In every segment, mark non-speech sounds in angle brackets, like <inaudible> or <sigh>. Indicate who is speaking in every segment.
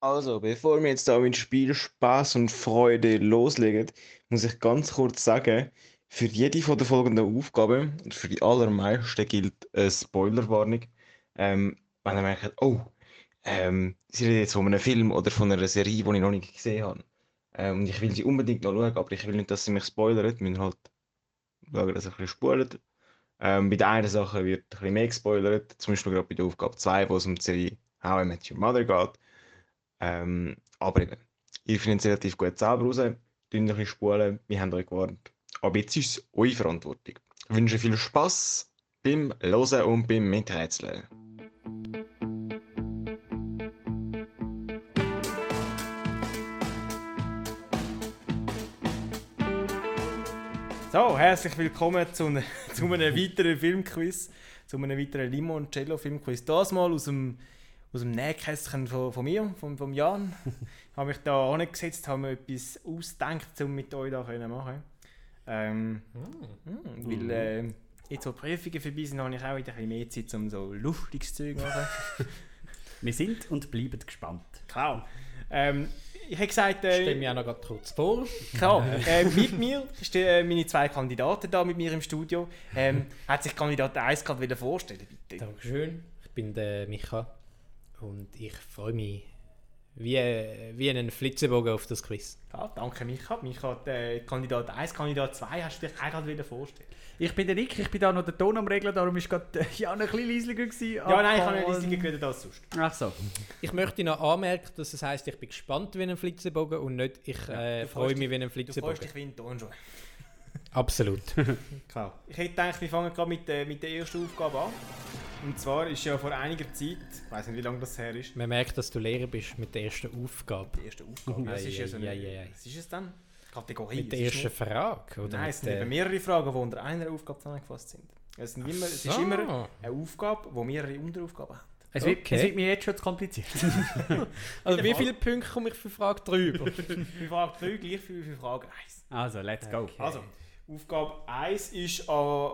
Speaker 1: Also, bevor wir jetzt da mit Spiel, Spaß und Freude loslegen, muss ich ganz kurz sagen, für jede von der folgenden Aufgaben und für die allermeisten gilt eine Spoilerwarnung. Ähm, wenn ihr merkt, oh, ähm, sie reden jetzt von einem Film oder von einer Serie, die ich noch nicht gesehen habe. Ähm, und ich will sie unbedingt noch schauen, aber ich will nicht, dass sie mich spoilern. Wir müssen halt schauen, dass ich ein bisschen spulen. Ähm, bei der einen Sache wird ein bisschen mehr gespoilert, zum Beispiel gerade bei der Aufgabe 2, wo es um die Serie How I Met Your Mother geht. Ähm, aber eben, ihr findet es relativ gut selber raus, tun ein bisschen spulen, wir haben euch gewarnt. Aber jetzt ist es eure Verantwortung. Ich wünsche viel Spass beim Hören und beim Miträtseln.
Speaker 2: So, herzlich willkommen zu, ne- <laughs> zu einem weiteren Filmquiz, zu einem weiteren Limoncello Filmquiz. Das mal aus dem, aus dem Nähkästchen von, von mir, von, von Jan. Ich habe mich da angesetzt, habe mir etwas ausgedacht, um mit euch da können machen ähm, mm, Weil äh, jetzt, wo die Prüfungen vorbei sind, habe ich auch wieder ein bisschen mehr Zeit, um so lustiges Zeug zu machen.
Speaker 3: Wir sind und bleiben gespannt.
Speaker 2: Klar. Ähm, ich habe gesagt, äh,
Speaker 4: Stell mich auch noch grad kurz vor.
Speaker 2: Klar, äh, mit mir stehen äh, meine zwei Kandidaten da mit mir im Studio. Ähm, hat sich Kandidat 1 gerade wieder vorstellen, bitte?
Speaker 4: Dankeschön. Ich bin der Micha und ich freue mich wie, äh, wie einen Flitzebogen auf das Quiz.
Speaker 2: Ja, danke, Micha. Micha, äh, Kandidat 1, Kandidat 2 hast du dich auch gerade wieder vorstellen.
Speaker 3: Ich bin der Nick, ich bin da noch der Ton am Regeln, darum war gerade Jan ein bisschen leisiger. Gewesen,
Speaker 2: Ja, nein, ich habe eine Liste gegründet als sonst.
Speaker 3: Ach so.
Speaker 4: Ich möchte noch anmerken, dass es heisst, ich bin gespannt wie ein Flitzebogen und nicht ich äh,
Speaker 2: du
Speaker 4: freue
Speaker 2: freust
Speaker 4: mich wie ein
Speaker 2: Du freust
Speaker 4: Flitzebogen.
Speaker 2: dich wie ein Tonschuh.
Speaker 4: Absolut. <laughs>
Speaker 2: Klar. Ich hätte gedacht, wir fangen gerade mit, äh, mit der ersten Aufgabe an. Und zwar ist ja vor einiger Zeit, ich weiß nicht, wie lange das her ist,
Speaker 4: Man merkt, dass du Lehrer bist mit der ersten Aufgabe.
Speaker 2: die erste
Speaker 4: <laughs>
Speaker 2: Aufgabe. Das ist ja so eine,
Speaker 4: Eieiei.
Speaker 2: Was ist es denn? Kategorie?
Speaker 4: Mit der
Speaker 2: Es ist
Speaker 4: ersten Frage, oder?
Speaker 2: Nein,
Speaker 4: mit
Speaker 2: es sind
Speaker 4: der-
Speaker 2: eben mehrere Fragen, die unter einer Aufgabe zusammengefasst sind. Es, sind immer, es ist
Speaker 4: so.
Speaker 2: immer eine Aufgabe, die mehrere Unteraufgaben haben.
Speaker 3: Es wird,
Speaker 4: Okay.
Speaker 3: es wird mir jetzt schon zu kompliziert.
Speaker 4: Also wie
Speaker 2: Wieder
Speaker 4: viele Punkte komme ich für Frage 3 über?
Speaker 2: Bei Frage 3 gleich viel wie bei Frage 1.
Speaker 3: Also, let's go.
Speaker 4: Okay.
Speaker 2: Also, Aufgabe 1 ist an,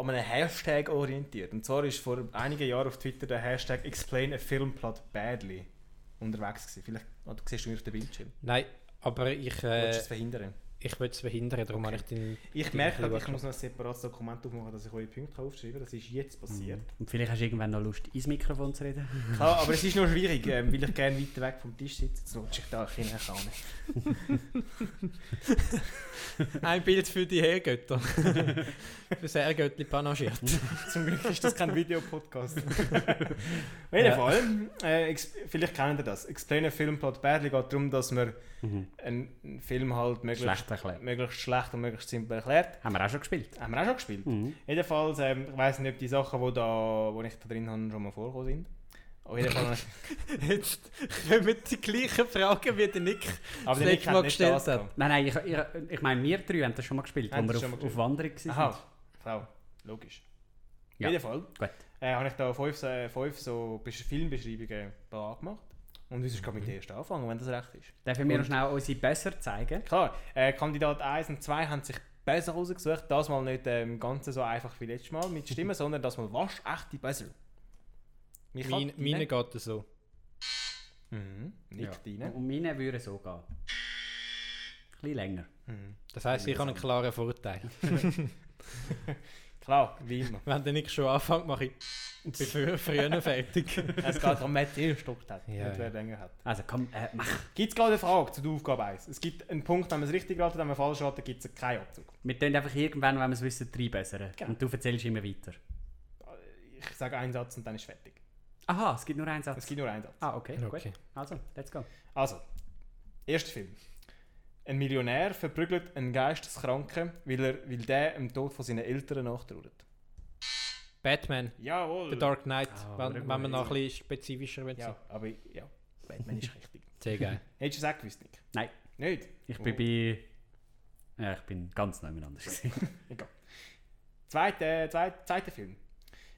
Speaker 2: an einem Hashtag orientiert. Und zwar ist vor einigen Jahren auf Twitter der Hashtag Explain a Film Plot Badly unterwegs gewesen. Vielleicht oh, du siehst du mich auf dem Bildschirm.
Speaker 4: <laughs> Nein, aber ich,
Speaker 2: Du willst
Speaker 4: äh,
Speaker 2: es verhindern.
Speaker 4: ich will es verhindern, darum habe ich den...
Speaker 2: Ich
Speaker 4: den
Speaker 2: merke,
Speaker 4: Kleber-
Speaker 2: ich muss noch ein separates Dokument aufmachen, dass ich eure Punkte aufschreibe. Das ist jetzt
Speaker 5: Mhm.
Speaker 2: passiert.
Speaker 3: Und vielleicht hast du irgendwann noch Lust, ins Mikrofon zu reden.
Speaker 2: Klar, aber es ist noch schwierig, ähm, weil ich gerne weiter weg vom Tisch sitze. Jetzt rutsche ich da ein bisschen hinein.
Speaker 4: Ein Bild für die
Speaker 2: <laughs>
Speaker 4: Herrgötter. für das Herrgöttli panagiert.
Speaker 2: Zum Glück ist das
Speaker 4: <laughs>
Speaker 2: kein Videopodcast. Auf jeden
Speaker 4: Ja.
Speaker 2: Fall, äh, ex- vielleicht kennt ihr das. Explain a Film Plot Badly geht darum, dass man
Speaker 4: Mhm.
Speaker 2: einen Film halt möglichst
Speaker 3: Schlecht erklärt.
Speaker 2: möglichst schlecht und möglichst simpel erklärt.
Speaker 3: Haben wir auch schon gespielt.
Speaker 2: Haben wir auch schon gespielt.
Speaker 4: Mhm.
Speaker 2: Jedenfalls, ähm, ich weiß nicht, ob die Sachen, die da, wo ich da drin habe, schon mal vorgekommen sind. Auf jeden Fall,
Speaker 4: <laughs> Jetzt kommen die gleichen Fragen wie der Nick.
Speaker 2: aber
Speaker 4: Das
Speaker 2: der Nick
Speaker 4: letzte Mal
Speaker 2: hat nicht
Speaker 4: gestellt
Speaker 2: das
Speaker 4: hat.
Speaker 2: gehabt.
Speaker 3: Nein, nein, ich, ich, ich meine, wir drei haben das schon mal gespielt, als
Speaker 2: Haben
Speaker 3: wir
Speaker 2: das
Speaker 3: auf,
Speaker 2: schon mal
Speaker 3: auf
Speaker 2: gespielt.
Speaker 3: Wanderung waren.
Speaker 2: Aha, Frau, logisch.
Speaker 3: Ja.
Speaker 2: Auf jeden Fall.
Speaker 3: Gut.
Speaker 2: äh, habe ich da fünf, so- äh, fünf so Besch- Filmbeschreibungen parat gemacht. Und uns ist
Speaker 4: Mhm.
Speaker 2: gerade mit der ersten anfangen, wenn das recht ist.
Speaker 3: Dürfen wir noch schnell unsere besser zeigen?
Speaker 2: Klar, äh, Kandidat 1 und 2 haben sich besser rausgesucht. Das mal nicht ähm, ganz so einfach wie letztes Mal mit
Speaker 4: <laughs>
Speaker 2: Stimmen, sondern das mal waschechte besser. Mich
Speaker 4: Meine, meine geht so.
Speaker 2: Mhm, nicht deine.
Speaker 3: Und meine würde so gehen. Ein bisschen länger.
Speaker 4: Das heisst, ich habe einen klaren Vorteil.
Speaker 2: Klar, wie
Speaker 4: <laughs>
Speaker 2: immer.
Speaker 4: Wenn der Nick schon anfängt, mache ich bin
Speaker 2: <laughs>
Speaker 4: früher, früher fertig.
Speaker 2: es geht darum, wer zuerst gestoppt hat
Speaker 4: Ja,
Speaker 2: und wer
Speaker 4: ja.
Speaker 2: länger hat.
Speaker 3: Also komm, äh, mach.
Speaker 2: Gibt es gerade eine Frage zu der Aufgabe 1? Es gibt einen Punkt, wenn man es richtig ratet, wenn man falsch ratet, gibt es keinen Abzug.
Speaker 3: Wir tun einfach irgendwann, wenn wir es wissen, drei bessere.
Speaker 2: Genau.
Speaker 3: Und du erzählst immer weiter.
Speaker 2: Ich sage einen Satz und dann ist fertig.
Speaker 3: Aha, es gibt nur einen Satz.
Speaker 2: Es gibt nur einen Satz.
Speaker 3: Ah, okay,
Speaker 4: Okay.
Speaker 3: gut. Also, let's go.
Speaker 2: Also, erster Film. Ein Millionär verprügelt einen Geisteskranken, weil, er, weil der im Tod von seinen Eltern nachtrauert.
Speaker 4: Batman,
Speaker 2: Jawohl!
Speaker 4: The Dark Knight,
Speaker 3: Ah,
Speaker 4: wenn,
Speaker 3: sehr
Speaker 4: wenn
Speaker 3: gut.
Speaker 4: man noch ein bisschen spezifischer will.
Speaker 2: Ja, aber ja, Batman ist richtig. <laughs>
Speaker 4: Sehr geil.
Speaker 2: Hättest du es auch gewusst, Nick?
Speaker 3: Nein,
Speaker 2: Nicht?
Speaker 3: ich bin bei. Ja, ich bin ganz neu anders. <laughs> gewesen.
Speaker 2: Egal. Zweiter, zweiter, zweiter Film.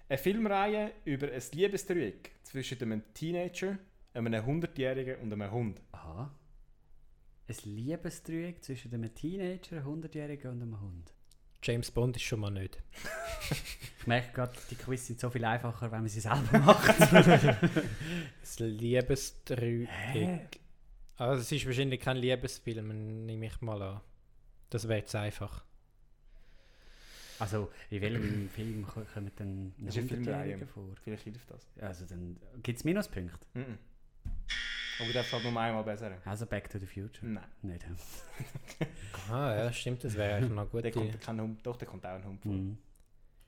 Speaker 2: Eine Filmreihe über ein Liebesdreieck zwischen einem Teenager, einem 100-Jährigen und einem Hund.
Speaker 3: Aha. Ein Liebesdreieck zwischen einem Teenager, einem 100-Jährigen und einem Hund.
Speaker 4: James Bond ist schon mal nicht.
Speaker 5: Ich merke gerade, die Quiz sind so viel einfacher, wenn man sie
Speaker 2: <laughs>
Speaker 5: selber macht.
Speaker 4: Das Liebesdreieck. Also es ist wahrscheinlich kein Liebesfilm, nehme ich mal an. Das wäre jetzt einfach.
Speaker 5: also, in welchem Film ko- kommen dann
Speaker 2: Das ist eine
Speaker 5: 100-Jährige
Speaker 2: Filmreihe.
Speaker 5: vor?
Speaker 2: Vielleicht hilft das.
Speaker 5: Also, dann gibt es Minuspunkte.
Speaker 2: Mhm. Aber ich darf halt nur einmal besser.
Speaker 5: Also, Back to the Future.
Speaker 2: Nein,
Speaker 5: Nicht. hm?
Speaker 4: Ah ja, stimmt, das wäre eigentlich noch gut.
Speaker 2: der kommt kein Hund, doch, der kommt auch ein Hund vor.
Speaker 5: Mhm.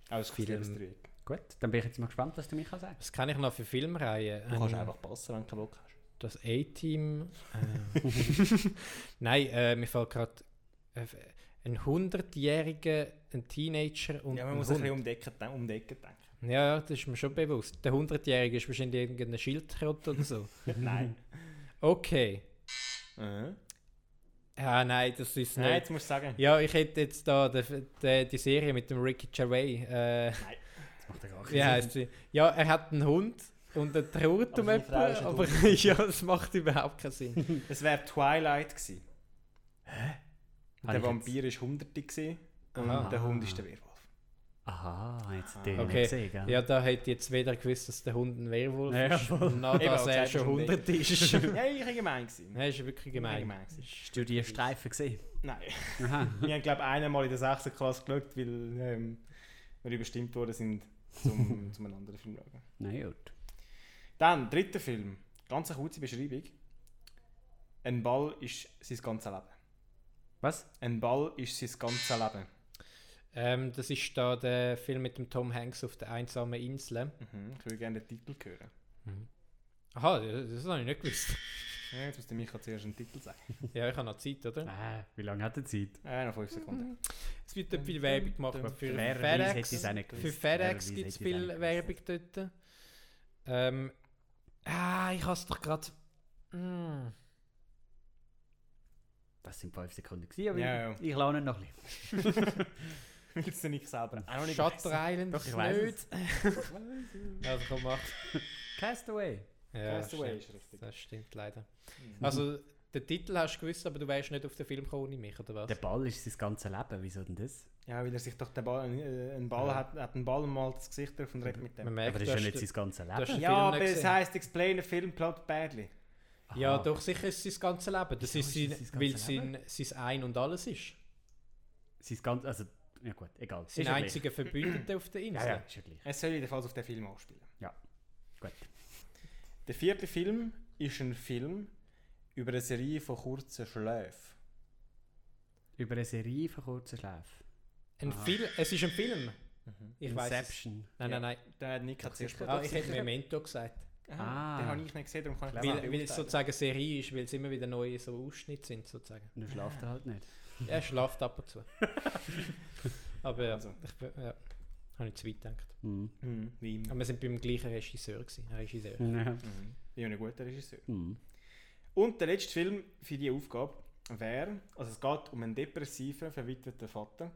Speaker 2: Aber es ist
Speaker 4: Mm. Film.
Speaker 2: vieles drin.
Speaker 5: Gut, dann bin ich jetzt mal gespannt, was du mich sagen
Speaker 4: Was kann ich noch für Filmreihen?
Speaker 2: Du kannst
Speaker 4: Ähm,
Speaker 2: einfach passen, wenn du keinen Bock hast.
Speaker 4: Das
Speaker 2: <laughs>
Speaker 4: A-Team. Äh. Nein, äh, mir fällt gerade äh, ein 100-jähriger, ein Teenager und
Speaker 2: Ja, man
Speaker 4: ein
Speaker 2: muss ein
Speaker 4: Hund.
Speaker 2: bisschen um die Ecke, den- um die Ecke denken.
Speaker 4: Ja, ja, das ist mir schon bewusst. Der 100-jährige ist wahrscheinlich irgendein Schildkröte oder so.
Speaker 2: Nein.
Speaker 4: Okay.
Speaker 2: Mhm.
Speaker 4: Ja, nein, das ist
Speaker 2: Nein,
Speaker 4: nicht.
Speaker 2: jetzt musst du sagen.
Speaker 4: Ja, ich hätte jetzt da den, den, die Serie mit dem Ricky Gervais.
Speaker 2: <laughs>
Speaker 4: Äh,
Speaker 5: Das macht ja gar
Speaker 4: wie heißt sie? Ja, er hat einen Hund und er trauert
Speaker 2: Aber
Speaker 4: um
Speaker 2: seine
Speaker 4: jemanden,
Speaker 2: Frau ist ein
Speaker 4: aber <laughs> ja, das macht überhaupt keinen Sinn.
Speaker 2: Es wäre Twilight gewesen.
Speaker 5: Habe
Speaker 2: Der
Speaker 5: ich jetzt-
Speaker 2: Vampir war Hunderte gewesen und
Speaker 4: Aha.
Speaker 2: der Hund ist der Werwolf.
Speaker 5: Aha, jetzt den
Speaker 4: Okay.
Speaker 5: okay. gesehen, gell?
Speaker 4: Ja, da hätte ich jetzt weder gewusst, dass der Hund ein Werwolf
Speaker 5: Ja,
Speaker 4: ist,
Speaker 5: voll.
Speaker 4: noch
Speaker 2: Eben,
Speaker 4: dass
Speaker 2: aber
Speaker 4: er
Speaker 2: das
Speaker 4: schon
Speaker 2: hat man
Speaker 4: 100
Speaker 5: <laughs>
Speaker 4: ist. Nein,
Speaker 2: Ja, ich war gemein. gewesen.
Speaker 4: ist wirklich gemein.
Speaker 2: Gemein gewesen.
Speaker 5: Hast du die Streifen gesehen?
Speaker 2: Nein.
Speaker 5: Aha.
Speaker 2: Wir haben, glaube ich, einmal in der 6. Klasse geschaut, weil ähm, wir bestimmt worden sind, zum, zum einen anderen Film zu schauen.
Speaker 5: Na gut.
Speaker 2: Dann, dritter Film. Ganz eine kurze Beschreibung. Ein Ball ist sein ganzes Leben.
Speaker 5: Was?
Speaker 2: Ein Ball ist sein ganzes Leben.
Speaker 4: Ähm, das ist da der Film mit dem Tom Hanks auf der einsamen Insel.
Speaker 2: Mhm. Ich würde gerne den Titel hören.
Speaker 4: Aha, das, das habe ich nicht gewusst.
Speaker 2: Ja, jetzt muss der Micha zuerst einen Titel sagen.
Speaker 4: Ja, ich habe noch Zeit, oder?
Speaker 5: Ah, wie lange hat er Zeit?
Speaker 2: Äh, noch 5 Sekunden.
Speaker 4: Es wird dort viel Werbung gemacht. aber Für
Speaker 5: Wer weiß, hätte ich es
Speaker 4: FedEx,
Speaker 5: auch nicht
Speaker 4: für
Speaker 5: gewusst.
Speaker 4: FedEx
Speaker 5: Wer weiß,
Speaker 4: gibt es
Speaker 5: hätte ich es auch
Speaker 4: viel
Speaker 5: nicht
Speaker 4: Werbung dort. Ähm, ah, ich habe es doch gerade. Mm.
Speaker 5: Das sind 5 Sekunden gewesen, aber
Speaker 2: Ja, ja.
Speaker 5: ich, ich lerne noch ein bisschen.
Speaker 2: Willst du nicht selber? Auch noch nicht
Speaker 4: Shutter Island
Speaker 5: Doch, ich
Speaker 4: ist
Speaker 5: weiss
Speaker 4: nicht. <laughs> also komm, mach.
Speaker 5: Castaway.
Speaker 4: Ja,
Speaker 2: Castaway
Speaker 4: stimmt.
Speaker 2: ist richtig. Mhm.
Speaker 4: Das stimmt leider. Also, den Titel hast du gewusst, aber du wärst nicht auf den Film gekommen ohne mich, oder was?
Speaker 5: Der Ball ist sein ganzes Leben, wieso denn das?
Speaker 2: Ja, weil er sich doch den Ball, äh, einen Ball
Speaker 4: Ja.
Speaker 2: hat, hat einen Ball und malt das Gesicht drauf und redet mit
Speaker 4: Man
Speaker 2: dem.
Speaker 4: merkt,
Speaker 5: aber das
Speaker 4: du
Speaker 5: ist
Speaker 4: hast
Speaker 5: ja nicht
Speaker 4: den-
Speaker 5: sein ganzes
Speaker 4: du hast
Speaker 5: Leben.
Speaker 4: den
Speaker 2: Ja,
Speaker 4: Film
Speaker 2: aber
Speaker 4: nicht
Speaker 2: es
Speaker 4: gesehen.
Speaker 2: heisst Explain a Film Plot badly.
Speaker 4: Ja,
Speaker 5: Aha.
Speaker 4: doch, sicher ist es sein ganzes Leben. Das
Speaker 5: Wieso
Speaker 4: ist
Speaker 5: ist
Speaker 4: sein,
Speaker 5: es sein
Speaker 4: weil
Speaker 5: ganzes
Speaker 4: sein, sein Ein und Alles ist.
Speaker 5: Sein ganzes, also, ja gut, egal.
Speaker 4: Sein
Speaker 5: Ist ja
Speaker 4: einziger Verbündeter auf der
Speaker 5: gleich.
Speaker 4: Insel.
Speaker 5: Ja, ja, ist ja gleich.
Speaker 2: Es soll jedenfalls auf den Film anspielen.
Speaker 5: Gut.
Speaker 2: Der vierte Film ist ein Film über eine Serie von kurzen Schläfen.
Speaker 5: Über eine Serie von kurzen Schläfen.
Speaker 4: Ein
Speaker 5: Aha.
Speaker 4: Film, es ist ein Film.
Speaker 2: Mhm.
Speaker 4: Ich weiß. Nein,
Speaker 5: Inception.
Speaker 4: nein, nein.
Speaker 2: Der hat Nick hat zuerst
Speaker 4: Ah, ich hätte Memento gesagt.
Speaker 5: Ah.
Speaker 2: Den habe ich nicht gesehen, darum kann ich
Speaker 5: Clever.
Speaker 2: das nicht
Speaker 4: Weil, weil es
Speaker 2: beurteilen.
Speaker 4: sozusagen Serie ist, weil es immer wieder neue so Ausschnitte sind, sozusagen.
Speaker 5: Dann schlaft er halt nicht.
Speaker 4: Er schlaft ab
Speaker 5: <laughs>
Speaker 4: und zu. Aber ja,
Speaker 2: Also.
Speaker 4: ich, bin- ja, habe ich zu weit gedacht.
Speaker 5: Mhm.
Speaker 2: Hm, Wie immer.
Speaker 4: Aber wir sind beim gleichen Regisseur gewesen. Ein Regisseur.
Speaker 5: <laughs> Ja.
Speaker 2: Mhm. Wie ein guter Regisseur.
Speaker 5: Mhm.
Speaker 2: Und der letzte Film für diese Aufgabe wäre, also es geht um einen depressiven, verwitweten Vater,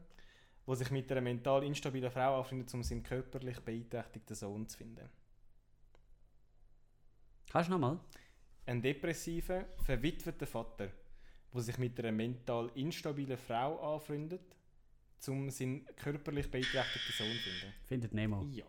Speaker 2: der sich mit einer mental instabilen Frau anfreundet, um seinen körperlich beeinträchtigten Sohn zu finden.
Speaker 5: Kannst du nochmal?
Speaker 2: Ein depressiver, verwitweter Vater, der sich mit einer mental instabilen Frau anfreundet, um seinen körperlich beeinträchtigten Sohn zu finden.
Speaker 5: Findet Nemo.
Speaker 2: Ja.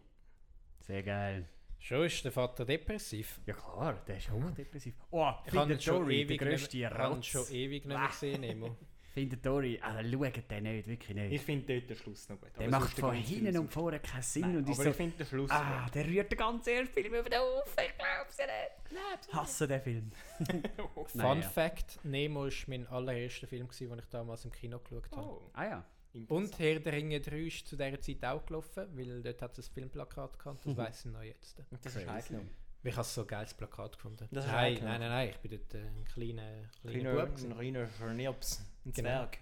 Speaker 5: Sehr geil.
Speaker 4: Schon ist der Vater depressiv.
Speaker 5: Ja klar, der ist auch depressiv. Oh,
Speaker 4: Ich habe ihn
Speaker 5: findet
Speaker 4: schon
Speaker 5: Dory, der
Speaker 4: ewig nicht
Speaker 5: grösste
Speaker 4: mehr- habe ihn schon e-
Speaker 5: Rotz.
Speaker 4: ewig nicht mehr gesehen. Nemo.
Speaker 5: Findet Dory, also schaut den nicht, wirklich nicht.
Speaker 2: Ich finde dort den Schluss noch gut.
Speaker 5: der
Speaker 2: Aber
Speaker 5: macht
Speaker 2: sonst
Speaker 5: von
Speaker 2: ganz
Speaker 5: hinten
Speaker 2: Film
Speaker 5: und vorne keinen Sinn
Speaker 2: Nein,
Speaker 5: und ist
Speaker 2: aber
Speaker 5: so...
Speaker 2: ich finde den Schluss
Speaker 5: Ah, der rührt den ganzen ersten Film über den Hof, ich glaub's ja nicht. Hasse den Film. <laughs>
Speaker 4: Fun
Speaker 5: Nein, ja.
Speaker 4: Fact: Nemo war mein allererster Film, gewesen, den ich damals im Kino geschaut habe.
Speaker 2: Oh,
Speaker 5: Ah ja.
Speaker 4: Und Herr der Ringe 3 ist zu dieser Zeit auch gelaufen, weil dort hat es ein Filmplakat gehabt, das weiss ich noch jetzt.
Speaker 2: das ist heikel.
Speaker 4: Ich habe so ein geiles Plakat gefunden.
Speaker 2: Das ist
Speaker 4: nein,
Speaker 2: heikel.
Speaker 4: nein, nein, nein, ich bin dort äh, ein kleiner, kleiner
Speaker 2: Kleiner
Speaker 4: Bub. gewesen.
Speaker 2: kleiner Schnips. Ein
Speaker 4: Genau.
Speaker 2: Zwerg.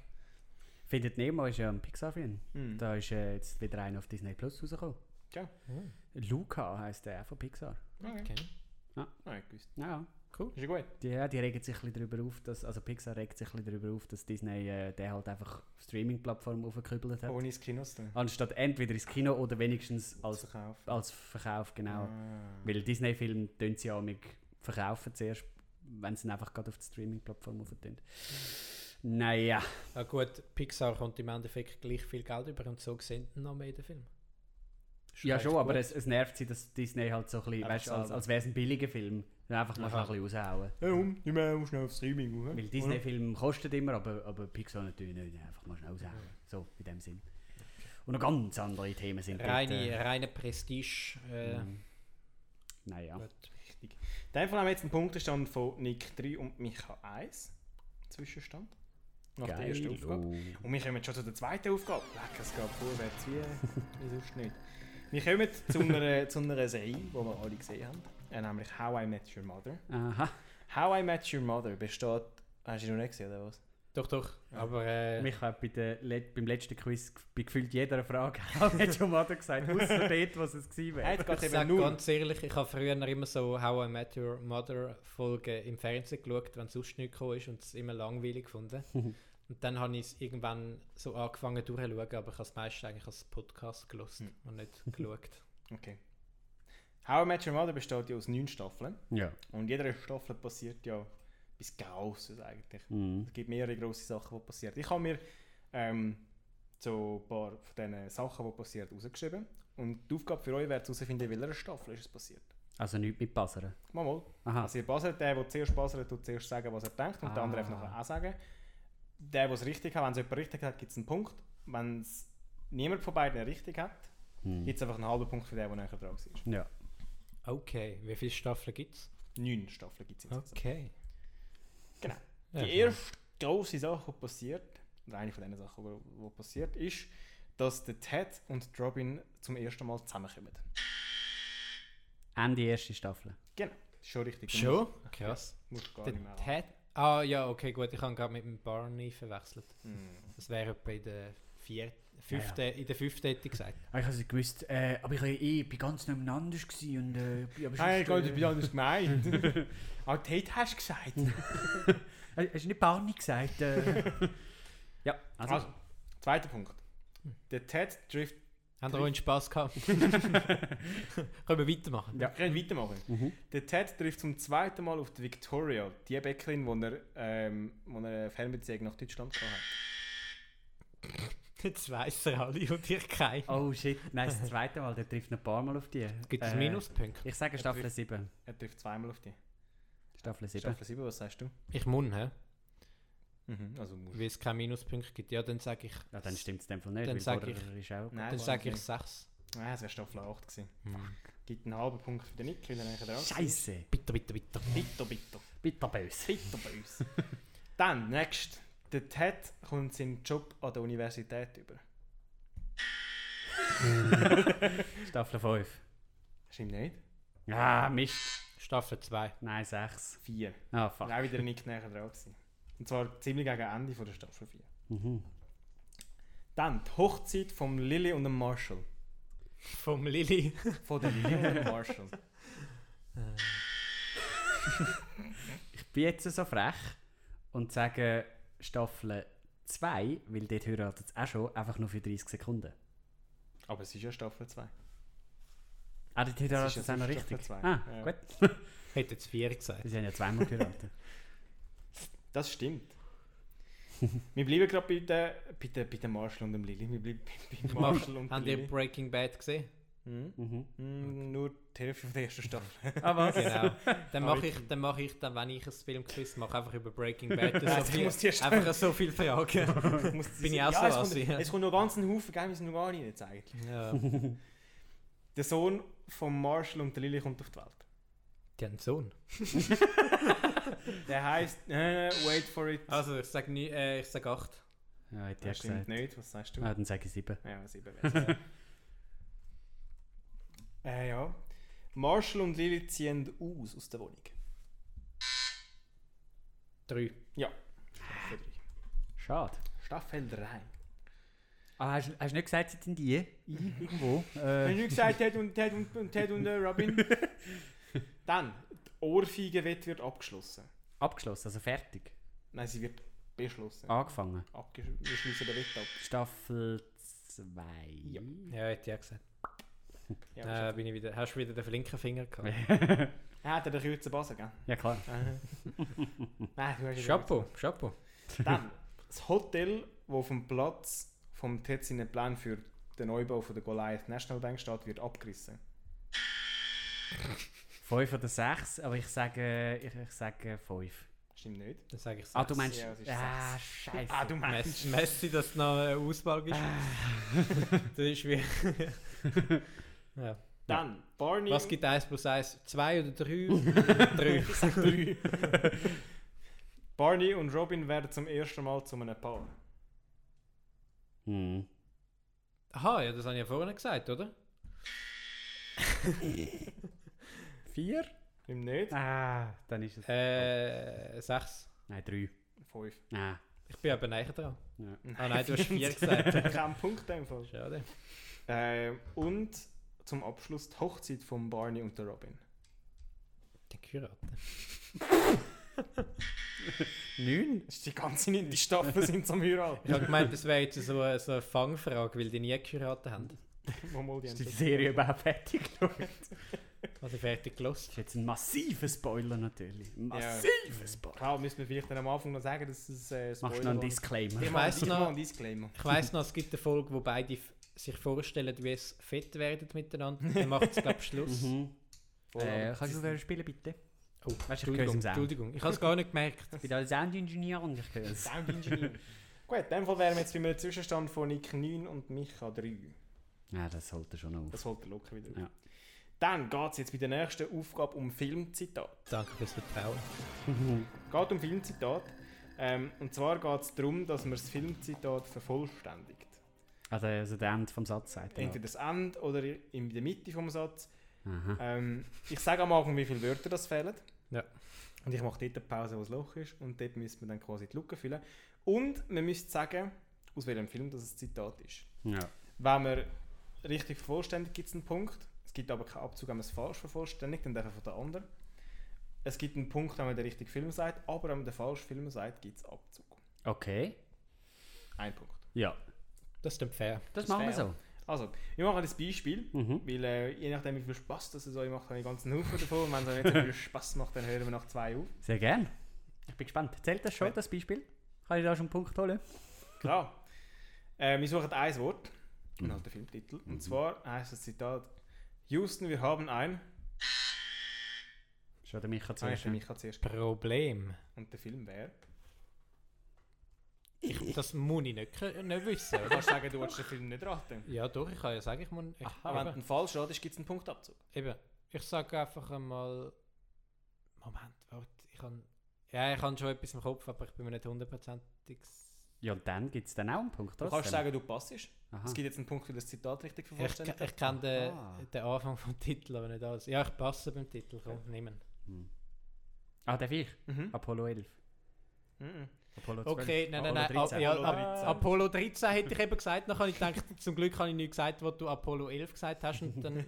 Speaker 5: Findet Nemo ist ja ein Pixar-Film.
Speaker 2: Hm.
Speaker 5: Da ist äh, jetzt wieder einer auf Disney Plus rausgekommen.
Speaker 2: Tja.
Speaker 4: Hm.
Speaker 5: Luca heisst der auch von Pixar.
Speaker 2: Okay.
Speaker 4: Okay.
Speaker 2: Nein, ich wusste.
Speaker 5: Ja, cool.
Speaker 2: Ist ja gut.
Speaker 5: Die, ja, die regen sich ein bisschen darüber auf, dass, also Pixar regt sich ein bisschen darüber auf, dass Disney äh, den halt einfach auf Streaming-Plattformen aufgekübelt hat.
Speaker 4: Oh.
Speaker 2: Ohne ins Kino zu tun.
Speaker 5: Anstatt entweder ins Kino oder wenigstens als,
Speaker 2: Zu kaufen.
Speaker 5: als Verkauf, Also genau.
Speaker 4: Mhm.
Speaker 2: Ah.
Speaker 5: Weil Disney-Filme tun sie ja amig verkaufen zuerst, wenn sie ihn einfach gerade auf die Streaming-Plattform aufentun. Naja,
Speaker 4: Ah, gut, Pixar kommt im Endeffekt gleich viel Geld über und so sehen noch mehr den Film. Ist
Speaker 5: ja
Speaker 4: recht
Speaker 5: schon, aber
Speaker 4: gut.
Speaker 5: es, es nervt sie, dass Disney halt so ein bisschen,
Speaker 4: Einfach
Speaker 5: weißt, du, als,
Speaker 4: selber.
Speaker 5: als wäre es ein billiger Film. Dann Einfach mal
Speaker 4: Aha.
Speaker 5: ein bisschen raushauen.
Speaker 2: Warum? Nicht mehr schnell auf Streaming. oder?
Speaker 5: Weil Disney-Filme kosten immer, aber, aber Pixar natürlich nicht. Einfach mal schnell raushauen. So, in dem Sinn. Und noch ganz andere Themen sind dort,
Speaker 4: Reine,
Speaker 5: äh,
Speaker 4: reine Prestige. Äh,
Speaker 5: Mhm. Naja.
Speaker 4: gut.
Speaker 2: In dem Fall haben wir jetzt einen Punktestand von Nick 3 und Micha 1. Zwischenstand. Nach der
Speaker 5: Geil.
Speaker 2: ersten Aufgabe.
Speaker 5: Oh.
Speaker 2: Und wir kommen jetzt schon zu der zweiten Aufgabe. Leck, es geht vorwärts wie, wie sonst nicht. Wir kommen zu einer, <laughs> zu einer Serie, die wir alle gesehen haben, äh, nämlich How I Met Your Mother.
Speaker 5: Aha.
Speaker 2: How I Met Your Mother besteht... Hast du noch nicht gesehen, oder was?
Speaker 4: Doch, doch. Aber äh,
Speaker 5: Mich hat bei der, Let- beim letzten Quiz g- bei gefühlt jeder Frage <laughs> hat schon mal gesagt,
Speaker 2: <laughs>
Speaker 5: außer dort, was es gewesen
Speaker 2: Nein,
Speaker 5: wäre.
Speaker 2: es
Speaker 4: ich
Speaker 2: geht eben
Speaker 4: sage
Speaker 2: nur...
Speaker 4: ganz ehrlich, ich habe früher immer so How I Met Your Mother Folgen im Fernsehen geschaut, wenn sonst nichts gekommen ist und es immer
Speaker 2: <laughs>
Speaker 4: langweilig gefunden. und dann habe ich es irgendwann so angefangen durchzuschauen, aber ich habe es meistens eigentlich als Podcast
Speaker 2: Hm.
Speaker 4: gelesen und nicht <laughs> geschaut.
Speaker 2: Okay. How I Met Your Mother besteht ja aus neun Staffeln.
Speaker 5: Ja.
Speaker 2: Und jeder Staffel passiert ja bis Grosses eigentlich.
Speaker 5: Mhm.
Speaker 2: Es gibt mehrere grosse Sachen, die passieren. Ich habe mir ähm, so ein paar von diesen Sachen, die passieren, rausgeschrieben. Und die Aufgabe für euch wäre herauszufinden, in welcher Staffel ist es passiert.
Speaker 5: Also nichts mit Passern.
Speaker 2: Mal mal.
Speaker 5: Aha.
Speaker 2: Also ihr baselt, der, der zuerst baselt, tut zuerst sagen, was er denkt und der
Speaker 5: Ah.
Speaker 2: andere einfach nachher auch sagen. Der, der es richtig hat, wenn es jemand richtig hat, gibt es einen Punkt. Wenn es niemand von beiden richtig hat,
Speaker 5: Hm.
Speaker 2: gibt es einfach einen halben Punkt für den, der nachher dran ist.
Speaker 5: Ja.
Speaker 4: Okay, wie viele Staffeln gibt es?
Speaker 2: Neun Staffeln gibt es insgesamt.
Speaker 4: Okay.
Speaker 2: Genau.
Speaker 4: Ja,
Speaker 2: Die erste grosse Sache, die passiert, oder eine von den Sachen, die die passiert, ist, dass der Ted und die Robin zum ersten Mal zusammenkommen.
Speaker 5: Ende erste Staffel.
Speaker 2: Genau, ist schon richtig.
Speaker 4: Schon? Krass.
Speaker 2: Musst gar nicht
Speaker 4: Der
Speaker 2: mehr an.
Speaker 4: Ted. Ah ja, okay, gut. Ich habe gerade mit dem Barney verwechselt.
Speaker 2: Hm.
Speaker 4: Das wäre etwa in der vier, fünften, in der fünften hätte ich gesagt.
Speaker 5: Ah, Ich habe es gewusst, äh, aber ich, ich bin ganz nebeneinander gewesen und äh, ich bin
Speaker 2: Nein, ich habe anders gemeint.
Speaker 4: <laughs>
Speaker 2: Auch Ted hast du gesagt.
Speaker 4: Hm.
Speaker 5: äh, Hast du nicht Barney gesagt?
Speaker 2: <laughs>
Speaker 5: Äh. ja, also.
Speaker 2: Also, zweiter Punkt. Der Ted trifft.
Speaker 4: Haben ihr auch einen Spass gehabt? <laughs> Können wir weitermachen?
Speaker 2: Wir können weitermachen.
Speaker 4: Mhm.
Speaker 2: Der Ted trifft zum zweiten Mal auf die Victoria, die Bäckerin, wo er, ähm, wo er eine Fernbeziehung nach Deutschland gehabt hat.
Speaker 4: Jetzt weiss er alle und ich keinen.
Speaker 5: Oh shit, nein, das zweite Mal, der trifft noch ein paar Mal auf die.
Speaker 4: Gibt es
Speaker 5: Äh,
Speaker 4: Minuspunkte?
Speaker 5: Ich sage Staffel
Speaker 2: trifft-
Speaker 5: 7.
Speaker 2: Er trifft zweimal auf die.
Speaker 5: Staffel 7.
Speaker 2: Staffel 7, was sagst du?
Speaker 4: Ich muss, hä?
Speaker 2: Mhm, also musst
Speaker 4: Weil es keine Minuspunkte gibt. Ja, dann sage ich.
Speaker 5: Ja, dann stimmt es in dem Fall nicht,
Speaker 4: Dann
Speaker 5: weil
Speaker 4: sag
Speaker 5: vorher ist
Speaker 2: Nein,
Speaker 5: auch
Speaker 4: Dann
Speaker 2: war
Speaker 4: sage ich
Speaker 2: nicht.
Speaker 4: sechs.
Speaker 2: Nein, es wäre Staffel 8 gewesen. Gibt einen halben Punkt für den Nick, weil er eigentlich dran ist.
Speaker 5: Scheiße,
Speaker 4: Bitte, bitte, bitte.
Speaker 2: Bitte, bitte,
Speaker 5: bitterbös.
Speaker 2: bitte bei
Speaker 5: <laughs>
Speaker 2: uns. Dann, next. Der Ted kommt seinen Job an der Universität über.
Speaker 5: Staffel 5.
Speaker 2: Stimmt nicht?
Speaker 5: Ah, Mist.
Speaker 4: Staffel 2.
Speaker 5: Nein, 6.
Speaker 2: Vier.
Speaker 5: Ah,
Speaker 2: Und
Speaker 5: fuck.
Speaker 2: auch wieder der Nick näher dran gewesen. Und zwar ziemlich gegen Ende von der Staffel 4.
Speaker 5: Mhm.
Speaker 2: Dann die Hochzeit von Lily und dem Marshall.
Speaker 4: Vom Lilly. <laughs>
Speaker 2: Von der Lily und dem
Speaker 5: <laughs>
Speaker 2: Marshall.
Speaker 5: Ich bin jetzt so frech und sage Staffel 2, weil dort heiratet es auch schon, einfach nur für 30 Sekunden.
Speaker 2: Aber es ist ja Staffel 2.
Speaker 5: Ah, dort heiratet
Speaker 2: ist
Speaker 5: es
Speaker 2: ja
Speaker 5: auch noch
Speaker 2: sonst
Speaker 5: richtig.
Speaker 2: Staffel zwei.
Speaker 5: Ah,
Speaker 2: Ja.
Speaker 5: gut.
Speaker 4: Hätte jetzt vier gesagt.
Speaker 5: Sie haben ja zweimal geheiratet.
Speaker 2: Das stimmt. Wir bleiben gerade bei den, bei, den, bei den Marshall und dem Lily. Wir bleiben bei,
Speaker 5: <laughs>
Speaker 2: bei Marshall und der
Speaker 4: Habt ihr
Speaker 2: Lily.
Speaker 4: Breaking Bad gesehen?
Speaker 2: Mhm.
Speaker 5: mhm.
Speaker 2: Mm, Nur die Hälfte von der ersten <laughs> Staffel.
Speaker 5: Ah, was?
Speaker 4: Genau. Dann mache ich, dann mache ich, dann, wenn ich ein Filmquiz mache, einfach über Breaking <laughs> Bad.
Speaker 2: Nein,
Speaker 4: so
Speaker 2: ich
Speaker 4: viel,
Speaker 2: muss dir stellen.
Speaker 4: einfach so viele <laughs> Fragen.
Speaker 2: Ich <laughs> muss-
Speaker 4: Bin ich auch so
Speaker 2: es kommt,
Speaker 4: assi, ja.
Speaker 2: es kommt noch ganz ein Haufen, gell, wir sind noch gar nicht jetzt eigentlich.
Speaker 4: ja.
Speaker 2: Der Sohn von Marshall und der Lily kommt auf die Welt.
Speaker 4: Die haben einen Sohn.
Speaker 2: Der heisst, äh, wait for it.
Speaker 4: Also, ich sage äh, ich sag acht.
Speaker 5: Ja, hätte
Speaker 2: das
Speaker 5: ich
Speaker 2: stimmt
Speaker 5: gesagt.
Speaker 2: nicht, was sagst du?
Speaker 5: Ah, dann sage ich 7.
Speaker 2: Ja, was ich <laughs> äh, ja. Marshall und Lily ziehen aus aus der Wohnung.
Speaker 4: Drei.
Speaker 2: Ja. Staffel 3.
Speaker 5: Schade.
Speaker 2: Staffel 3.
Speaker 5: Ah, hast du nicht gesagt, sie sind die? Irgendwo?
Speaker 2: Wenn
Speaker 5: äh,
Speaker 2: du gesagt Ted und Ted und, und Ted und äh, Robin. <laughs> Dann, die Ohrfeigenwette wird abgeschlossen.
Speaker 5: abgeschlossen, also fertig.
Speaker 2: Nein, sie wird beschlossen.
Speaker 4: Ah.
Speaker 5: Angefangen.
Speaker 2: Abgeschlossen, wir schließen den Wette ab.
Speaker 5: Staffel 2.
Speaker 2: Ja.
Speaker 4: Ja, hätte ich auch gesagt.
Speaker 2: Ja,
Speaker 4: äh, bin ich wieder, hast du wieder den flinken Finger gehabt?
Speaker 2: Er hat den kurzen Basen, gell?
Speaker 5: Ja, klar.
Speaker 2: <laughs> Nein, du hast ja den
Speaker 4: Äh. Chapeau, Chapeau.
Speaker 2: kurzen. Dann, das Hotel, das auf dem Platz vom Tetziner Plan für den Neubau von der Goliath National Bank steht, wird abgerissen.
Speaker 5: Fünf oder sechs, aber ich sage, ich, ich sage fünf.
Speaker 2: Stimmt nicht?
Speaker 4: Dann sage ich es.
Speaker 5: Ah, du meinst.
Speaker 2: Ja, es ist
Speaker 5: ah, scheiße. Ah, du
Speaker 4: Messi, Messi, dass es noch eine
Speaker 5: <laughs>
Speaker 4: Auswahl gibt.
Speaker 5: Ah.
Speaker 4: das ist wie. ja.
Speaker 2: Dann, Barney.
Speaker 4: Was gibt 1 plus 1? 2 oder 3? 3.
Speaker 2: Barney und Robin werden zum ersten Mal zu einem Paar.
Speaker 5: <laughs> Hm.
Speaker 4: Aha, ja, das habe ich ja vorhin gesagt, oder?
Speaker 5: Vier?
Speaker 2: Stimmt nicht?
Speaker 5: Ah, dann ist es.
Speaker 4: Äh, 6.
Speaker 5: Nein, drei.
Speaker 2: Fünf.
Speaker 4: <laughs>
Speaker 5: Ah.
Speaker 4: Ich bin aber näher dran.
Speaker 5: Ja.
Speaker 4: Ah nein, du
Speaker 2: <laughs>
Speaker 4: hast 4 gesagt.
Speaker 2: Kein Punkt einfach.
Speaker 4: Schade.
Speaker 2: Ähm, und zum Abschluss die Hochzeit von Barney und der Robin.
Speaker 4: Den Kuraten.
Speaker 5: Neun?
Speaker 2: Das ist die ganze die Staffel sind zum Heiraten.
Speaker 4: Ich habe gemeint, das wäre jetzt so eine, so eine Fangfrage, weil die nie Kuraten haben.
Speaker 2: Wo mal die
Speaker 5: Ist die
Speaker 2: haben-
Speaker 5: Serie überhaupt fertig <laughs> geschaut? Das
Speaker 4: Also fertig gelost.
Speaker 5: ist jetzt ein massiver Spoiler natürlich. Massiver Spoiler.
Speaker 2: Klar, müssen wir vielleicht dann am Anfang noch sagen, dass es äh,
Speaker 5: Machst du noch einen
Speaker 2: war.
Speaker 5: Disclaimer?
Speaker 4: Ich
Speaker 2: Ich mache
Speaker 4: weiss noch-
Speaker 2: noch einen Disclaimer.
Speaker 4: Ich weiss noch, es gibt eine Folge, wo beide f- sich vorstellen, wie es fett werden miteinander. Dann macht es, glaube ich, Schluss.
Speaker 5: Mhm. Äh,
Speaker 2: Aber
Speaker 5: kannst du wieder spielen, bitte?
Speaker 4: Oh,
Speaker 5: Weißt du, ich höre es
Speaker 4: Entschuldigung,
Speaker 5: im Sound.
Speaker 4: Entschuldigung. Ich habe es gar nicht gemerkt.
Speaker 5: Ich bin da Soundingenieur und ich höre es.
Speaker 2: Sound Engineer.
Speaker 4: <laughs>
Speaker 2: Gut, in dem Fall wären wir jetzt bei einem Zwischenstand von Nick 9 und Micha 3.
Speaker 5: Ja, das holt er schon noch auf.
Speaker 2: Das holt er locker wieder. auf.
Speaker 5: Ja.
Speaker 2: Dann geht es jetzt bei der nächsten Aufgabe um Filmzitat.
Speaker 4: Danke fürs Vertrauen.
Speaker 2: geht um Filmzitat. Ähm, und zwar geht es darum, dass man das Filmzitat vervollständigt.
Speaker 5: Also, also der Ende vom Satz sagt er noch.
Speaker 2: Entweder das Ende oder in der Mitte vom Satz.
Speaker 5: Aha.
Speaker 2: Ähm, ich sage am Anfang, wie viele Wörter das fehlen.
Speaker 4: Ja.
Speaker 2: Und ich mache dort eine Pause, wo das Loch ist. Und dort müsste man dann quasi die Lücke füllen. Und man müsste sagen, aus welchem Film das ein Zitat ist.
Speaker 5: Ja.
Speaker 2: Wenn man richtig vervollständigt, gibt es einen Punkt. Es gibt aber keinen Abzug, wenn man es falsch vervollständigt, dann darf von der anderen. Es gibt einen Punkt, wenn man den richtigen Film sagt, aber wenn man den falschen Film sagt, gibt es Abzug.
Speaker 5: Okay.
Speaker 2: Ein Punkt.
Speaker 5: Ja.
Speaker 4: Das ist dann fair.
Speaker 5: Das,
Speaker 2: Das
Speaker 5: machen wir
Speaker 2: fair.
Speaker 5: so.
Speaker 2: Also, wir machen ein Beispiel,
Speaker 5: Mhm.
Speaker 2: weil äh, je nachdem, wie viel Spaß das es euch macht, habe ich einen ganzen Haufen davon. Und wenn es euch nicht so viel Spaß macht, dann hören wir nach zwei auf.
Speaker 5: Sehr gern. Ich bin gespannt. Zählt das schon, das Beispiel? Kann ich da schon einen Punkt holen?
Speaker 2: Klar. Äh, wir suchen ein Wort und halt den Filmtitel. Und zwar heißt das Zitat: Houston, wir haben ein.
Speaker 5: Schon der Micha
Speaker 2: Nein,
Speaker 5: zuerst.
Speaker 2: für mich zuerst.
Speaker 4: Problem.
Speaker 2: Und der Film wäre.
Speaker 4: Das muss ich nicht, kö- nicht wissen.
Speaker 2: Du kannst sagen, du willst den Film nicht raten.
Speaker 4: <laughs> ja, doch, ich kann ja sagen, ich muss. Ich,
Speaker 2: Aber wenn
Speaker 4: eben,
Speaker 2: du falsch ratest, gibt es einen Punktabzug.
Speaker 4: eben. Ich sage einfach einmal. Moment, warte. Ich kann. Ja, ich habe schon etwas im Kopf, aber ich bin mir nicht hundertprozentig. s-
Speaker 5: Ja, und dann gibt es dann auch einen Punkt.
Speaker 2: Du kannst sagen, du passest.
Speaker 5: Aha.
Speaker 2: Es gibt jetzt einen Punkt, weil das Zitat richtig
Speaker 4: Ich,
Speaker 2: vervollständigt
Speaker 4: ich kenne
Speaker 5: Aha.
Speaker 4: den, den Anfang vom Titel, aber nicht alles. Ja, ich passe beim Titel. Komm, nehmen.
Speaker 5: Ah, darf ich?
Speaker 2: Mhm.
Speaker 5: Apollo 11.
Speaker 2: Mhm.
Speaker 5: Apollo 12.
Speaker 4: Okay, nein, nein, nein.
Speaker 5: Apollo 13.
Speaker 4: Ab, ja,
Speaker 2: Apollo
Speaker 4: ab,
Speaker 2: 13.
Speaker 4: Apollo 13 hätte ich eben gesagt. Dann habe ich gedacht, <laughs> zum Glück habe ich nicht gesagt, was du Apollo 11 gesagt hast. Und <laughs> dann,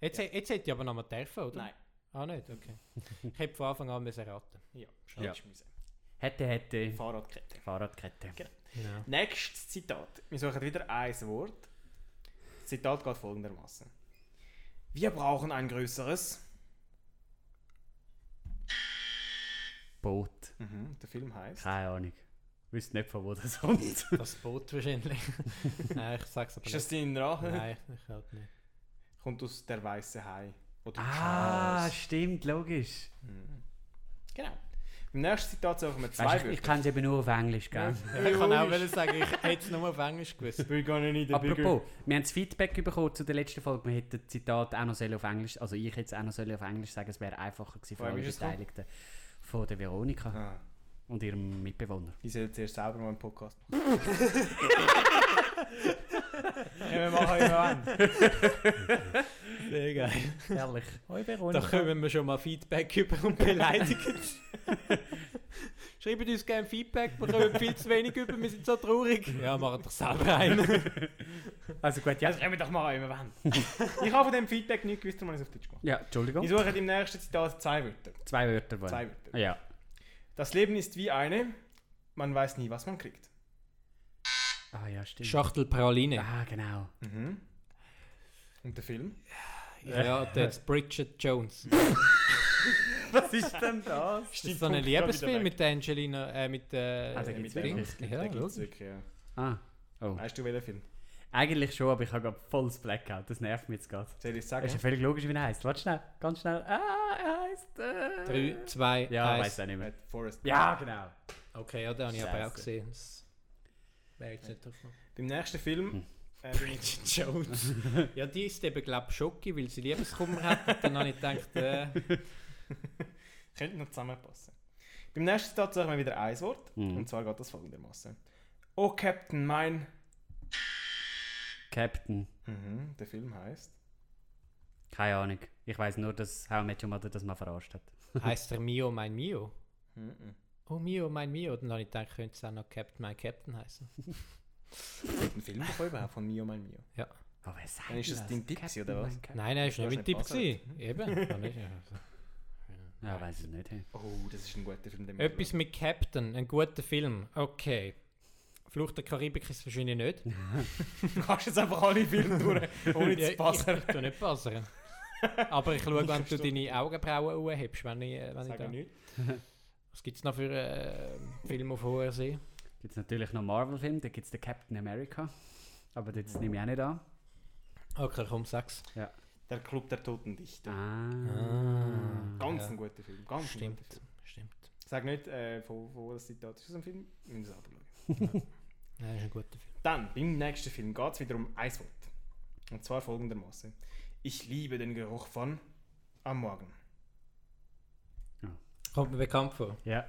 Speaker 4: jetzt, jetzt hätte ich aber noch mal dürfen, oder?
Speaker 2: Nein.
Speaker 4: Ah, nicht? Okay. Ich hätte von Anfang an müssen raten
Speaker 2: Ja, schade.
Speaker 5: Ja.
Speaker 2: ist mühsam.
Speaker 5: Hätte, hätte.
Speaker 2: Fahrradkette.
Speaker 5: Fahrradkette.
Speaker 2: Genau.
Speaker 4: Ja.
Speaker 2: Nächstes Zitat. Wir suchen wieder ein Wort. Das Zitat geht folgendermaßen: Wir brauchen ein größeres.
Speaker 5: Boot.
Speaker 2: Mhm. Der Film heißt.
Speaker 5: Keine Ahnung. Wüsste nicht, von wo das <laughs> kommt.
Speaker 4: Das Boot <laughs> wahrscheinlich. nein, ich sag's aber
Speaker 2: Ist das
Speaker 4: nicht.
Speaker 2: dein Rache?
Speaker 4: Nein, ich halt nicht.
Speaker 2: Kommt aus der weiße Hai. Oder
Speaker 5: ah,
Speaker 2: Charles.
Speaker 5: stimmt, logisch.
Speaker 2: Genau. Im nächsten Zitat suchen wir zwei
Speaker 5: Weißt, ich ich
Speaker 2: Wörter.
Speaker 5: kann es eben nur auf Englisch, gell?
Speaker 4: Ich kann auch wollen sagen, ich hätte es nur auf Englisch gewusst.
Speaker 2: We're gonna need a bigger.
Speaker 5: Apropos, wir haben das Feedback bekommen zu der letzten Folge. Wir hätten das Zitat auch noch sollen auf Englisch, also ich hätte es auch noch sollen auf Englisch sagen, es wäre einfacher gewesen für
Speaker 2: Von wem
Speaker 5: alle
Speaker 2: ist es gekommen?
Speaker 5: Beteiligten. Von der Veronika
Speaker 2: Ah,
Speaker 5: und
Speaker 2: <laughs>
Speaker 5: ihrem Mitbewohner.
Speaker 2: ich soll zuerst selber mal einen Podcast
Speaker 5: <laughs>
Speaker 2: machen. ja, wir machen immer an.
Speaker 4: <laughs> Sehr geil.
Speaker 5: Ehrlich. Hoi
Speaker 4: Da
Speaker 5: Veronika.
Speaker 4: kommen wir schon mal Feedback über und beleidigen. <laughs> Schreibt uns gerne Feedback, wir kommen viel zu wenig über, wir sind so traurig. Ja, macht doch selber einen.
Speaker 5: Also gut,
Speaker 2: Ja,
Speaker 5: ja.
Speaker 2: das können wir doch machen, wenn wir
Speaker 5: <laughs>
Speaker 2: wollen. ich habe von dem Feedback nichts gewusst, darum habe ich es auf Deutsch gemacht.
Speaker 5: Ja,
Speaker 2: Wir
Speaker 5: Entschuldigung.
Speaker 2: suchen im nächsten Zitat zwei Wörter.
Speaker 5: Zwei Wörter wollen.
Speaker 2: Zwei Wörter.
Speaker 5: Ja.
Speaker 2: Das Leben ist wie eine, man weiß nie, was man kriegt.
Speaker 5: Ah ja, stimmt.
Speaker 4: Schachtel Praline.
Speaker 5: Ah, genau.
Speaker 2: Und der Film?
Speaker 5: <laughs>
Speaker 4: Ja, das ist Bridget Jones.
Speaker 3: Was ist denn das?
Speaker 4: Das ist so ein Liebesfilm mit der Angelina, äh, mit äh,
Speaker 5: Ah, den
Speaker 4: mit
Speaker 5: gibt's
Speaker 4: Dings. Ja, los.
Speaker 5: Ah, oh.
Speaker 2: Weißt du, welchen Film?
Speaker 5: Eigentlich schon, aber ich habe gerade volles Blackout. Das nervt mich jetzt gerade.
Speaker 2: Soll ich es
Speaker 5: Das ist ja
Speaker 2: sagen?
Speaker 5: völlig logisch, wie er heißt. Warte schnell, ganz schnell. Ah, er heißt. Äh...
Speaker 4: 3, 2,
Speaker 5: Ja, ich
Speaker 4: 1.
Speaker 5: weiß auch nicht mehr.
Speaker 2: Mit Forrest.
Speaker 5: Ja, genau.
Speaker 4: Okay, ja, den habe ich aber
Speaker 5: Scheiße.
Speaker 4: auch gesehen. Das wäre jetzt
Speaker 5: <laughs>
Speaker 4: nicht drauf.
Speaker 2: Beim nächsten Film. Äh, bin ich- <laughs>
Speaker 4: Bridget Jones. ja, die ist eben, glaube ich, schocki, weil sie Liebeskummer hat. Und dann habe ich gedacht, äh,
Speaker 2: könnte noch zusammenpassen. Beim nächsten Satz sagen wir wieder ein Wort.
Speaker 5: Mhm.
Speaker 2: Und zwar geht das folgendermaßen. Oh, Captain, mein.
Speaker 5: Captain.
Speaker 2: Mhm, der Film heißt.
Speaker 5: Keine Ahnung. Ich weiß nur, dass How I Met Your Mother das mal verarscht hat.
Speaker 4: heißt er Mio, mein Mio?
Speaker 2: Mhm.
Speaker 4: Oh, Mio, mein Mio. Dann habe ich gedacht, könnte es auch noch Captain, mein Captain heißen.
Speaker 2: Ein Film davon überhaupt von Mio, mein Mio.
Speaker 5: Aber Oh, wer sagt
Speaker 2: Dann ist das dein Tipp gewesen, oder was?
Speaker 4: Nein, nein, ist
Speaker 2: Du
Speaker 4: nicht
Speaker 2: hast
Speaker 4: mein Tipp.
Speaker 2: nicht gepasst.
Speaker 4: gewesen. Eben. Dann ist ja so.
Speaker 5: Ja, weiß ich nicht. hey.
Speaker 2: Oh, das ist ein guter Film. den wir
Speaker 4: Etwas mit Captain, ein guter Film. Okay. Flucht der Karibik ist wahrscheinlich nicht.
Speaker 2: Du <laughs> kannst jetzt einfach alle Filme durch, ohne
Speaker 4: Ja,
Speaker 2: zu passen.
Speaker 4: Ich tu nicht passen. Aber ich schaue, wenn du deine Augenbrauen hochhebst, wenn ich, äh, wenn ich
Speaker 2: Sag
Speaker 4: da...
Speaker 2: mir nichts.
Speaker 4: Was gibt es noch für äh, Filme auf hoher See?
Speaker 5: Gibt es natürlich noch Marvel-Film, da gibt es den Captain America. Aber das nehme ich auch nicht an.
Speaker 4: Okay, komm, sechs.
Speaker 2: Der Club der Toten Dichter.
Speaker 5: Ah.
Speaker 2: Ganz
Speaker 4: Ja.
Speaker 2: ein guter Film. Ganz ein
Speaker 4: Stimmt.
Speaker 2: guter Film.
Speaker 4: Stimmt.
Speaker 2: Sag nicht, äh, von, von wo das Zitat ist aus dem Film. Wir müssen es abschauen.
Speaker 4: Ja, ist ein guter Film.
Speaker 2: Dann, beim nächsten Film geht es wieder um ein Wort. Und zwar folgendermaßen. Ich liebe den Geruch von am Morgen.
Speaker 4: Kommt mir bekannt vor.
Speaker 5: Ja.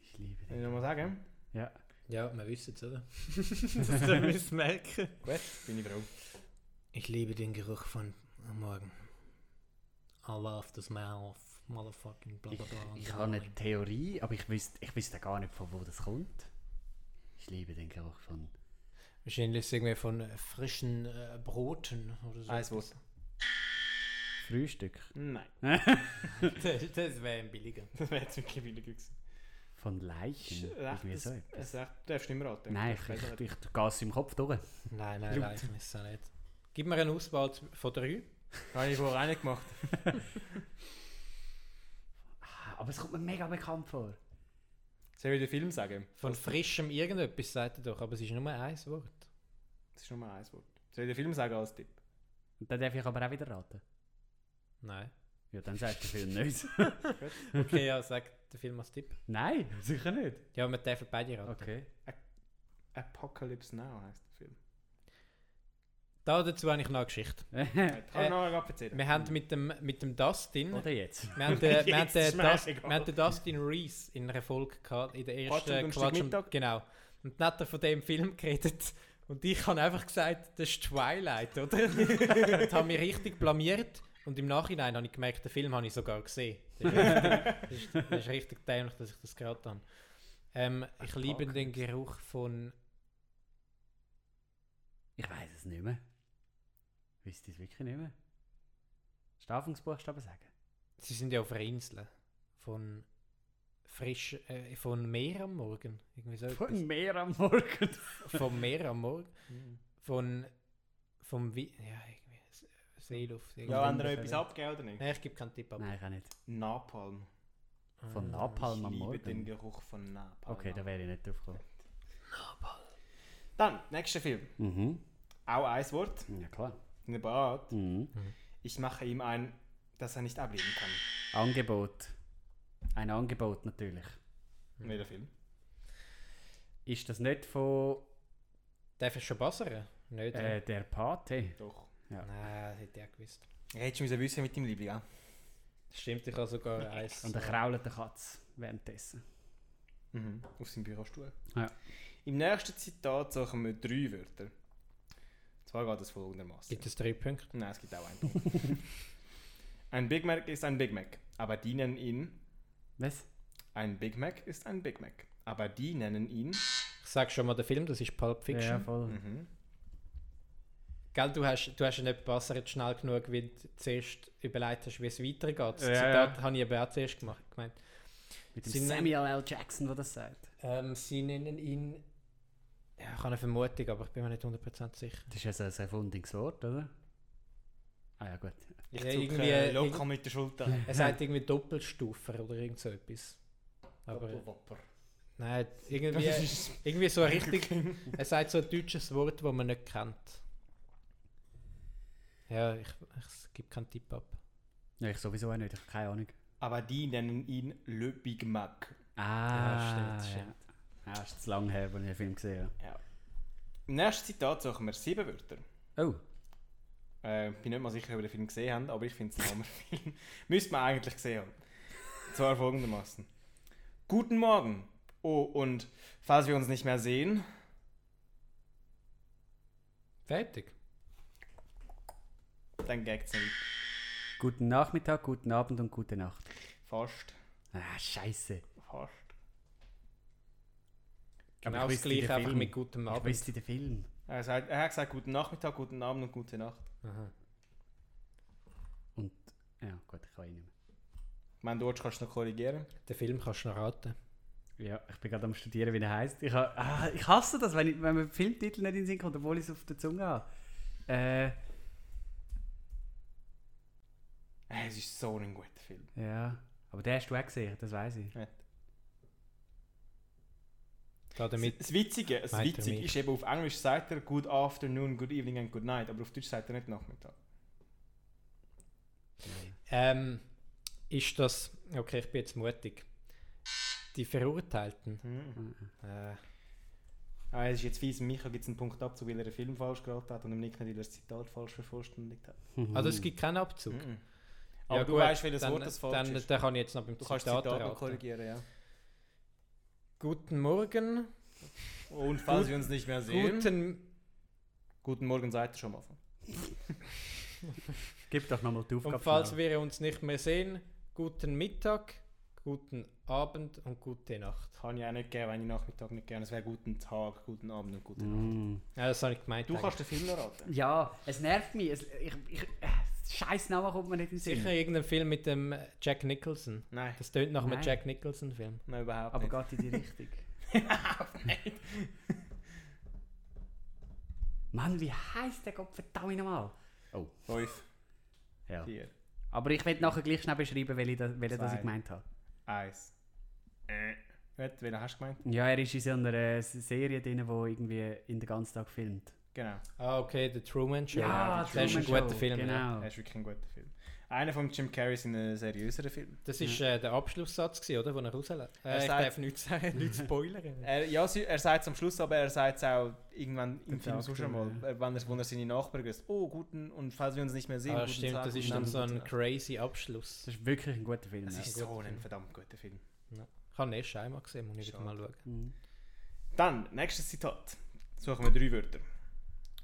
Speaker 5: Ich liebe
Speaker 2: Kann
Speaker 5: den.
Speaker 2: ich nochmal sagen?
Speaker 5: Ja.
Speaker 4: Ja, wir wissen es, oder?
Speaker 2: <laughs>
Speaker 4: das können wir es merken.
Speaker 2: Gut, bin ich froh.
Speaker 4: Ich liebe den Geruch von am Morgen. I love the smell of motherfucking bla
Speaker 5: Ich,
Speaker 4: bla bla.
Speaker 5: ich habe eine Theorie, aber ich wüsste, ich wüsste gar nicht, von wo das kommt. Ich liebe den Geruch von.
Speaker 4: Wahrscheinlich irgendwie von äh, frischen äh, Broten oder <laughs> so.
Speaker 2: Ein Wort.
Speaker 5: Frühstück.
Speaker 2: Nein,
Speaker 4: das das wäre ein billiger.
Speaker 2: <laughs> das wäre jetzt wirklich billig gewesen.
Speaker 5: Von
Speaker 2: Es
Speaker 5: Leichen.
Speaker 2: ist recht-
Speaker 5: Irgendwie so
Speaker 2: es-
Speaker 5: etwas.
Speaker 2: es ist recht- Du darfst nicht mehr raten.
Speaker 5: Nein, ich, ich, ich, ich gehe es im Kopf durch.
Speaker 4: Nein, nein, nein, ich weiß es auch nicht. Gib mir eine Auswahl zu- von drei.
Speaker 2: Habe ich vorher auch nicht gemacht.
Speaker 5: Ah, Aber es kommt mir mega bekannt vor.
Speaker 2: Soll ich den Film sagen?
Speaker 4: Von frischem irgendetwas, sagt er doch, aber es ist nur ein Wort.
Speaker 2: Das ist nur ein Wort. Soll ich den Film sagen als Tipp?
Speaker 5: Und dann darf ich aber auch wieder raten.
Speaker 4: Nein.
Speaker 5: Ja, dann sagst du viel <laughs> nichts.
Speaker 4: <laughs> Okay, ja, sag den Film als Tipp.
Speaker 5: Nein, sicher nicht.
Speaker 4: Ja, wir dürfen beide raten.
Speaker 5: <laughs> Okay.
Speaker 2: Apocalypse Now heißt der Film.
Speaker 4: Da dazu habe ich noch eine Geschichte.
Speaker 2: Kann ich noch mal erzählen?
Speaker 4: Wir haben mit dem, mit dem Dustin...
Speaker 5: Oder jetzt? <laughs>
Speaker 4: Wir haben den, wir haben
Speaker 2: Jetzt
Speaker 4: den,
Speaker 2: ist mir
Speaker 4: Dust, wir
Speaker 2: egal.
Speaker 4: haben den Dustin Reese in einer Folge gehabt, in der
Speaker 2: Quatsch am
Speaker 4: ersten
Speaker 2: Donnerstag
Speaker 4: am-
Speaker 2: Mittag.
Speaker 4: Genau. Und dann hat er von dem Film geredet. Und ich habe einfach gesagt, das ist Twilight, oder? und habe mich richtig blamiert. Und im Nachhinein habe ich gemerkt, den Film habe ich sogar gesehen. Das ist richtig, das ist, das ist richtig dämlich, dass ich das gerade habe. Ähm, ich liebe den Geruch von.
Speaker 5: Ich weiß es nicht mehr. Wisst ihr es wirklich nicht mehr? Strafungsbuchstaben sagen.
Speaker 4: Sie sind ja auf einer Insel. Von frisch. Äh, von Meer am Morgen. Irgendwie so etwas.
Speaker 5: mehr am Morgen.
Speaker 4: vom Meer am Morgen.
Speaker 5: Mhm.
Speaker 4: Von. Vom Wi Ja, irgendwie. S- Seeluft. irgendwie.
Speaker 2: Ja, haben wir noch etwas abgegeben oder nicht?
Speaker 4: Nein, ich gebe keinen Tipp ab.
Speaker 5: <laughs> Nein, ich auch nicht.
Speaker 2: Napalm.
Speaker 5: Von
Speaker 2: ich
Speaker 5: Napalm am
Speaker 2: liebe den
Speaker 5: Morgen.
Speaker 2: Geruch von Napalm.
Speaker 5: Okay, da wäre ich nicht drauf gekommen.
Speaker 2: Dann, nächster Film.
Speaker 5: Mhm.
Speaker 2: Auch ein Wort.
Speaker 5: Ja, klar.
Speaker 2: Eine Bart.
Speaker 5: Mhm.
Speaker 2: Ich mache ihm ein, dass er nicht ablehnen kann.
Speaker 5: Angebot. Ein Angebot natürlich.
Speaker 2: Welcher Film?
Speaker 5: Ist das nicht von
Speaker 4: Darf ich schon bassern? Nicht.
Speaker 5: äh, der Pate?
Speaker 2: Doch.
Speaker 5: ja.
Speaker 4: Nein, das hätte ich auch gewusst.
Speaker 2: Hättest du müssen wissen mit deinem Liebling, ja?
Speaker 4: Stimmt, ich
Speaker 5: <laughs>
Speaker 4: habe sogar eins. äh,
Speaker 5: Und der kraulende Katz währenddessen.
Speaker 2: Mhm. Auf seinem Bürostuhl.
Speaker 5: Ja.
Speaker 2: Im nächsten Zitat suchen wir drei Wörter. Und zwar geht es folgendermaßen.
Speaker 4: Gibt es drei Punkte?
Speaker 2: Nein, es gibt auch einen Punkt. <laughs> ein Big Mac ist ein Big Mac, aber die nennen ihn...
Speaker 5: Was?
Speaker 2: Ein Big Mac ist ein Big Mac, aber die nennen ihn...
Speaker 4: Ich sage schon mal den Film, das ist Pulp Fiction.
Speaker 5: Ja, voll.
Speaker 2: Mhm.
Speaker 4: Gell, du hast, du hast ihn nicht bassert schnell genug, weil du zuerst überlegt hast, wie es weitergeht. Das
Speaker 5: Ja,
Speaker 4: Zitat
Speaker 5: ja.
Speaker 4: habe ich eben auch zuerst gemacht. Gemeint.
Speaker 5: Mit dem
Speaker 4: Sie nennen-
Speaker 5: Samuel L. Jackson, der das sagt.
Speaker 4: Ähm, sie nennen ihn. Ja, ich habe eine Vermutung, aber ich bin mir nicht 100% sicher.
Speaker 5: Das ist ja so ein erfundenes Wort, oder? Ah ja, gut.
Speaker 2: Ich
Speaker 4: Ja,
Speaker 2: zucke
Speaker 4: irgendwie-
Speaker 5: äh,
Speaker 2: irgendwie, locker
Speaker 4: irgend-
Speaker 2: mit der Schulter.
Speaker 4: Er sagt irgendwie Doppelstufer oder irgend so etwas. Aber nein, irgendwie, irgendwie so ein richtig. Er sagt so ein deutsches Wort, das man nicht kennt. Ja, ich, ich gebe keinen Tipp ab.
Speaker 5: Ja, ich sowieso auch nicht, ich habe keine Ahnung.
Speaker 2: <laughs> Aber die nennen ihn Le Big Mac.
Speaker 5: Ah,
Speaker 4: Ja, stimmt, stimmt.
Speaker 5: Ja, das ist zu lange her, als ich den Film gesehen
Speaker 2: Im nächsten Zitat suchen wir sieben Wörter.
Speaker 5: habe. Oh,
Speaker 2: Äh, ich bin nicht mal sicher, ob ihr den Film gesehen habt, aber ich finde es ein Hammerfilm. <laughs> Müsste man eigentlich gesehen haben. Und zwar folgendermaßen. Guten Morgen. Oh, und falls wir uns nicht mehr sehen,
Speaker 4: Fertig.
Speaker 2: dann gagt's nicht.
Speaker 5: guten Nachmittag, guten Abend und gute Nacht.
Speaker 2: Fast.
Speaker 5: Ah, scheiße.
Speaker 2: Fast.
Speaker 5: Aber ich
Speaker 4: Genau das
Speaker 5: wüsste den
Speaker 4: gleiche, einfach
Speaker 5: Film.
Speaker 4: mit gutem
Speaker 5: Ich
Speaker 4: Abend.
Speaker 5: wüsste den Film.
Speaker 2: Er, sagt, er hat gesagt, guten Nachmittag, guten Abend und gute Nacht.
Speaker 4: Aha.
Speaker 5: Und, ja gut, ich kann ihn nicht
Speaker 2: Ich meine, dort kannst du noch korrigieren.
Speaker 4: Den Film kannst du noch raten.
Speaker 5: mehr. Ja, ich bin gerade am studieren, wie der heisst. Ich, ha- ah, ich hasse das, wenn, ich, wenn mir Filmtitel nicht in den Sinn kommt, obwohl ich es auf der Zunge habe. Äh,
Speaker 2: Äh, es ist so ein guter Film.
Speaker 5: ja. Aber den hast du auch gesehen, das weiß ich.
Speaker 4: Da damit
Speaker 2: das Witzige, das
Speaker 4: meint er
Speaker 2: Witzige
Speaker 4: mich.
Speaker 2: ist eben, auf Englisch sagt er Good Afternoon, Good Evening and Good Night, aber auf Deutsch sagt er nicht Nachmittag.
Speaker 4: Ähm, ist das. Okay, ich bin jetzt mutig. Die Verurteilten. Äh,
Speaker 2: Ah, es ist jetzt fies, Micha gibt es einen Punkt Abzug, weil er einen Film falsch geraten hat und dem Nick nicht, weil er das Zitat falsch vervollständigt hat.
Speaker 4: Also es gibt keinen Abzug.
Speaker 2: Uh. Mhm. Aber du
Speaker 4: gut,
Speaker 2: weißt, welches
Speaker 4: dann,
Speaker 2: Wort das falsch
Speaker 4: dann,
Speaker 2: ist.
Speaker 4: Dann kann ich jetzt noch beim
Speaker 2: Du kannst das
Speaker 4: Zitat
Speaker 2: Zitat noch
Speaker 4: raten.
Speaker 2: korrigieren, ja.
Speaker 4: Guten Morgen.
Speaker 2: Und falls wir uns nicht mehr sehen. Guten,
Speaker 4: Guten.
Speaker 2: Morgen, seid ihr schon am Anfang.
Speaker 5: Gib doch nochmal die Aufgabe.
Speaker 4: Und falls
Speaker 5: schnell.
Speaker 4: wir uns nicht mehr sehen, guten Mittag, guten Abend und gute Nacht.
Speaker 2: Kann ich auch nicht geben, wenn ich Nachmittag nicht gerne. Es wäre guten Tag, guten Abend und guten Nacht.
Speaker 5: Mm.
Speaker 4: Ja, das habe ich gemeint.
Speaker 2: Du
Speaker 4: eigentlich.
Speaker 2: kannst den Film noch raten.
Speaker 5: Ja, es nervt mich. Es, ich, ich, äh, Scheiß Name kommt mir nicht in den Sinn.
Speaker 4: sicher irgendeinen Film mit dem äh, Jack Nicholson.
Speaker 2: <laughs> Nein,
Speaker 4: Das tönt nach einem
Speaker 5: Nein.
Speaker 4: Jack Nicholson-Film.
Speaker 2: nein, überhaupt
Speaker 5: Aber
Speaker 2: nicht.
Speaker 5: geht in die
Speaker 4: <laughs>
Speaker 5: Richtung. Mann, wie heißt der Gott verdammt nochmal?
Speaker 2: Fünf,
Speaker 5: Ja.
Speaker 2: vier,
Speaker 5: Aber ich werde nachher gleich schnell beschreiben, welche, das, welche das ich
Speaker 2: Zwei.
Speaker 5: gemeint habe.
Speaker 2: eins. Äh. Gut, Wen hast du gemeint?
Speaker 5: Ja, er ist in so einer äh, Serie drin, wo irgendwie in den ganzen Tag filmt.
Speaker 2: Genau.
Speaker 4: Ah, okay, The Truman Show.
Speaker 5: Ja,
Speaker 2: die
Speaker 4: das ist ein
Speaker 5: Truman
Speaker 4: guter
Speaker 5: Show,
Speaker 4: Film. ja.
Speaker 5: Genau.
Speaker 2: Das ist wirklich ein guter Film. Einer von Jim Carrey ist ein seriöserer Film.
Speaker 4: Das war äh, der Abschlusssatz, gewesen, oder? Den er rauslässt.
Speaker 2: Er
Speaker 4: Äh, ich
Speaker 2: sagt-
Speaker 4: darf nichts sagen, nichts <laughs> spoilern.
Speaker 2: Er, ja, sie- er sagt es am Schluss, aber er sagt es auch irgendwann im
Speaker 5: Der
Speaker 2: Film
Speaker 5: Tag
Speaker 2: sonst
Speaker 5: drüber,
Speaker 2: einmal,
Speaker 5: ja.
Speaker 2: äh, wenn er, wo er seine Nachbarn grüßt. Oh, guten, und falls wir uns nicht mehr sehen,
Speaker 4: ah,
Speaker 2: guten
Speaker 4: stimmt,
Speaker 2: Tag,
Speaker 4: das ist
Speaker 2: guten
Speaker 4: dann
Speaker 2: Abend,
Speaker 4: so
Speaker 2: guten
Speaker 4: ein
Speaker 2: Tag.
Speaker 4: crazy Abschluss.
Speaker 5: Das ist wirklich ein guter Film.
Speaker 2: Das
Speaker 5: ja.
Speaker 2: ist so ein verdammt guter Film.
Speaker 4: Ich habe ihn erst einmal gesehen, muss ich wieder
Speaker 2: Schade.
Speaker 4: mal schauen.
Speaker 5: Mhm.
Speaker 2: Dann, nächstes Zitat. Suchen wir drei Wörter.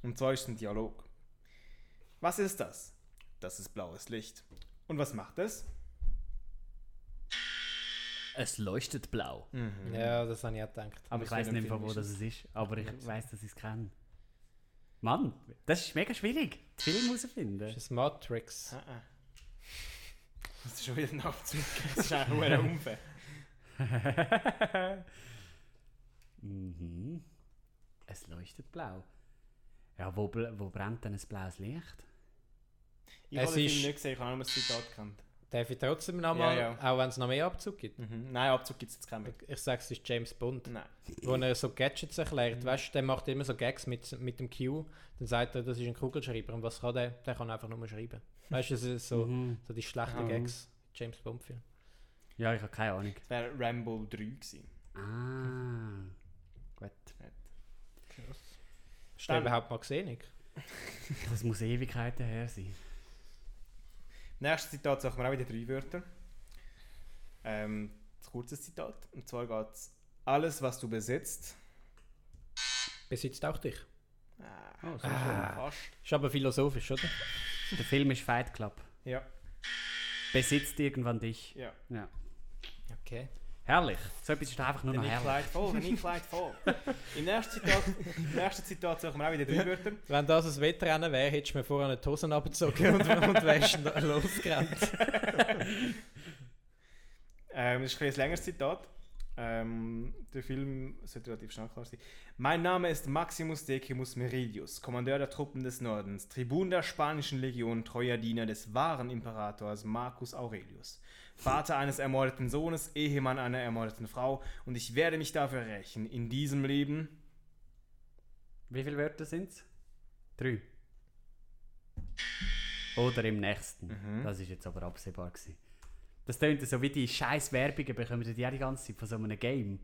Speaker 2: Und zwar ist es ein Dialog. Was ist das? Das ist blaues Licht. Und was macht es?
Speaker 5: Es leuchtet blau.
Speaker 4: Ja, das habe ich auch gedacht.
Speaker 5: Aber
Speaker 2: Das
Speaker 5: ich weiß
Speaker 2: welcher
Speaker 5: nicht, mehr,
Speaker 2: Film
Speaker 5: wo
Speaker 2: ist
Speaker 5: das es ist. Aber ich weiß, dass ich es kenne. Mann, das ist mega schwierig. Die Filme herausfinden.
Speaker 4: <laughs> Das ist ein Matrix.
Speaker 2: Ah, ah. <laughs> Das ist schon wieder ein Abzug. Das ist auch ein
Speaker 4: <laughs>
Speaker 2: Unfall.
Speaker 5: mhm. Es leuchtet blau. Ja, wo, bl- wo brennt denn ein blaues Licht?
Speaker 2: Ich
Speaker 4: Es
Speaker 2: habe den
Speaker 4: ist-
Speaker 2: Film nicht gesehen, ich habe nur das Zitat gekannt.
Speaker 4: Darf ich trotzdem nochmal,
Speaker 2: Ja,
Speaker 4: auch wenn es noch mehr Abzug gibt?
Speaker 2: Mhm. Nein, Abzug gibt es jetzt keinen mehr.
Speaker 4: Ich sage, es ist James Bond,
Speaker 2: Nein.
Speaker 4: wo er so Gadgets
Speaker 2: Mhm.
Speaker 4: erklärt. Weißt du, der macht immer so Gags mit, mit dem Q. Dann sagt er, das ist ein Kugelschreiber. Und was kann der? Der kann einfach nur schreiben. Weißt du, das ist so, so die schlechten
Speaker 2: Mhm.
Speaker 4: Gags. James Bond-Film.
Speaker 5: Ja, ich habe keine Ahnung.
Speaker 2: Das wäre Rambo 3 gewesen.
Speaker 5: Ah. Gut.
Speaker 4: Hast du den
Speaker 2: Dann-
Speaker 4: überhaupt mal gesehen, Nick?
Speaker 5: Das muss Ewigkeiten her sein.
Speaker 2: Nächstes Zitat sagen wir auch wieder drei Wörter. Ähm, ein kurzes Zitat. Und zwar geht es: Alles, was du besitzt.
Speaker 4: Besitzt auch dich.
Speaker 2: Ah,
Speaker 5: Oh, so
Speaker 2: Fast.
Speaker 4: Ist aber philosophisch, oder?
Speaker 5: schön. Der Film ist Fight Club.
Speaker 2: Ja,
Speaker 5: Besitzt irgendwann dich.
Speaker 2: ja.
Speaker 5: Ja.
Speaker 4: Okay.
Speaker 5: Herrlich. So etwas ist doch einfach nur
Speaker 2: Der
Speaker 5: noch
Speaker 2: Nick
Speaker 5: herrlich.
Speaker 2: leidet voll, der Nick leidet voll. Im nächsten Zitat, im nächsten Zitat sagen wir auch wieder drei Wörter.
Speaker 4: Wenn das ein Wettrennen wäre, hättest du mir vorher die Hosen abgezogen und, und wärst <laughs> no- losgerannt.
Speaker 2: Ähm, das ist ein bisschen ein längeres Zitat. Ähm, der Film sollte relativ schnell klar sein. Mein Name ist Maximus Decimus Meridius, Kommandeur der Truppen des Nordens, Tribun der spanischen Legion, treuer Diener des wahren Imperators Marcus Aurelius, Vater eines ermordeten Sohnes, Ehemann einer ermordeten Frau und ich werde mich dafür rächen. In diesem Leben.
Speaker 5: Wie viele Wörter sind es? Drei. Oder im nächsten.
Speaker 2: Mhm.
Speaker 5: Das ist jetzt aber absehbar. Gewesen. Das tönt so wie die scheiß Werbungen bekommen die ja die ganze Zeit von so einem Game.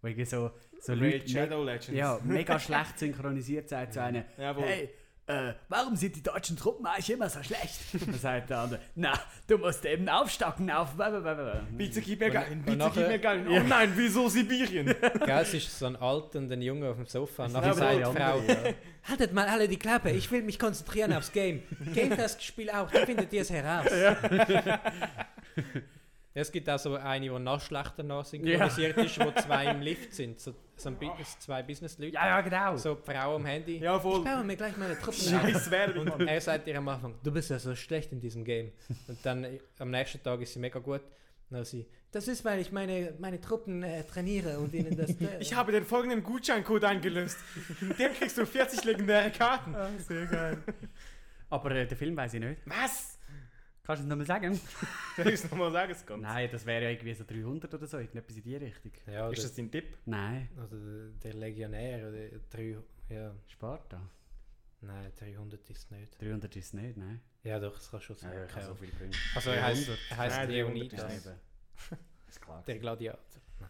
Speaker 5: Wo irgendwie so, so
Speaker 2: Raid
Speaker 5: Leute
Speaker 2: Shadow Legends.
Speaker 5: ja, mega schlecht synchronisiert sagt zu einem.
Speaker 2: Jawohl.
Speaker 5: Hey, äh, warum sind die deutschen Truppen eigentlich immer so schlecht? <laughs> Dann sagt der andere, na, du musst eben aufstocken auf.
Speaker 2: Bitte gib mir Gallien, bitte
Speaker 4: nachher-
Speaker 2: gib mir Gallien. Oh nein, wieso Sibirien?
Speaker 4: Gell, es ist so ein Alter und ein Junge auf dem Sofa. Und nachher
Speaker 5: aber
Speaker 4: sagt die
Speaker 5: die
Speaker 4: Frau, haltet mal alle die Klappe, ich will mich konzentrieren aufs Game. Game Test Spiel auch, da findet ihr es heraus. Es gibt auch so eine, die noch schlechter noch synchronisiert ist, wo zwei im Lift sind. So, so ein Business, zwei Business-Leute.
Speaker 5: <laughs> Ja, ja, genau.
Speaker 4: So die Frau am Handy.
Speaker 2: Ja, voll.
Speaker 4: Ich baue mir gleich meine Truppen auf.
Speaker 2: Scheiß Werbung.
Speaker 4: Und er sagt ihr am Anfang, du bist ja so schlecht in diesem Game. Und dann äh, am nächsten Tag ist sie mega gut. Und dann sie, das ist, weil ich meine, meine Truppen äh, trainiere und
Speaker 2: <laughs>
Speaker 4: ihnen das... äh,
Speaker 2: Ich habe den folgenden Gutscheincode eingelöst. Mit dem kriegst du 40 legendäre Karten.
Speaker 5: Ah, sehr geil. Aber äh, den Film weiß ich nicht.
Speaker 2: Was?
Speaker 5: Kannst du es nochmal sagen?
Speaker 2: Soll ich es nochmal sagen? Es kommt.
Speaker 5: Nein, das wäre ja irgendwie so 300 oder so, irgendetwas in die Richtung.
Speaker 4: ja,
Speaker 2: Ist
Speaker 4: oder-
Speaker 2: das dein Tipp?
Speaker 5: Nein,
Speaker 4: Also der- der Legionär oder drei, ja,
Speaker 5: Sparta.
Speaker 4: nein, 300 ist es nicht.
Speaker 5: 300 ist es nicht, nein.
Speaker 4: Ja doch, es kann schon sein.
Speaker 5: ich
Speaker 4: keine
Speaker 5: so
Speaker 4: Ahnung.
Speaker 5: viel bringen.
Speaker 4: also er heißt, er heißt
Speaker 2: Nein, 300
Speaker 5: Ja,
Speaker 4: Leonidas,
Speaker 5: eben. Ist klar.
Speaker 4: der Gladiator. Nein.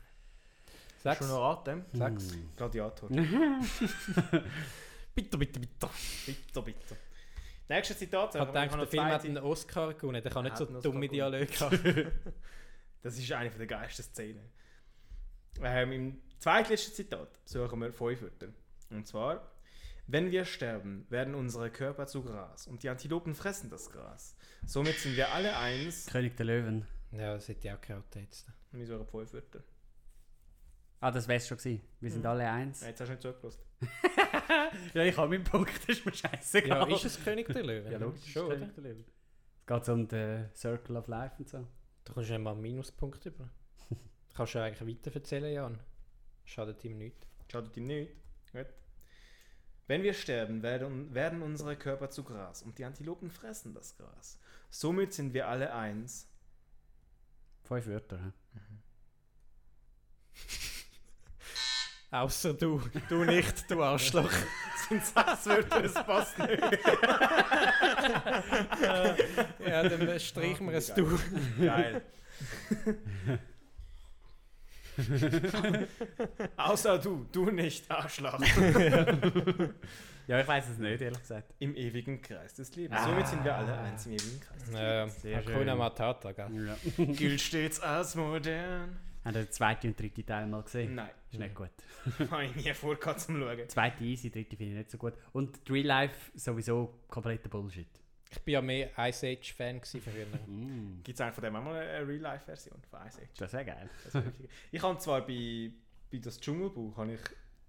Speaker 4: Sechs,
Speaker 2: Schon noch Atem?
Speaker 4: sechs. <laughs>
Speaker 2: Gladiator. bitte, bitte, bitte. Bitte, bitte. Nächstes Zitat.
Speaker 4: Ich
Speaker 2: aber
Speaker 4: habe gedacht,
Speaker 2: noch
Speaker 4: der Film
Speaker 2: zwei
Speaker 4: hat
Speaker 2: Zit-
Speaker 4: einen Oscar gewonnen, der kann nicht
Speaker 2: Hat
Speaker 4: so
Speaker 2: einen Oscar
Speaker 4: dumme
Speaker 2: gewonnen.
Speaker 4: Dialoge haben.
Speaker 2: Das ist eine der geilsten Szenen. Ähm, Im zweitletzten Zitat suchen wir fünf Wörter. Und zwar: Wenn wir sterben, werden unsere Körper zu Gras und die Antilopen fressen das Gras. Somit sind wir alle eins.
Speaker 5: König der Löwen.
Speaker 4: ja, das hätte ich auch geraten jetzt.
Speaker 2: Und wir suchen fünf Wörter.
Speaker 5: Ah, das wär's schon gewesen. Wir sind alle eins.
Speaker 2: Nein, jetzt hast du nicht zugelassen.
Speaker 5: Hm. Ja, ich habe meinen Punkt, das ist mir
Speaker 4: Ja,
Speaker 5: scheißegal.
Speaker 4: ist es König der Löwen?
Speaker 5: Ja, logisch,
Speaker 4: Schon, oder?
Speaker 5: König der Löwen. Es geht so um den Circle of Life und so.
Speaker 4: Du kommst ja mal einen Minuspunkt über. Kannst du eigentlich weiter erzählen, Jan? Schadet ihm nichts.
Speaker 2: Schadet ihm nicht. Gut. Wenn wir sterben, werden, werden unsere Körper zu Gras und die Antilopen fressen das Gras. Somit sind wir alle eins. <laughs>
Speaker 5: Fünf Wörter. hä?
Speaker 4: Außer du. Du nicht, du Arschloch.
Speaker 5: <laughs>
Speaker 2: Sind sechs Wörter, das passt nicht.
Speaker 4: ja, dann streichen wir es du.
Speaker 2: <laughs> Geil. <laughs> Außer du, du nicht, Arschloch.
Speaker 5: Ja, ich weiß es nicht, ehrlich gesagt.
Speaker 2: Im ewigen Kreis des Lebens. Somit sind wir alle eins im ewigen Kreis des
Speaker 4: Ja,
Speaker 5: Sehr
Speaker 4: Hakuna
Speaker 5: schön.
Speaker 4: Matata, gell?
Speaker 5: Ja.
Speaker 2: Lebens. <laughs> Gilt stets als modern.
Speaker 5: Habt ihr den zweiten und dritten Teil mal gesehen?
Speaker 2: Nein, <laughs>
Speaker 5: Ist nicht gut.
Speaker 2: habe ich nie vor, gehabt zum Schauen.
Speaker 5: Zweite easy, dritte finde ich nicht so gut. Und Real Life sowieso kompletter Bullshit.
Speaker 4: Ich bin ja mehr Ice Age-Fan gewesen früher.
Speaker 5: Mm.
Speaker 2: Gibt es eigentlich von äh, dem auch mal eine Real-Life-Version von Ice Age?
Speaker 5: Das wäre geil. Also
Speaker 2: Das wär wirklich- <laughs> ich habe zwar bei, bei das Dschungelbuch habe ich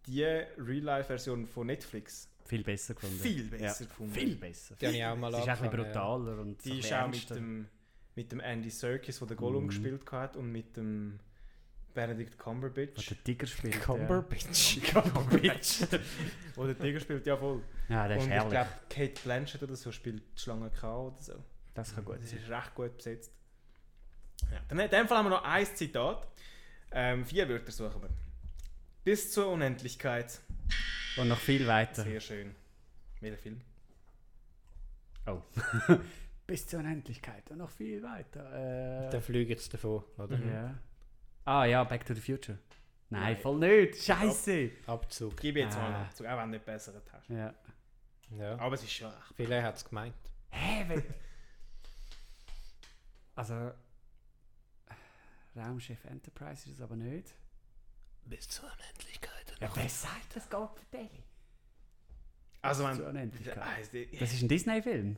Speaker 2: die Real-Life-Version von Netflix
Speaker 5: Viel besser gefunden.
Speaker 2: viel besser gefunden.
Speaker 5: Viel besser.
Speaker 4: Die habe ich auch
Speaker 5: <laughs>
Speaker 4: mal
Speaker 5: Es ist auch ein bisschen
Speaker 4: angefangen, ja.
Speaker 5: brutaler und ein
Speaker 2: Die ist
Speaker 5: bisschen
Speaker 2: auch mit
Speaker 5: ernster. Mhm.
Speaker 2: dem, mit dem Andy Serkis, der den Gollum gespielt hat, und mit dem Benedict
Speaker 5: Was
Speaker 2: Cumberbatch.
Speaker 5: der Tiger
Speaker 2: <laughs>
Speaker 5: spielt.
Speaker 2: Cumberbatch.
Speaker 5: Cumberbatch.
Speaker 2: Oder der Tiger spielt ja voll.
Speaker 5: Ja, das
Speaker 2: und
Speaker 5: ist
Speaker 2: ich
Speaker 5: herrlich.
Speaker 2: glaube, Kate Blanchett oder so spielt die Schlange K oder so.
Speaker 5: das kann gut
Speaker 2: Das
Speaker 5: sein.
Speaker 2: ist recht gut besetzt. Ja. Dann in dem Fall haben wir noch ein Zitat. Ähm, vier Wörter suchen wir. Bis zur Unendlichkeit.
Speaker 5: Und noch viel weiter.
Speaker 2: Sehr schön. Welcher Film?
Speaker 5: Oh. <laughs> Bis zur Unendlichkeit und noch viel weiter. Äh,
Speaker 4: Dann fliegen jetzt davon, oder?
Speaker 5: ja. Mhm. Ah ja, Back to the Future. Nein, voll nicht. Scheiße.
Speaker 4: Abzug.
Speaker 2: Gib jetzt
Speaker 5: Ah.
Speaker 2: mal dazu, auch wenn du nicht besseren hast.
Speaker 5: Ja.
Speaker 4: Ja.
Speaker 2: Aber es ist schon recht.
Speaker 4: Vielleicht hat es gemeint.
Speaker 5: Hä, wenn... <laughs> Also... Raumschiff Enterprise ist es aber nicht.
Speaker 4: Bis zur Unendlichkeit.
Speaker 5: Ja, wer sagt das Gott Deli?
Speaker 2: Also wenn...
Speaker 5: Zur Unendlichkeit.
Speaker 2: Also, die-
Speaker 5: Das ist ein Disney-Film.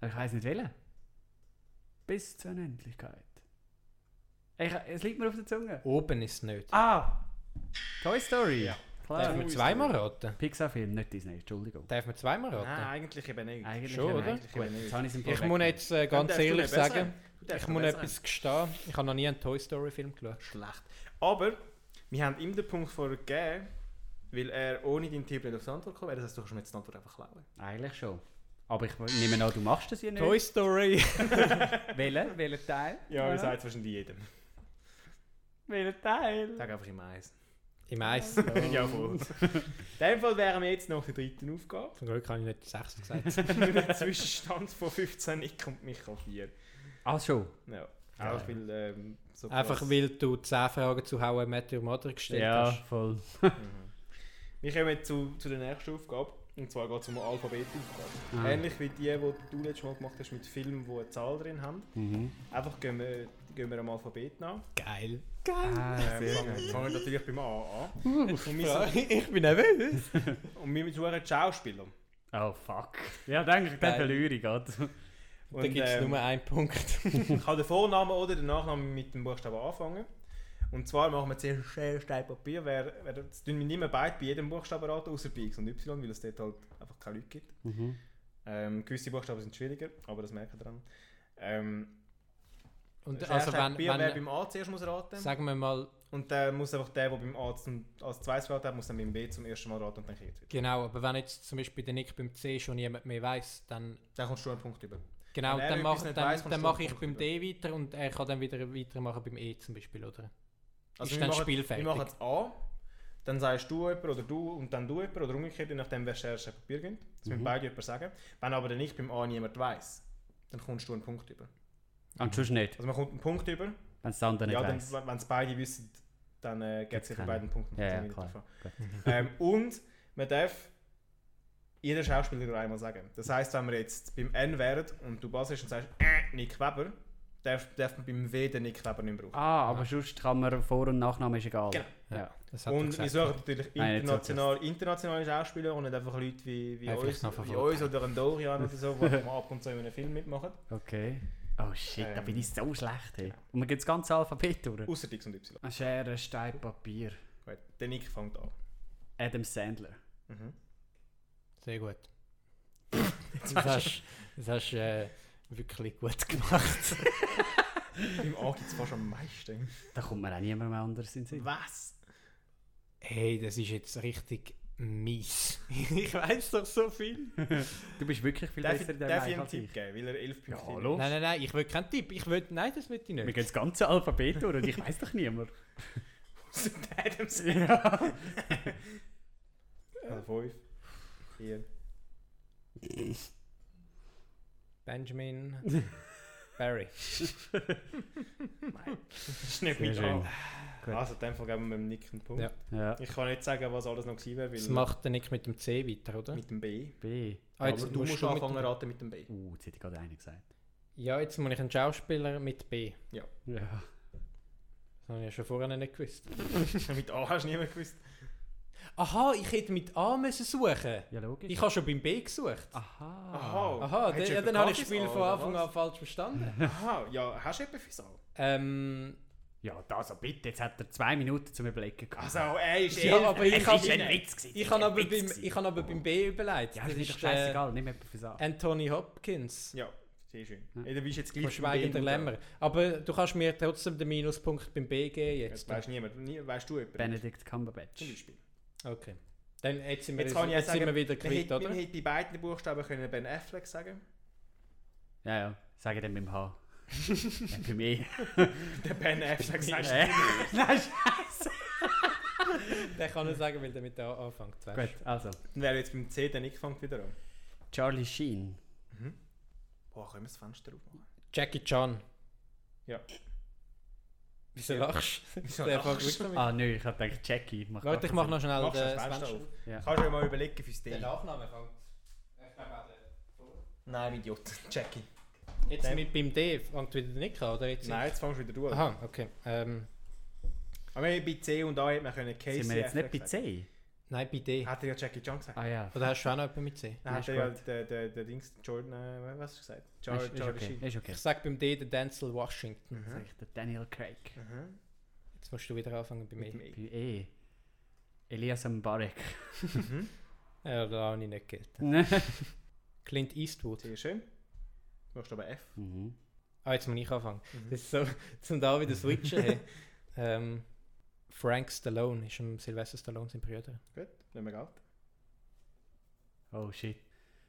Speaker 5: Aber Ich weiß nicht welcher. Bis zur Unendlichkeit. Ich, es liegt mir auf der Zunge.
Speaker 4: Oben ist es nicht.
Speaker 5: Ah! Toy Story!
Speaker 2: Ja.
Speaker 4: Darf man
Speaker 5: Klar.
Speaker 4: zweimal raten?
Speaker 5: Pixar-Film, nicht Disney, Entschuldigung.
Speaker 4: Darf man zweimal raten?
Speaker 2: Nein, eigentlich eben nicht.
Speaker 5: Eigentlich
Speaker 4: Schon,
Speaker 5: eben
Speaker 4: oder?
Speaker 5: Eigentlich Gut,
Speaker 2: Gut.
Speaker 5: jetzt habe ich es im
Speaker 4: Ich muss jetzt äh, ganz
Speaker 2: Dann darfst du
Speaker 4: ehrlich
Speaker 2: nicht besser.
Speaker 4: sagen, Ich muss etwas gestehen, ich habe noch nie einen Toy Story Film geschaut.
Speaker 2: Schlecht. Aber wir haben ihm den Punkt vorher gegeben, weil er ohne deinen Tipp nicht aufs Antwort gekommen wäre. Das heißt, du kannst mir jetzt die Antwort einfach klauen.
Speaker 5: Eigentlich schon. Aber ich nehme an, du machst das ja nicht.
Speaker 4: Toy Story! <laughs>
Speaker 5: Welchen? Welchen Teil?
Speaker 2: Ja, ihr sagt es wahrscheinlich jedem.
Speaker 5: Welchen Teil?
Speaker 2: Sag einfach im Eis.
Speaker 4: Im Eis. Zum
Speaker 2: Jawohl. In dem Fall wären wir jetzt noch der dritten
Speaker 4: <laughs>
Speaker 2: Aufgabe.
Speaker 4: Glück habe ich nicht 6
Speaker 2: <laughs>
Speaker 4: gesagt.
Speaker 2: Mit einem Zwischenstand von 15, ich komme mich auf 4.
Speaker 5: Ach schon.
Speaker 2: Ja. Einfach weil ähm, so
Speaker 4: Einfach
Speaker 2: krass-
Speaker 4: weil du 10 Fragen zu How I Met Your Mother gestellt
Speaker 5: Ja,
Speaker 4: hast.
Speaker 5: voll.
Speaker 2: Wir kommen jetzt zu, zu der nächsten Aufgabe. Und zwar geht es um eine Alphabetaufgabe.
Speaker 5: Ah.
Speaker 2: Ähnlich wie die, die du letztes Mal gemacht hast mit Filmen, die eine Zahl drin haben.
Speaker 5: Mhm.
Speaker 2: Einfach gehen wir, gehen wir am Alphabet nach.
Speaker 4: Geil.
Speaker 5: Ah,
Speaker 2: Ähm, fangen, fangen wir natürlich beim A an. Und wir, suchen-
Speaker 4: ich bin nervös.
Speaker 2: und wir suchen die Schauspieler.
Speaker 5: Oh fuck. Ja, denke ich, dann
Speaker 4: Geil.
Speaker 5: verliere ich gerade.
Speaker 2: Und,
Speaker 4: da gibt es
Speaker 2: ähm,
Speaker 4: nur einen Punkt.
Speaker 2: Ich kann den Vornamen oder den Nachnamen mit dem Buchstaben anfangen. Und zwar machen wir zuerst Schere, Stein, Papier. Wer, wer, das tun wir nicht mehr beide bei jedem Buchstaben raten, außer bei X und Y, weil es dort halt einfach keine Leute gibt.
Speaker 5: Mhm.
Speaker 2: Ähm, gewisse Buchstaben sind schwieriger, aber das merken dran. Ähm,
Speaker 4: Und
Speaker 2: Schere,
Speaker 4: also
Speaker 2: Stein,
Speaker 4: wenn,
Speaker 2: Papier, wer
Speaker 4: wenn
Speaker 2: beim A zuerst muss raten.
Speaker 4: sagen wir mal,
Speaker 2: Und dann muss einfach der, der beim A zum, als zweites geraten hat, muss dann beim B zum ersten Mal raten und dann geht es wieder.
Speaker 4: genau, aber wenn jetzt zum Beispiel der Nick beim C schon niemand mehr weiß, dann
Speaker 2: Dann kommst du einen Punkt über.
Speaker 4: genau,
Speaker 2: Wenn er
Speaker 4: dann
Speaker 2: etwas
Speaker 4: mache
Speaker 2: nicht
Speaker 4: dann,
Speaker 2: weiss,
Speaker 4: dann
Speaker 2: kommst du
Speaker 4: mach
Speaker 2: einen
Speaker 4: ich beim
Speaker 2: Punkt
Speaker 4: D weiter und er kann dann wieder weitermachen beim E zum Beispiel, oder? Ist
Speaker 2: Also wir
Speaker 4: dann
Speaker 2: machen-
Speaker 4: spielfertig.
Speaker 2: Wir machen es A, dann sagst du jemand oder du und dann du jemand oder umgekehrt, je nachdem, wer zuerst ein Papier gibt. Das
Speaker 5: Mhm.
Speaker 2: müssen beide jemand sagen. Wenn aber dann nicht beim A niemand weiß, dann kommst du einen Punkt über.
Speaker 5: Und sonst nicht,
Speaker 2: Also man kommt einen Punkt über.
Speaker 5: wenn es der andere nicht
Speaker 2: ja,
Speaker 5: weiss.
Speaker 2: dann, wenn es beide wissen, dann äh, gibt es sicher
Speaker 5: keine.
Speaker 2: beiden Punkte.
Speaker 5: Ja, ja,
Speaker 2: Das ist
Speaker 5: klar.
Speaker 2: wieder davon. <laughs> ähm, und man darf jeder Schauspieler nur einmal sagen. Das heisst, wenn wir jetzt beim N wären und du Bass bist und sagst, äh, Nick Weber, darf, darf man beim W den Nick Weber nicht brauchen.
Speaker 5: Ah, aber sonst kann man Vor- und Nachname ist egal.
Speaker 2: Genau.
Speaker 5: Ja.
Speaker 4: Das hat er
Speaker 2: Und wir
Speaker 4: gesagt.
Speaker 2: suchen natürlich
Speaker 5: Nein, jetzt
Speaker 2: international, internationale Schauspieler und nicht einfach Leute wie, wie,
Speaker 4: Ja,
Speaker 2: uns,
Speaker 4: vielleicht noch
Speaker 2: wie
Speaker 4: verfolgt.
Speaker 2: uns oder ein Dorian oder so, die mal ab und zu in einem Film mitmachen.
Speaker 5: Okay. Oh shit, da
Speaker 2: Ähm.
Speaker 5: bin ich so schlecht. Hey. Und man geht das ganze Alphabet durch.
Speaker 2: Außer X und Y.
Speaker 5: Eine Schere, Stein, Papier.
Speaker 2: Gut, der Nick fängt an.
Speaker 5: Adam Sandler.
Speaker 2: Mhm. <laughs>
Speaker 4: Sehr gut. das hast das hast äh, wirklich gut gemacht.
Speaker 2: Im A gibt es fast am meisten.
Speaker 5: Da kommt mir auch niemand mehr anders in den Sinn.
Speaker 2: Was?
Speaker 4: hey, das ist jetzt richtig
Speaker 2: <laughs>
Speaker 4: mies. ich weiß doch so viel.
Speaker 5: Du bist wirklich viel
Speaker 2: Darf
Speaker 5: besser
Speaker 2: ich,
Speaker 5: in dem
Speaker 2: darf ich ihm
Speaker 5: Bereich
Speaker 2: einen
Speaker 5: als
Speaker 2: Tipp
Speaker 5: ich.
Speaker 2: geben, weil er 11 Punkte hat?
Speaker 5: Ja, hallo?
Speaker 4: Nein, nein, nein, ich will keinen Tipp. Ich will, nein, das will ich
Speaker 5: Wir
Speaker 4: nicht.
Speaker 5: gehen das ganze Alphabet durch und ich weiss doch
Speaker 4: <laughs>
Speaker 5: niemand.
Speaker 2: Außer Adam Sandler.
Speaker 5: ja.
Speaker 2: <laughs> Also 5, 4. <laughs>
Speaker 4: Benjamin Barry.
Speaker 2: Das ist nicht
Speaker 5: Sehr
Speaker 2: mit
Speaker 5: schön.
Speaker 2: A. Also, in dem Fall geben wir dem Nick einen Punkt.
Speaker 4: Ja.
Speaker 5: Ja.
Speaker 2: Ich kann nicht sagen, was alles noch gewesen wäre,
Speaker 4: Das
Speaker 2: weil
Speaker 4: macht der Nick mit dem C weiter, oder?
Speaker 2: mit dem B.
Speaker 5: B.
Speaker 4: Ah, jetzt
Speaker 2: Aber du musst
Speaker 4: du mit
Speaker 2: anfangen
Speaker 4: dem-
Speaker 2: raten mit dem B. <laughs>
Speaker 5: Uh, jetzt hätte ich gerade einen gesagt.
Speaker 4: Ja, jetzt muss ich einen Schauspieler mit B.
Speaker 5: Ja.
Speaker 4: Das habe ich ja schon vorher nicht gewusst.
Speaker 2: mit A hast du niemand gewusst.
Speaker 4: Aha, ich hätte mit A müssen suchen.
Speaker 5: Ja, logisch.
Speaker 4: Ich habe schon beim B gesucht.
Speaker 5: Aha.
Speaker 2: Aha.
Speaker 4: Aha,
Speaker 2: Hättest
Speaker 4: dann,
Speaker 2: du
Speaker 4: ja, dann
Speaker 2: jemanden
Speaker 4: habe ich
Speaker 2: gratis
Speaker 4: das Spiel
Speaker 2: A,
Speaker 4: von
Speaker 2: oder
Speaker 4: Anfang
Speaker 2: was?
Speaker 4: an falsch verstanden.
Speaker 2: Aha, ja, hast du etwas fürs A?
Speaker 4: ähm,
Speaker 5: Ja, das also bitte. Jetzt hat er zwei Minuten zum Überlegen gehabt.
Speaker 2: Also, ey, ist
Speaker 4: Ja,
Speaker 2: eh-
Speaker 4: aber ich
Speaker 2: es
Speaker 4: hab-
Speaker 2: ist ein Witz.
Speaker 5: gewesen.
Speaker 4: ich habe aber, beim- ich habe aber beim B überlegt.
Speaker 5: Ja,
Speaker 4: das
Speaker 5: das ist
Speaker 4: ist
Speaker 5: doch
Speaker 4: äh,
Speaker 5: scheißegal. Nimm etwas fürs an.
Speaker 4: Anthony Hopkins
Speaker 2: Ja, sehr schön. Ey, Hm. du bist jetzt gleich
Speaker 4: von Schweigender
Speaker 2: beim B
Speaker 4: Lämmer. Aber du kannst mir trotzdem den Minuspunkt beim B geben
Speaker 2: Jetzt
Speaker 4: jetzt.
Speaker 2: weißt niemand. Nie, weißt du jemanden?
Speaker 5: Benedict
Speaker 2: Zum
Speaker 5: Cumberbatch.
Speaker 2: Beispiel.
Speaker 4: Okay. Dann jetzt sind wir,
Speaker 2: Jetzt kann ich ja
Speaker 4: jetzt sind
Speaker 2: sagen,
Speaker 4: wir <laughs> wieder
Speaker 2: man
Speaker 4: quitt,
Speaker 2: hätte,
Speaker 4: oder?
Speaker 2: man hätte bei beiden Buchstaben können Ben Affleck sagen
Speaker 5: Ja, ja. Sag ich dann mit dem
Speaker 4: <laughs>
Speaker 5: H. Dann bei mir.
Speaker 2: <laughs> Der Ben Affleck sagst du.
Speaker 5: Äh, <laughs> Nein, scheiße.
Speaker 4: Den kann ich sagen, weil der mit A anfängt. weißt du.
Speaker 5: Gut, also.
Speaker 2: Dann wäre jetzt beim C, der Nick fängt wieder an.
Speaker 5: Charlie Sheen.
Speaker 2: Boah, können wir das Fenster <laughs> aufmachen?
Speaker 4: Jackie Chan.
Speaker 2: Ja.
Speaker 4: Wieso lachst du?
Speaker 2: Wieso
Speaker 4: Der
Speaker 2: lachst
Speaker 4: fängt wirklich mit-
Speaker 5: Ah, nö, ich hab gedacht, Jackie. Mach
Speaker 4: Warte, ich mache noch schnell
Speaker 2: Machst du
Speaker 4: den
Speaker 2: das Fenster
Speaker 4: Sven-
Speaker 2: auf?
Speaker 5: Ja.
Speaker 2: Kannst du dir mal überlegen fürs D?
Speaker 4: Den Nachnamen fängt. Ich glaube auch
Speaker 2: Nein, Idiot. <laughs> Jackie.
Speaker 4: der. Jetzt
Speaker 2: Der-
Speaker 4: mit beim D fängt wieder nicht an, oder? Jetzt
Speaker 2: Nein, jetzt fängst du wieder du an.
Speaker 4: Aha, okay. Ähm,
Speaker 2: Aber bei C und A hätte man können Casey
Speaker 5: Sind wir jetzt nicht
Speaker 2: Affleck
Speaker 5: bei C?
Speaker 4: nein, bei D.
Speaker 2: Hat er ja Jackie Chan gesagt.
Speaker 5: Ah ja.
Speaker 4: Oder hast du auch noch jemanden mit C?
Speaker 2: Nein,
Speaker 5: ist
Speaker 2: hat er ja
Speaker 5: gut.
Speaker 2: der, der, der Dings, Jordan, äh, was hast du gesagt? Jar-
Speaker 5: Ist, ist
Speaker 2: Jordan
Speaker 5: okay. Mhm.
Speaker 2: Sheen.
Speaker 5: Ist okay.
Speaker 4: Ich sag beim D den Denzel Washington.
Speaker 5: Sag ich den Daniel Craig.
Speaker 2: Mhm.
Speaker 4: Jetzt musst du wieder anfangen bei
Speaker 2: Mit dem
Speaker 4: mir.
Speaker 2: E.
Speaker 5: Bei E. Elias Mbarek.
Speaker 4: Ja, da habe ich nicht gehört. Clint Eastwood.
Speaker 2: Sehr schön. Du machst aber F.
Speaker 5: mhm.
Speaker 4: Ah, jetzt muss ich anfangen.
Speaker 2: Mhm.
Speaker 4: Das ist so, zum da wieder switchen. Hey. <laughs> ähm, Frank Stallone ist im Sylvester Stallone sein Bruder.
Speaker 2: Gut, nehmen wir Geld.
Speaker 5: Oh shit.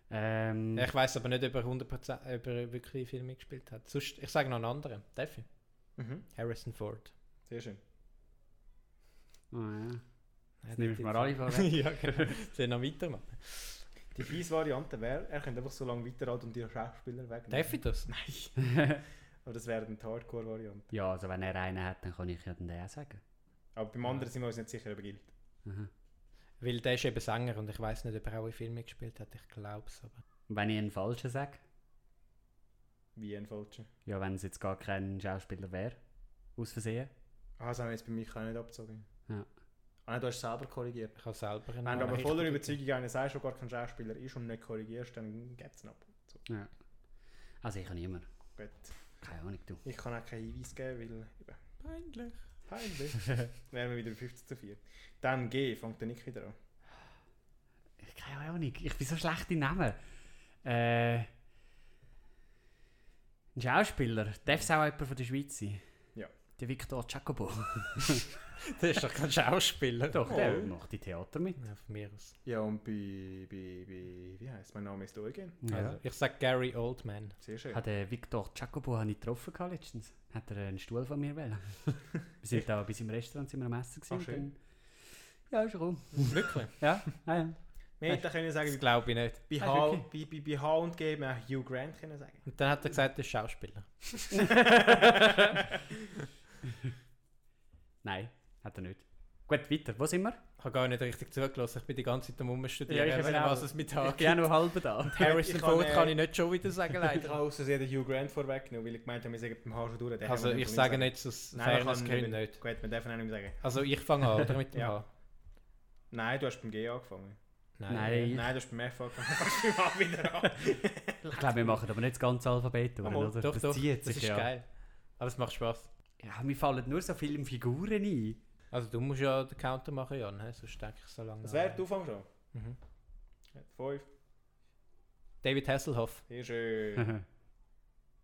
Speaker 5: Ähm,
Speaker 4: Ich weiß aber nicht, ob er 100% ob er wirklich viel mitgespielt hat. Sonst, ich sage noch einen anderen. Darf ich?
Speaker 2: Mhm.
Speaker 4: Harrison Ford.
Speaker 2: Sehr schön.
Speaker 5: oh, ja.
Speaker 4: Nein,
Speaker 5: Jetzt nimmst du
Speaker 4: nicht
Speaker 5: mir alle vorweg.
Speaker 4: <laughs> ja, genau. Sollen wir noch weitermachen?
Speaker 2: Die fiese Variante wäre, er könnte einfach so lange weiterhalten und die Schauspieler wegnehmen.
Speaker 4: Darf ich das?
Speaker 2: Aber das wäre dann die Hardcore-Variante.
Speaker 5: ja, also wenn er einen hat, dann kann ich ja dann den auch sagen.
Speaker 2: Aber beim anderen sind wir uns nicht sicher, ob er gilt.
Speaker 5: Mhm.
Speaker 4: Weil der ist eben Sänger und ich weiß nicht, ob er auch in Filmen gespielt hat. Ich glaube es aber.
Speaker 5: Und wenn ich einen falschen sage?
Speaker 2: Wie ein Falscher.
Speaker 5: Ja, wenn es jetzt gar kein Schauspieler wäre. Aus Versehen.
Speaker 2: Ah, das haben wir jetzt bei mich auch nicht abgezogen.
Speaker 5: Ja.
Speaker 2: Ah, nein, du hast selber korrigiert.
Speaker 4: Ich habe selber einen
Speaker 2: Wenn du
Speaker 4: Namen
Speaker 2: aber
Speaker 4: <laughs>
Speaker 2: voller
Speaker 4: richtig-
Speaker 2: Überzeugung einer sei, schon gar kein Schauspieler ist und nicht korrigierst, dann geht's ihn ab. So,
Speaker 5: Also ich kann niemanden.
Speaker 2: gut.
Speaker 5: Keine Ahnung, du.
Speaker 2: Ich kann auch keinen Hinweis geben, weil... Eben,
Speaker 4: Peinlich.
Speaker 2: peinlich. <laughs> wären wir wieder 50 zu 4. Dann G, fängt der Nick wieder an.
Speaker 5: Ich- Keine Ahnung. Ich bin so schlecht in Namen. Äh, ein Schauspieler. Darf es auch jemand von der Schweiz sein?
Speaker 2: Ja.
Speaker 5: Der Victor Jacobo.
Speaker 4: Der ist doch kein Schauspieler.
Speaker 5: Doch, der
Speaker 2: Oh.
Speaker 5: macht die Theater mit.
Speaker 4: Ja, von mir aus.
Speaker 2: Ja, und bei... bei, bei wie heisst mein Name ist Eugen.
Speaker 4: Also, ich sage Gary Oldman.
Speaker 2: Sehr schön.
Speaker 5: Hat der Victor Jacobo habe ich getroffen gehabt letztens. Hat er einen Stuhl von mir wählen. Wir sind da bis im Restaurant sind wir am Essen gewesen.
Speaker 2: Ah, schön.
Speaker 5: Dann- Ja, ist rum. <laughs>
Speaker 4: Wirklich?
Speaker 5: Ja, ah, ja.
Speaker 2: Wir hätten können
Speaker 4: Das
Speaker 2: sagen,
Speaker 4: glaube ich nicht.
Speaker 2: bei H, bei, bei, bei H und G hätten wir auch Hugh Grant können sagen.
Speaker 4: Und dann hat er gesagt, der ist Schauspieler.
Speaker 5: Nein, hat er nicht. Gut, weiter. Wo sind wir?
Speaker 4: Ich habe gar nicht richtig zugelassen. Ich bin die ganze Zeit am Rumstudieren,
Speaker 5: Ja, ich eben
Speaker 4: eben
Speaker 5: auch.
Speaker 4: was es mit Hagen
Speaker 5: bin auch noch halb <laughs> da.
Speaker 4: Harrison
Speaker 2: Ich kann,
Speaker 4: Ford
Speaker 2: äh,
Speaker 4: kann ich nicht schon wieder sagen,
Speaker 2: Ich
Speaker 4: leider.
Speaker 2: habe außersehen den Hugh Grant vorweggenommen, weil ich gemeint habe, wir sagen beim H schon durch. Den
Speaker 4: Also
Speaker 2: haben wir
Speaker 4: ich
Speaker 2: können
Speaker 4: sage
Speaker 2: sagen.
Speaker 4: nicht, dass
Speaker 2: Nein, man
Speaker 4: Fairness
Speaker 2: kann
Speaker 4: können
Speaker 2: nicht.
Speaker 4: nicht.
Speaker 2: Gut, wir dürfen auch nicht mehr sagen.
Speaker 4: Also ich fange an, oder? Mit dem
Speaker 2: <laughs> Ja.
Speaker 4: H.
Speaker 2: Nein, du hast beim G angefangen.
Speaker 5: Nein. Ich-
Speaker 2: Nein, du hast beim F angefangen. <laughs> Fast beim A wieder an. <laughs>
Speaker 5: Ich glaube, wir machen aber nicht das ganze Alphabet durch,
Speaker 2: Mal,
Speaker 5: oder?
Speaker 4: Doch,
Speaker 5: das
Speaker 4: doch,
Speaker 5: zieht
Speaker 4: das
Speaker 5: sich
Speaker 4: ist
Speaker 5: ja.
Speaker 4: geil. Aber es macht Spaß.
Speaker 5: Ja, mir fallen nur so viele Figuren ein.
Speaker 4: Also du musst ja den Counter machen, Jan, he? sonst denke ich so lange.
Speaker 2: Das
Speaker 4: nach.
Speaker 2: wäre, du fangst an.
Speaker 4: Mhm.
Speaker 2: Fünf.
Speaker 4: David Hasselhoff.
Speaker 2: Sehr schön.
Speaker 5: <laughs> Nein,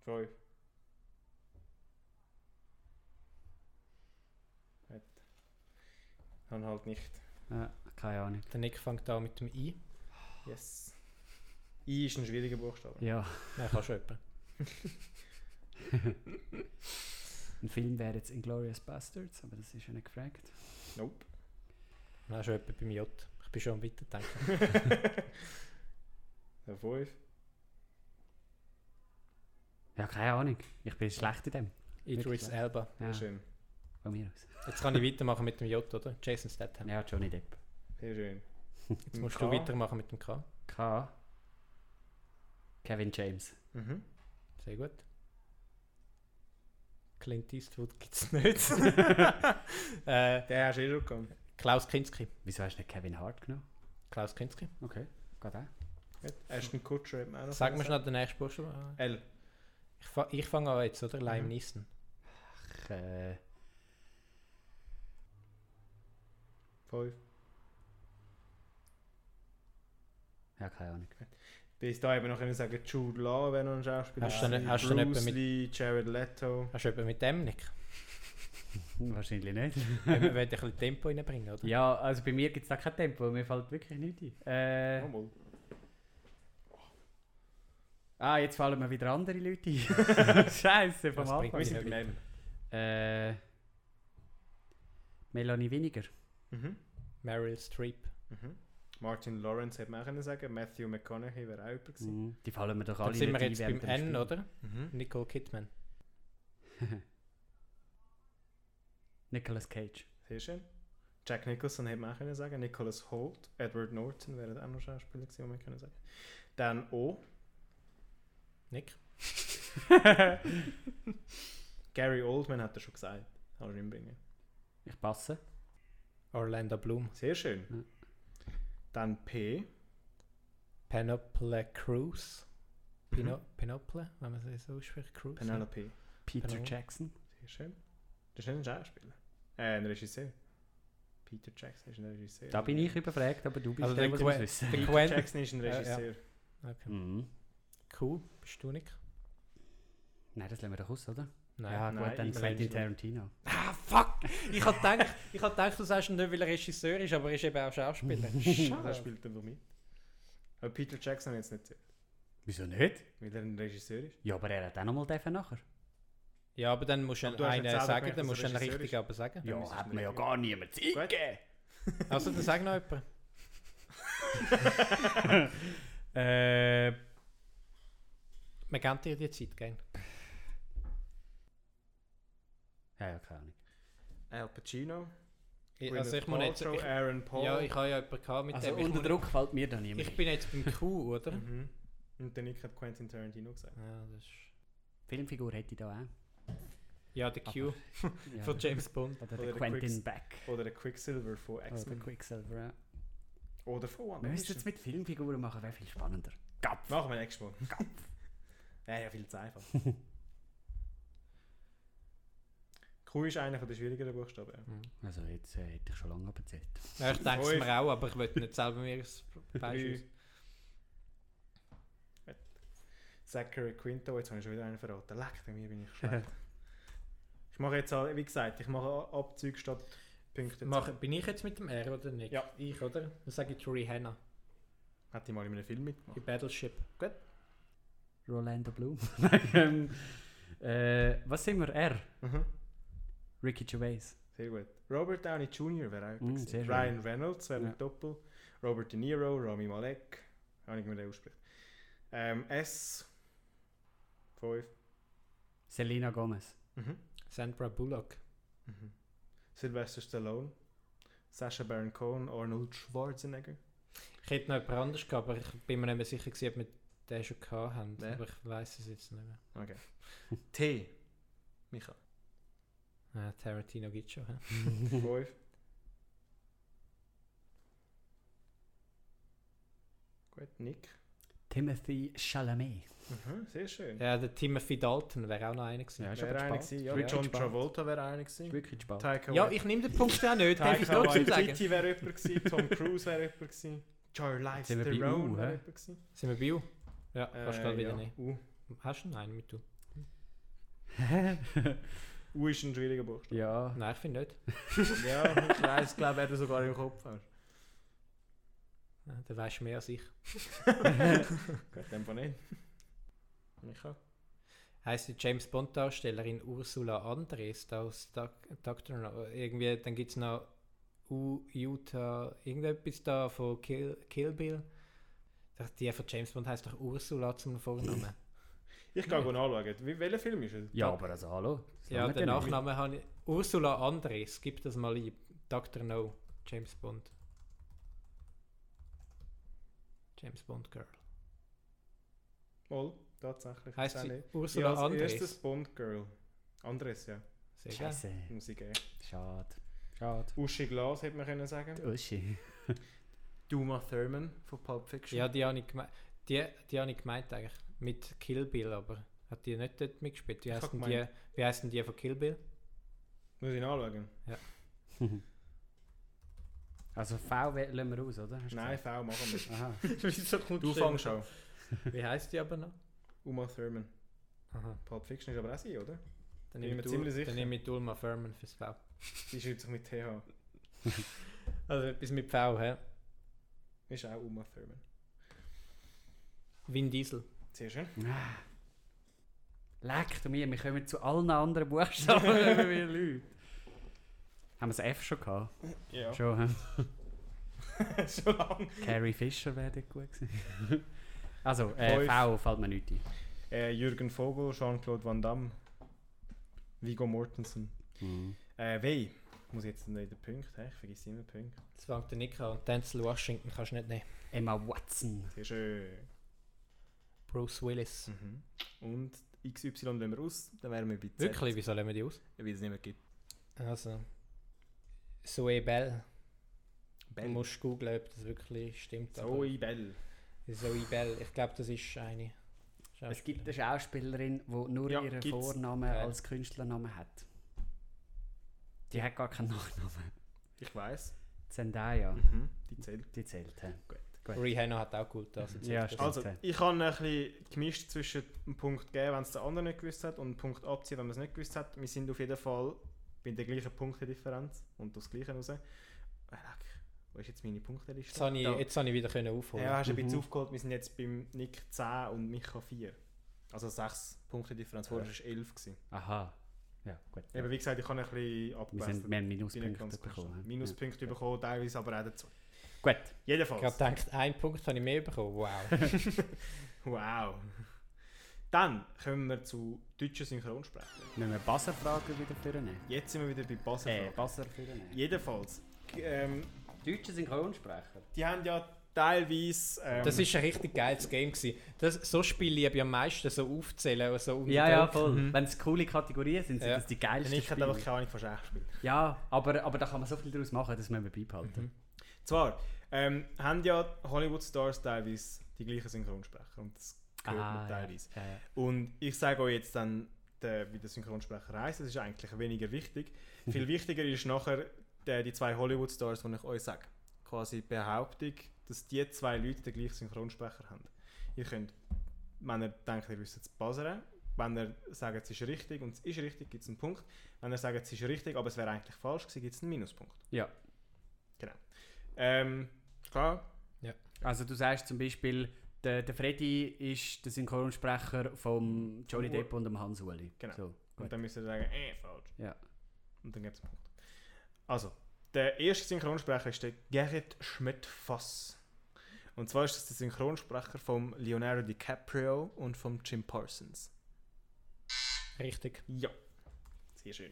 Speaker 2: Fünf. Gut. Dann halt nicht.
Speaker 5: keine Ahnung.
Speaker 4: Der Nick fängt an mit dem I.
Speaker 2: Yes. I ist ein schwieriger Buchstabe.
Speaker 5: Ja,
Speaker 4: Nein, kann schon jemand.
Speaker 5: ein Film wäre jetzt Inglourious Bastards, aber das ist ja nicht gefragt.
Speaker 4: <laughs>
Speaker 2: Nope.
Speaker 4: Nein, schon jemand beim J. Ich bin schon am Weiterdenken.
Speaker 5: <laughs>
Speaker 2: Dann Fünf.
Speaker 5: Ja, keine Ahnung. Ich bin schlecht in dem.
Speaker 4: Idris
Speaker 5: Wirklich?
Speaker 4: Elba.
Speaker 5: Ja,
Speaker 2: Sehr schön.
Speaker 5: von mir aus.
Speaker 4: Jetzt kann ich weitermachen mit dem J, oder? Jason Statham.
Speaker 5: Ja, Johnny Depp.
Speaker 2: Sehr schön.
Speaker 4: Jetzt musst du weitermachen mit dem K.
Speaker 5: K. Kevin James.
Speaker 4: <laughs>
Speaker 2: Mhm.
Speaker 4: Sehr gut. Clint Eastwood
Speaker 5: <laughs>
Speaker 4: gibt's nicht. äh,
Speaker 2: Den hast du eh schon gekommen.
Speaker 4: Klaus Kinski.
Speaker 5: Wieso hast du nicht Kevin Hart genommen?
Speaker 4: Klaus Kinski.
Speaker 5: Okay, geht auch.
Speaker 2: Gut. Ashton Kutscher hat man auch noch.
Speaker 4: Sag mir
Speaker 2: können
Speaker 4: schnell den nächsten Buchstaben.
Speaker 2: sagen. L.
Speaker 4: Ich, fa ich fange an jetzt, oder? Lime
Speaker 2: Mhm.
Speaker 4: Neeson.
Speaker 5: Ach, äh,
Speaker 2: Fünf.
Speaker 5: ja, keine Ahnung.
Speaker 2: Bis da eben noch können sagen, Jude Law wäre noch ein Schauspieler.
Speaker 4: Hast du denn-
Speaker 2: gewesen,
Speaker 4: hast du denn
Speaker 2: Bruce
Speaker 4: jemanden mit-
Speaker 2: Lee, Jared Leto.
Speaker 4: Hast du jemanden mit
Speaker 2: <laughs>
Speaker 4: dem, Nick? Hm,
Speaker 5: Wahrscheinlich nicht.
Speaker 4: Wir werden ein bisschen Tempo reinbringen,
Speaker 5: <laughs>
Speaker 4: oder?
Speaker 5: Ja, also bei mir gibt es da kein Tempo, mir fällt wirklich nichts ein. Äh,
Speaker 2: Nochmal.
Speaker 5: Ah, jetzt fallen mir wieder andere Leute
Speaker 4: <laughs>
Speaker 5: ein. Scheiße, vom
Speaker 4: Das bringt
Speaker 5: Anfang.
Speaker 4: mich.
Speaker 2: Wir sind beim M.
Speaker 5: Äh, Melanie Winiger.
Speaker 2: Mhm.
Speaker 4: Meryl Streep.
Speaker 2: Mhm. Martin Lawrence hätte man auch können sagen. Matthew McConaughey wäre auch jemand gewesen.
Speaker 5: Die fallen mir doch alle
Speaker 4: Dann Mhm. sind wir
Speaker 5: nicht ein
Speaker 4: jetzt beim
Speaker 5: während
Speaker 4: N,
Speaker 5: dem Spiel.
Speaker 4: oder?
Speaker 2: Mhm.
Speaker 4: Nicole Kidman.
Speaker 5: Nicolas Cage.
Speaker 2: Sehr schön. Jack Nicholson hätte man auch können sagen. Nicholas Holt. Edward Norton wäre auch noch Schauspieler gewesen, den wir können sagen. Dann O.
Speaker 5: <laughs>
Speaker 4: Nick?
Speaker 2: Gary Oldman hat er schon gesagt. Kann ich ihn bringen.
Speaker 5: Ich passe.
Speaker 4: Orlando Bloom.
Speaker 2: Sehr schön.
Speaker 5: Ja.
Speaker 2: Dann P.
Speaker 4: Penople Cruz. Pino Penople, wenn man es so ausspricht. Cruz. ne?
Speaker 2: Mhm. Penelope.
Speaker 5: Peter
Speaker 4: Genau.
Speaker 5: Jackson.
Speaker 2: Sehr schön. Das ist ein Schauspieler. Äh, ein Regisseur. Peter Jackson ist ein Regisseur.
Speaker 5: Da bin ich überfragt, aber du bist
Speaker 4: Also
Speaker 5: der,
Speaker 4: der
Speaker 5: der muss
Speaker 4: Quen-
Speaker 5: wissen.
Speaker 4: Der
Speaker 2: Peter
Speaker 4: Quentin.
Speaker 2: Jackson ist ein
Speaker 4: Ja, ja.
Speaker 2: Regisseur.
Speaker 4: Okay.
Speaker 5: Mhm.
Speaker 4: Cool. Bist du, Nick?
Speaker 5: Nein, das lassen wir doch aus, oder?
Speaker 4: Nein.
Speaker 5: ja, gut,
Speaker 2: nein,
Speaker 5: dann
Speaker 2: ich
Speaker 5: Quentin
Speaker 2: glaube
Speaker 5: Tarantino.
Speaker 4: Ah, fuck! Ich hab gedacht, ich hab gedacht, du sagst nicht, weil er Regisseur ist, aber er ist eben auch Schauspieler.
Speaker 2: Der <laughs>
Speaker 4: Schade.
Speaker 2: spielt einfach mit. Aber Peter Jackson jetzt nicht,
Speaker 5: Wieso nicht?
Speaker 2: weil er ein Regisseur ist.
Speaker 5: Ja, aber er hat auch nochmal dürfen nachher.
Speaker 4: Ja, aber dann musst du
Speaker 2: Aber du hast
Speaker 4: einen
Speaker 2: jetzt selber
Speaker 4: sagen,
Speaker 2: gemerkt, dass
Speaker 4: dann musst du
Speaker 2: er
Speaker 4: einen
Speaker 2: Regisseur
Speaker 4: richtig
Speaker 2: ist.
Speaker 4: aber sagen.
Speaker 5: Ja,
Speaker 2: müssen wir
Speaker 5: hat
Speaker 2: nicht
Speaker 5: mir ja
Speaker 2: reden.
Speaker 5: gar niemand eingegeben.
Speaker 4: Also, dann sag noch jemand. Eh,
Speaker 5: Äh,
Speaker 4: Wir geben dir die Zeit, gell?
Speaker 5: ja, ja, keine Ahnung.
Speaker 2: Al Pacino.
Speaker 4: Ich,
Speaker 2: Gwyneth
Speaker 4: also, ich muss jetzt.
Speaker 2: Paltrow,
Speaker 4: Ich,
Speaker 2: Aaron Paul.
Speaker 4: ja, ich habe ja jemanden gehabt mit
Speaker 5: Also
Speaker 4: dem. Ich,
Speaker 5: unter
Speaker 4: muss-
Speaker 5: Druck fällt mir da niemand
Speaker 4: ich
Speaker 5: ein.
Speaker 4: bin jetzt beim Q, oder?
Speaker 2: Mhm. Und der Nick hat Quentin Tarantino gesagt.
Speaker 4: Ja, das ist
Speaker 5: Filmfigur hätte ich da auch.
Speaker 4: ja der Q
Speaker 5: <laughs> Ja,
Speaker 4: von James Bond.
Speaker 5: Oder
Speaker 2: Oder
Speaker 5: der
Speaker 2: der
Speaker 5: Quentin
Speaker 2: Quicks-
Speaker 5: Beck.
Speaker 2: Oder der Quicksilver von
Speaker 4: Ah,
Speaker 5: Oder der
Speaker 2: X-Men.
Speaker 5: Quicksilver. ja.
Speaker 2: Oder von One
Speaker 5: Wir müssen jetzt mit Filmfiguren machen, wäre viel spannender. Gapf.
Speaker 2: Machen wir nächstes
Speaker 4: <laughs>
Speaker 2: Mal. ja, ja, viel zu einfach. Q ist einer der schwierigeren Buchstaben. ja.
Speaker 5: Also jetzt äh, hätte ich schon lange abgezählt.
Speaker 4: Ja, ich denke es
Speaker 2: Fünf.
Speaker 4: mir auch, aber ich will nicht selber mir <laughs> das
Speaker 2: Drei.
Speaker 4: Beispiel.
Speaker 2: Zachary Quinto, jetzt habe ich schon wieder einen verraten. Leck, bei mir bin ich
Speaker 4: <laughs>
Speaker 2: schlecht. ich mache jetzt, auch- wie gesagt, ich mache A- Abzüge statt Punkte.
Speaker 4: Mach, bin ich jetzt mit dem R oder nicht?
Speaker 2: Ja.
Speaker 4: Ich, oder? Dann sage ich Rihanna.
Speaker 2: Hat die mal in einem Film
Speaker 4: Bei
Speaker 2: mitgemacht.
Speaker 4: Battleship.
Speaker 5: Rolando Bloom. <laughs> Nein, ähm, äh, was sind wir? R.
Speaker 2: Mhm.
Speaker 5: Ricky Gervais.
Speaker 2: Sehr gut. Robert Downey Jr. wäre auch
Speaker 5: Mm,
Speaker 2: gewesen.
Speaker 5: sehr schön.
Speaker 2: Ryan Reynolds wäre
Speaker 5: Ja.
Speaker 2: mit Doppel. Robert De Niro, Rami Malek. Habe ich mir den ausspricht. Ähm, S. 5.
Speaker 5: Selena <laughs> Gomez.
Speaker 2: Mhm.
Speaker 4: Sandra Bullock.
Speaker 2: Mhm. Sylvester Stallone. Sacha Baron Cohen. Arnold Schwarzenegger.
Speaker 4: Ich hätte noch jemand anders gehabt, aber ich bin mir nicht mehr sicher, gewesen, ob wir den schon gehabt haben.
Speaker 2: Wer?
Speaker 4: Aber ich weiß es jetzt nicht mehr.
Speaker 2: Okay. T. <laughs> Michael.
Speaker 4: Ah, Tarantino gibt es schon. hä?
Speaker 2: 5. Gut, Nick.
Speaker 5: Timothy Chalamet.
Speaker 2: Mhm, sehr schön.
Speaker 4: Ja, der Timothy Dalton wäre auch noch einer gewesen.
Speaker 5: Ja, ist
Speaker 2: wäre
Speaker 5: aber
Speaker 2: einer
Speaker 5: spannend.
Speaker 2: gewesen. Ja,
Speaker 5: Wirklich
Speaker 2: John
Speaker 5: spannend.
Speaker 2: Travolta wäre einer gewesen.
Speaker 5: Wirklich spannend.
Speaker 2: Taika
Speaker 4: Ja,
Speaker 2: Wait-
Speaker 4: ich nehme den Punkt auch nicht, darf ich
Speaker 2: Taika
Speaker 4: trotzdem sagen.
Speaker 2: Waititi wäre jemand gewesen. Tom Cruise wäre jemand gewesen. Charlize
Speaker 5: Jetzt sind wir bei
Speaker 2: Theron
Speaker 5: U,
Speaker 2: wäre
Speaker 5: hä?
Speaker 2: jemand gewesen.
Speaker 4: Sind wir bei U? Ja, kannst du
Speaker 2: Äh,
Speaker 4: gerade wieder
Speaker 2: ja,
Speaker 4: nehmen.
Speaker 2: U.
Speaker 4: Hast du noch einen mit du?
Speaker 2: U ist ein schwieriger Buchstabe.
Speaker 5: <laughs> ja.
Speaker 4: Nein, ich finde nicht.
Speaker 2: ja, ich weiß, glaube er du sogar im Kopf <laughs> hast.
Speaker 4: Ja, Dann weißt du mehr als ich.
Speaker 2: Gut, dann von nicht. Michael.
Speaker 4: Heißt die James Bond Darstellerin Ursula Andres da aus Doc- Doctor No? Irgendwie, dann gibt es noch U Utah, irgendetwas da von Kill, Kill Bill. Doch, Die von James Bond heißt doch Ursula zum Vornamen.
Speaker 2: Ich gehe ja. nachschauen. Wie, welcher Film ist es?
Speaker 5: <laughs> Ja, aber also hallo. das
Speaker 4: ja,
Speaker 5: langt
Speaker 4: den
Speaker 5: nicht.
Speaker 4: Nachnamen habe ich. Ursula Andres, gib das mal ein. Dr. No, James Bond. James Bond Girl.
Speaker 2: Mal, tatsächlich.
Speaker 4: Heißt
Speaker 2: Ist auch
Speaker 4: sie
Speaker 2: nicht.
Speaker 4: Ursula
Speaker 2: Ja, als erstes
Speaker 4: Andres?
Speaker 2: Bond Girl. Andres, ja.
Speaker 4: Sehr geil.
Speaker 5: Scheiße.
Speaker 2: Muss ich geben.
Speaker 5: Schade. Schade.
Speaker 2: Uschi Glas hätte man können sagen.
Speaker 5: Uschi.
Speaker 2: Duma Thurman von Pulp Fiction.
Speaker 4: Ja, die habe ich, geme die, die habe ich gemeint eigentlich. Mit Kill Bill, aber hat die nicht dort mitgespielt? Wie
Speaker 2: Ich
Speaker 4: heißen
Speaker 2: hab
Speaker 4: die, wie heissen die von Kill Bill?
Speaker 2: Muss ich nachschauen?
Speaker 5: Also V we- lassen wir aus, oder? Hast du
Speaker 2: Nein, V machen <laughs> wir.
Speaker 5: gesagt? Aha.
Speaker 4: Wieso kommt
Speaker 2: Du fängst an.
Speaker 4: <laughs> Wie heißt die aber noch?
Speaker 2: Uma Thurman.
Speaker 4: Aha.
Speaker 2: Pulp Fiction ist aber auch sie, oder? Bin
Speaker 4: Dann nehme
Speaker 2: mir
Speaker 4: ich,
Speaker 2: ziemlich
Speaker 4: Ul-
Speaker 2: sicher.
Speaker 4: dann nehme ich Ulma Furman fürs V.
Speaker 2: Sie schreibt sich mit TH.
Speaker 4: Also etwas mit V, hä?
Speaker 2: Ist auch Uma Thurman.
Speaker 4: Vin Diesel.
Speaker 2: Sehr schön.
Speaker 5: Ah. Leck du mir, wir kommen zu allen anderen
Speaker 2: <laughs>
Speaker 5: Buchstaben, wenn wir Leute. Haben wir das F schon gehabt?
Speaker 2: Ja.
Speaker 5: Schon,
Speaker 2: <laughs>
Speaker 5: hä? <laughs>
Speaker 2: Schon lange.
Speaker 5: Carrie Fisher wäre dort gut gewesen. <laughs> also,
Speaker 2: Fünf.
Speaker 5: äh, V fällt mir nicht
Speaker 2: Äh, Jürgen Vogel, Jean-Claude Van Damme, Vigo Mortensen.
Speaker 5: ein.
Speaker 2: Äh, weh. Muss ich jetzt nicht den Punkt, hä? ich vergesse immer den Punkt.
Speaker 4: Jetzt fängt der Nick an und Denzel Washington kannst du nicht nehmen.
Speaker 5: Emma Watson.
Speaker 2: Sehr schön.
Speaker 4: Bruce Willis.
Speaker 2: Mhm. Und XY lassen wir aus, dann wären wir bei Z.
Speaker 4: Wirklich, wieso lassen wir die aus?
Speaker 2: Weil es nicht mehr gibt.
Speaker 4: Also. Zoe Bell.
Speaker 2: Bell.
Speaker 4: Du musst googeln, ob das wirklich stimmt. aber-
Speaker 2: Zoe Bell.
Speaker 4: Zoe Bell. Ich glaube, das ist eine.
Speaker 5: Es gibt eine Schauspielerin, die nur
Speaker 2: Ja,
Speaker 5: ihren
Speaker 2: gibt's.
Speaker 5: Vornamen
Speaker 4: Ja.
Speaker 5: als Künstlernamen hat. Die hat gar keinen <laughs> Nachnamen.
Speaker 2: Ich weiß.
Speaker 5: Zendaya.
Speaker 2: Mhm. Die zählt.
Speaker 5: Die zählt. hä?
Speaker 2: Gut.
Speaker 5: Gut.
Speaker 4: Rihanna hat auch gut das. und so.
Speaker 5: Ja,
Speaker 4: Das-
Speaker 5: stimmt.
Speaker 2: Also, ich habe ein bisschen gemischt zwischen dem Punkt geben, wenn es der andere nicht gewusst hat, und dem Punkt abziehen, wenn man es nicht gewusst hat. Wir sind auf jeden Fall bei der gleichen Punktedifferenz und das Gleiche raus. Ah, leck. Wo ist jetzt meine Punkteliste?
Speaker 4: Jetzt habe ich,
Speaker 2: Da.
Speaker 4: jetzt habe ich wieder können aufholen.
Speaker 2: Ja, hast du ein bisschen
Speaker 5: Mhm.
Speaker 2: aufgeholt. Wir sind jetzt beim Nick 10 und Micha 4. Also 6 Punkte Differenz. Vorher war es 11. Gewesen.
Speaker 5: Aha. Ja, gut.
Speaker 2: Eben, wie gesagt, ich habe ein bisschen
Speaker 5: wir, sind,
Speaker 2: abgewählt.
Speaker 5: wir haben Minuspunkte bekommen. ja.
Speaker 2: Minuspunkte bekommen, teilweise aber auch dazu.
Speaker 5: Gut.
Speaker 4: Ich habe
Speaker 2: Jedenfalls.
Speaker 4: gedacht, einen Punkt habe ich mehr bekommen. Wow.
Speaker 2: Wow. <laughs> Dann kommen wir zu deutschen Synchronsprechern.
Speaker 5: Müssen wir Basserfragen wieder vornehmen?
Speaker 2: Jetzt sind wir wieder bei Basel.
Speaker 5: Äh, Basser vornehmen.
Speaker 2: Jedenfalls. Ähm,
Speaker 5: Deutsche Synchronsprecher.
Speaker 2: die haben ja teilweise. Ähm,
Speaker 4: Das ist ein richtig geiles Game. Gewesen. Das, so Spiele liebe ich am meisten, so aufzählen. also um So unter
Speaker 5: Ja, ja,
Speaker 4: Druck.
Speaker 5: voll.
Speaker 2: Mhm.
Speaker 5: Wenn es coole Kategorien sind, sind
Speaker 4: Ja.
Speaker 5: das die geilsten
Speaker 2: ich hätte
Speaker 5: Spiele.
Speaker 2: einfach keine Mhm, Ahnung von Schachspielen.
Speaker 5: Ja, aber, aber da kann man so viel daraus machen, das müssen wir beibehalten.
Speaker 2: Zwar ähm, haben ja Hollywood-Stars teilweise die gleichen Synchronsprecher. Und das gehört man
Speaker 5: Ah, ja.
Speaker 2: teilweise.
Speaker 5: Ja, ja.
Speaker 2: Und ich sage euch jetzt dann, der, wie der Synchronsprecher heisst, das ist eigentlich weniger wichtig. Viel wichtiger ist nachher der, die zwei Hollywood-Stars, die ich euch sage. Quasi die Behauptung, dass die zwei Leute den gleichen Synchronsprecher haben. Ihr könnt, wenn ihr denkt, ihr wisst es buzzern, wenn ihr sagt, es ist richtig und es ist richtig, gibt es einen Punkt. Wenn ihr sagt, es ist richtig, aber es wäre eigentlich falsch gewesen, gibt es einen Minuspunkt.
Speaker 5: Ja.
Speaker 2: Genau. Ähm, klar,
Speaker 5: Also du sagst zum Beispiel, der, der Freddy ist der Synchronsprecher von Johnny
Speaker 2: Von Ur-
Speaker 5: Depp und dem Hans Uli.
Speaker 2: Genau.
Speaker 5: So,
Speaker 2: Und
Speaker 5: gut.
Speaker 2: dann müsst ihr sagen, eh, falsch.
Speaker 5: Ja.
Speaker 2: Und dann gibt es einen Punkt. Also, der erste Synchronsprecher ist der Gerrit Schmidt-Fass. Und zwar ist das der Synchronsprecher von Leonardo DiCaprio und von Jim Parsons.
Speaker 4: Richtig.
Speaker 2: Ja. Sehr schön.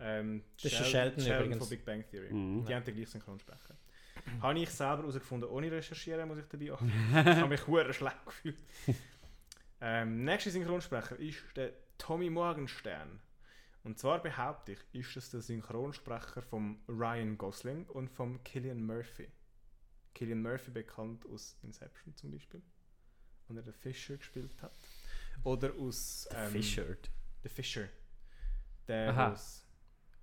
Speaker 2: Ähm,
Speaker 4: Das ist der Sheldon übrigens.
Speaker 2: von Big Bang Theory.
Speaker 5: Mhm.
Speaker 2: Die haben den gleichen Synchronsprecher. Habe ich selber herausgefunden, ohne recherchieren, muss ich dabei auch. ich habe mich hure schlecht gefühlt. ähm, nächster Synchronsprecher ist der Tommy Morgenstern. Und zwar behaupte ich, ist das der Synchronsprecher von Ryan Gosling und von Killian Murphy. Killian Murphy bekannt aus Inception zum Beispiel. Und er den Fisher gespielt hat. Oder aus ähm,
Speaker 5: Fischert.
Speaker 2: The Fisher. Der
Speaker 5: Aha.
Speaker 2: aus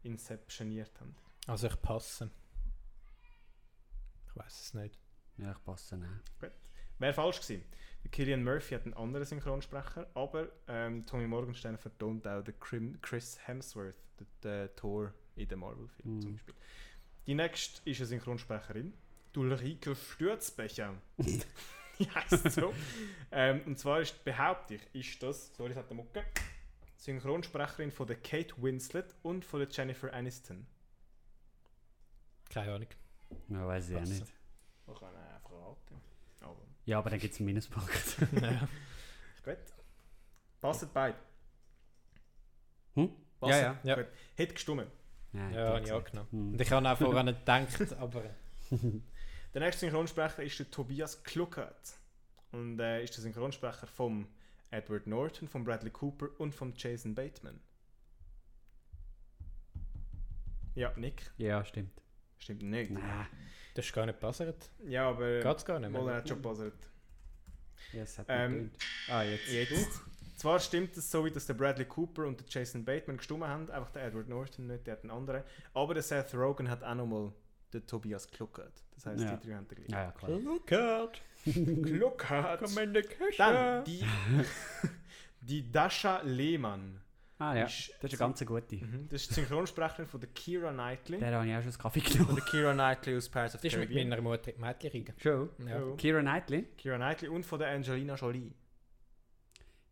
Speaker 2: Inceptioniert haben.
Speaker 4: Also ich passe. Ich weiß es nicht.
Speaker 5: Ja, ich passe nicht.
Speaker 2: Wäre falsch gewesen. Der Killian Murphy hat einen anderen Synchronsprecher, aber ähm, Tommy Morgenstern vertont auch den Crim Chris Hemsworth, den, den Thor in den Marvel-Filmen zum
Speaker 5: Mhm.
Speaker 2: Beispiel. Die nächste ist eine Synchronsprecherin, die Ulrike Stürzbecher. <laughs> die heisst so. ähm, und zwar ist, behaupte ich, ist das, sorry, es hat eine Mucke, Synchronsprecherin von der Kate Winslet und von der Jennifer Aniston.
Speaker 4: Keine Ahnung.
Speaker 5: Ja, weiß ich auch
Speaker 4: Passe.
Speaker 5: nicht.
Speaker 2: Man kann auch einfach raten. Aber
Speaker 5: Ja, aber dann gibt es
Speaker 2: <laughs>
Speaker 5: einen Minuspunkt.
Speaker 4: ja.
Speaker 2: gut. Passt beide.
Speaker 5: Hm?
Speaker 4: Ja, ja, ja.
Speaker 2: Gut. Hätte gestimmt.
Speaker 5: Nein,
Speaker 4: Ja, habe
Speaker 5: ich
Speaker 4: ich
Speaker 5: sag's
Speaker 4: auch
Speaker 5: nicht.
Speaker 4: genommen.
Speaker 5: Hm.
Speaker 4: Und ich habe auch vorher nicht gedacht, aber
Speaker 2: Der nächste Synchronsprecher ist der Tobias Kluckert. Und äh, ist der Synchronsprecher vom Edward Norton, von Bradley Cooper und von Jason Bateman. Ja, Nick.
Speaker 5: Ja, stimmt.
Speaker 2: Stimmt nicht.
Speaker 5: Nein.
Speaker 4: das ist gar nicht passiert.
Speaker 2: Ja, aber
Speaker 4: Geht es gar nicht
Speaker 2: Moller
Speaker 4: mehr.
Speaker 2: hat schon buzzert.
Speaker 5: Ja, es hat
Speaker 2: Ähm,
Speaker 5: nicht getönt. Ah, jetzt.
Speaker 2: Jetzt. Zwar stimmt es so, wie dass der Bradley Cooper und der Jason Bateman gestimmt haben, einfach der Edward Norton nicht, der hat einen anderen. Aber der Seth Rogen hat auch nochmal den Tobias Kluckert. Das heisst,
Speaker 5: Ja.
Speaker 2: die drei haben den gleichen.
Speaker 5: Ja, ja, klar. <laughs>
Speaker 4: Look out!
Speaker 2: Kluckert!
Speaker 4: in the kitchen!
Speaker 2: Dann die, <laughs> die Dasha Lehmann.
Speaker 5: Ah, ja. Das
Speaker 2: Ist-
Speaker 5: ist eine ganz gute.
Speaker 2: Mhm, Das ist die Synchronsprecherin von der Kira Knightley.
Speaker 5: Der habe ich auch schon das Kaffee
Speaker 2: Von
Speaker 5: genommen.
Speaker 2: der Kira Knightley aus Pirates of
Speaker 4: Das ist mit
Speaker 2: Caribbean.
Speaker 4: meiner Mutter im Mädchenring.
Speaker 5: Schon.
Speaker 4: Ja.
Speaker 2: Ja.
Speaker 5: Kira Knightley.
Speaker 2: Kira Knightley und von der Angelina Jolie.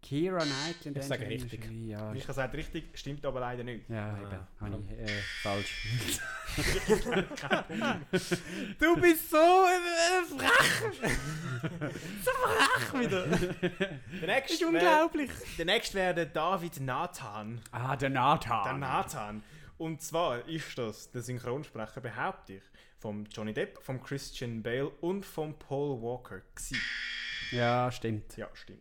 Speaker 5: Kira Knightley. und
Speaker 4: Ich sage
Speaker 5: Angelina
Speaker 4: richtig.
Speaker 5: Jolie, Ja,
Speaker 2: Micha sagt richtig, stimmt aber leider nicht.
Speaker 5: Ah, Ja,
Speaker 4: Ah,
Speaker 5: eben. Habe
Speaker 4: warum?
Speaker 5: ich äh, falsch. du bist so äh, frech! <laughs> so frech wieder!
Speaker 2: <laughs> Der nächste, wär- der nächste wäre der David Nathan.
Speaker 5: Ah, der Nathan!
Speaker 2: Der Nathan. Und zwar ist das der Synchronsprecher, behaupte ich, vom Johnny Depp, vom Christian Bale und von Paul Walker. Gsi.
Speaker 5: Ja, stimmt.
Speaker 2: Ja, stimmt.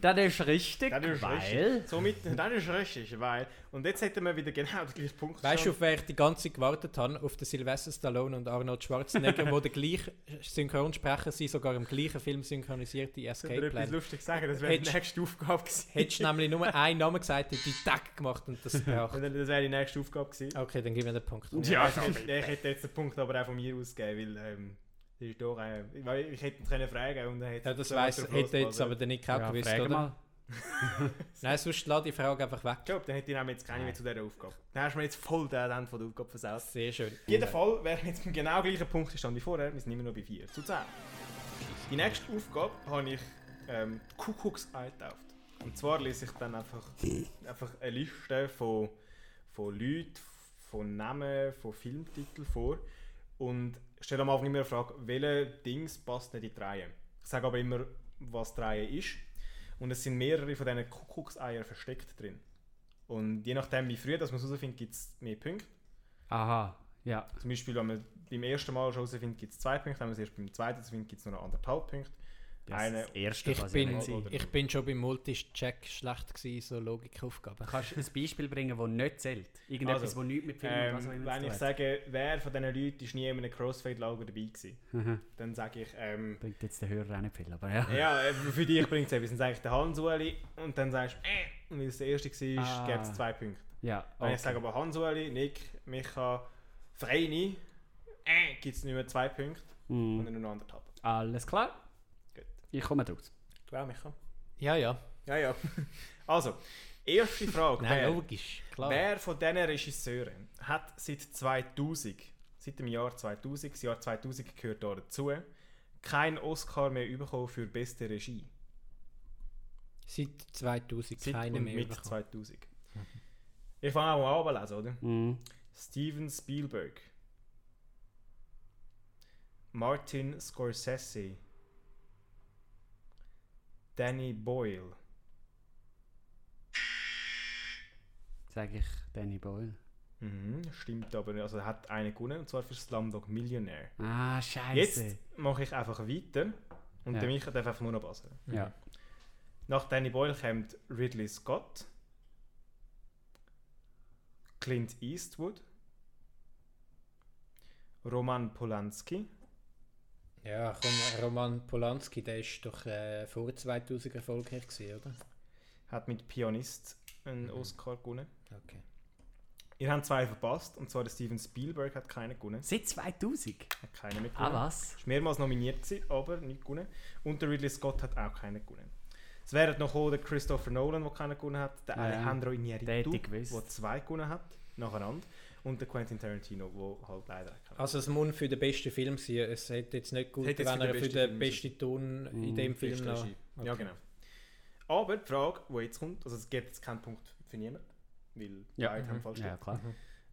Speaker 5: Das ist richtig,
Speaker 2: Das ist
Speaker 5: weil...
Speaker 2: richtig. Somit, das ist richtig, weil. Und jetzt hätten wir wieder genau den gleichen Punkt.
Speaker 4: Weißt du,
Speaker 2: schon.
Speaker 4: auf wer ich die ganze Zeit gewartet habe? Auf den Sylvester Stallone und Arnold Schwarzenegger, die den gleichen Synchronsprecher sind, sogar im gleichen Film synchronisiert, die
Speaker 2: Ich würde
Speaker 4: Escape
Speaker 2: etwas
Speaker 4: Plan.
Speaker 2: lustig sagen, das wäre die
Speaker 4: Hättest-
Speaker 2: nächste Aufgabe gewesen. <laughs>
Speaker 4: Hättest du nämlich nur einen Namen gesagt, hätte ich Tag gemacht und das
Speaker 2: Das
Speaker 4: gebracht.
Speaker 2: wäre die nächste Aufgabe gewesen.
Speaker 4: Okay, dann geben wir den Punkt.
Speaker 2: Ja, ich hätte jetzt den Punkt aber auch von mir ausgegeben, weil ähm, Das ist doch ein, ich, weiß, ich hätte ihn können fragen und dann hätte
Speaker 4: Ja, das
Speaker 2: jemand
Speaker 4: weiss,
Speaker 2: drauf
Speaker 4: hätte jetzt
Speaker 2: losgelassen.
Speaker 4: aber der Nick auch
Speaker 5: ja,
Speaker 4: gewusst,
Speaker 5: frag
Speaker 4: oder?
Speaker 5: mal.
Speaker 4: Nein, sonst lass die Frage einfach
Speaker 2: Ich
Speaker 4: weg.
Speaker 2: glaube, dann hätte ich nämlich jetzt keine mehr zu dieser Aufgabe. Dann hast du mir jetzt voll den Ende von der Aufgabe versaut.
Speaker 4: Sehr schön.
Speaker 2: Auf jeden Fall wären wir jetzt beim genau gleichen Punkt gestanden wie vorher. Wir sind immer noch bei 4 zu 10. Die nächste Aufgabe habe ich ähm, Kuckucksei getauft. Und zwar lese ich dann einfach, einfach eine Liste von, von Leuten, von Namen, von Filmtiteln vor und stelle am Anfang immer eine Frage, welche Dings passt nicht in die Reihe. Ich sage aber immer, was die Reihe ist. Und es sind mehrere von diesen Kuckuckseier versteckt drin. Und je nachdem, wie früh dass man es herausfindet, gibt es mehr Punkte.
Speaker 5: Aha, ja.
Speaker 2: Zum Beispiel, wenn man beim ersten Mal schon herausfindet, gibt es zwei Punkte, wenn man es erst beim zweiten herausfindet, gibt es nur noch anderthalb Punkte. Eine,
Speaker 5: das erste,
Speaker 4: Ich
Speaker 5: was
Speaker 4: bin,
Speaker 5: nicht sein.
Speaker 2: oder-
Speaker 4: ich bin schon beim Multicheck schlecht gewesen, so Logikaufgaben.
Speaker 5: Kannst du ein Beispiel bringen, das nicht zählt? Irgendetwas,
Speaker 2: Also,
Speaker 5: das nicht mit Filmen
Speaker 2: ähm,
Speaker 5: und was auch immer
Speaker 2: wenn
Speaker 5: zu
Speaker 2: ich
Speaker 5: tun hat?
Speaker 2: sage, wer von diesen Leuten ist nie in einem Crossfade-Lager dabei gewesen,
Speaker 5: Mhm.
Speaker 2: dann sage ich, ähm,
Speaker 5: Bringt jetzt den Hörer auch nicht viel, aber ja.
Speaker 2: ja, äh, für dich bringt es etwas. Dann sage ich den Hans-Ueli und dann sagst du, äh, und weil es der erste war,
Speaker 5: Ah.
Speaker 2: gäbe es zwei Punkte.
Speaker 5: Ja,
Speaker 2: Wenn
Speaker 5: okay.
Speaker 2: ich sage aber Hans-Ueli, Nick, Micha, Freini, äh, gibt es nicht mehr zwei Punkte,
Speaker 5: Mm,
Speaker 2: sondern nur noch anderthalb.
Speaker 5: Alles klar?
Speaker 2: Gut.
Speaker 5: Ich komme draus.
Speaker 2: Klar, Micha?
Speaker 4: Ja, ja.
Speaker 2: Ja, ja. <laughs> Also, erste Frage.
Speaker 4: Nein,
Speaker 2: wer-
Speaker 4: logisch. Klar.
Speaker 2: Wer von diesen Regisseuren hat seit 2000, seit dem Jahr 2000, das Jahr 2000 gehört da dazu, keinen Oscar mehr bekommen für beste Regie?
Speaker 4: Seit 2000
Speaker 2: Seit
Speaker 4: keine
Speaker 2: und
Speaker 4: mehr.
Speaker 2: mit
Speaker 4: bekommen.
Speaker 2: 2000. Ich fange auch mal an lesen, oder?
Speaker 5: Mm.
Speaker 2: Steven Spielberg. Martin Scorsese. Danny Boyle.
Speaker 5: Sage ich Danny Boyle.
Speaker 2: Mhm, stimmt aber, nicht. also er hat einen gewonnen, und zwar für Slumdog Millionaire.
Speaker 5: Ah, scheiße.
Speaker 2: Jetzt mache ich einfach weiter und
Speaker 5: Ja.
Speaker 2: der Micha darf einfach nur noch passen.
Speaker 5: Ja.
Speaker 2: Nach Danny Boyle kommt Ridley Scott, Clint Eastwood, Roman Polanski.
Speaker 4: Ja, komm, Roman Polanski, der ist doch äh, vor 2000 erfolgreich gewesen, oder?
Speaker 2: hat mit Pianist einen
Speaker 5: Mhm.
Speaker 2: Oscar gewonnen.
Speaker 4: Okay.
Speaker 2: Ihr habt zwei verpasst, und zwar der Steven Spielberg hat keinen gewonnen.
Speaker 5: Seit 2000?
Speaker 2: Hat keinen mit
Speaker 5: Ah,
Speaker 2: gewonnen.
Speaker 5: was?
Speaker 2: Ist mehrmals nominiert gewesen, aber nicht gewonnen. Und der Ridley Scott hat auch keinen gewonnen. Es wären noch gekommen, der Christopher Nolan, der keinen gewonnen hat, der
Speaker 5: Ja, ja.
Speaker 2: Alejandro
Speaker 5: Den hätte
Speaker 2: Iñárritu,
Speaker 5: ich gewusst.
Speaker 2: der zwei gewonnen hat, nacheinander, und der Quentin Tarantino, der halt leider keinen
Speaker 5: Ah,
Speaker 4: Also es muss für den besten Film sein. Es hätte jetzt nicht gut,
Speaker 2: Hätte
Speaker 4: wenn
Speaker 2: jetzt für
Speaker 4: er
Speaker 2: den
Speaker 4: für
Speaker 2: besten
Speaker 4: den
Speaker 2: Film Mhm,
Speaker 4: besten Ton in dem Film noch... Okay.
Speaker 2: Ja, genau. Aber die Frage, die jetzt kommt, also es gibt jetzt keinen Punkt für niemanden, weil beide haben falsch
Speaker 5: Ja,
Speaker 2: gelegt.
Speaker 5: klar.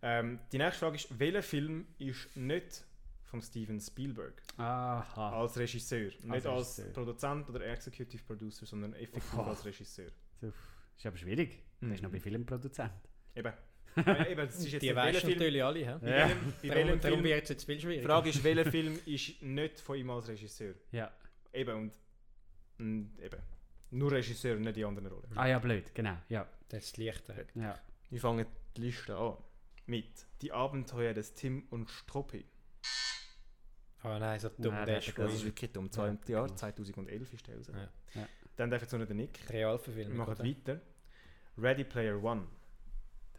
Speaker 2: Ähm, die nächste Frage ist, welcher Film ist nicht von Steven Spielberg
Speaker 5: Aha.
Speaker 2: als Regisseur? Nicht als,
Speaker 5: Ah. Regisseur.
Speaker 2: Produzent oder Executive Producer, sondern effektiv
Speaker 5: Boah.
Speaker 2: als Regisseur.
Speaker 5: Ist aber schwierig. Das ist noch
Speaker 2: Mhm.
Speaker 5: bei Filmproduzenten.
Speaker 2: <laughs> Eben. Äh, Eben, das ist jetzt
Speaker 4: Die
Speaker 2: nicht
Speaker 4: weisst
Speaker 2: welcher
Speaker 4: du
Speaker 2: Film.
Speaker 4: natürlich alle, hä?
Speaker 2: Bei welchem, bei
Speaker 4: Darum,
Speaker 2: welchem
Speaker 4: darum
Speaker 2: Film,
Speaker 4: wird es jetzt viel
Speaker 2: die
Speaker 4: schwieriger.
Speaker 2: Frage ist, welcher Film ist nicht von ihm als Regisseur?
Speaker 5: Ja.
Speaker 2: Eben und, und eben. Nur Regisseur, nicht die anderen Rollen.
Speaker 5: Ah ja, blöd, genau. Ja.
Speaker 4: Das ist leicht. äh.
Speaker 5: ja.
Speaker 2: Wir fangen die Liste an mit Die Abenteuer des Tim und Struppi.
Speaker 4: Oh nein, so
Speaker 5: Nein,
Speaker 4: dumm, der
Speaker 5: der
Speaker 4: ist
Speaker 5: hat
Speaker 4: gut.
Speaker 5: das-
Speaker 2: Das ist wirklich dumm.
Speaker 5: Ja,
Speaker 2: Zwei Jahr
Speaker 5: genau.
Speaker 2: 2011 ist der raus.
Speaker 4: Ja.
Speaker 5: Ja.
Speaker 2: Dann darf jetzt nur der Nick. Wir
Speaker 4: Realverfilmung,
Speaker 2: machen
Speaker 4: oder?
Speaker 2: weiter. Ready Player One,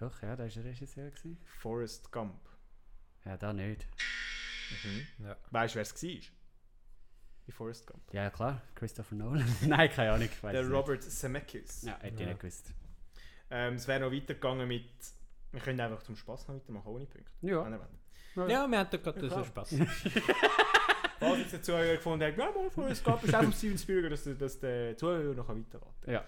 Speaker 5: Doch, ja, da war der Regisseur. Gewesen.
Speaker 2: Forrest Gump.
Speaker 5: Ja, da nicht.
Speaker 4: Ja.
Speaker 2: Weißt du, wer es war? Bei Forrest Gump.
Speaker 5: Ja, klar. Christopher Nolan. <laughs> Nein, keine Ahnung. Ich weiss
Speaker 2: der
Speaker 5: es
Speaker 2: Robert Zemeckis.
Speaker 5: Nicht. Ja, hätte
Speaker 4: Ja.
Speaker 5: ich nicht gewusst.
Speaker 2: Ähm, es wäre noch weitergegangen mit. Wir können einfach zum Spass noch weitermachen, ohne Punkte. Ah,
Speaker 5: Ja.
Speaker 2: Wenn ihr wollt.
Speaker 4: Ja, wir haben doch gerade
Speaker 2: Ja,
Speaker 4: so
Speaker 2: klar.
Speaker 4: Spaß.
Speaker 2: <laughs> Falls jetzt der Zuhörer gefunden hat, ja, mal Forrest Gump ist auch vom Steven Spielberg, dass, dass der Zuhörer noch weiterraten kann.
Speaker 5: Ja.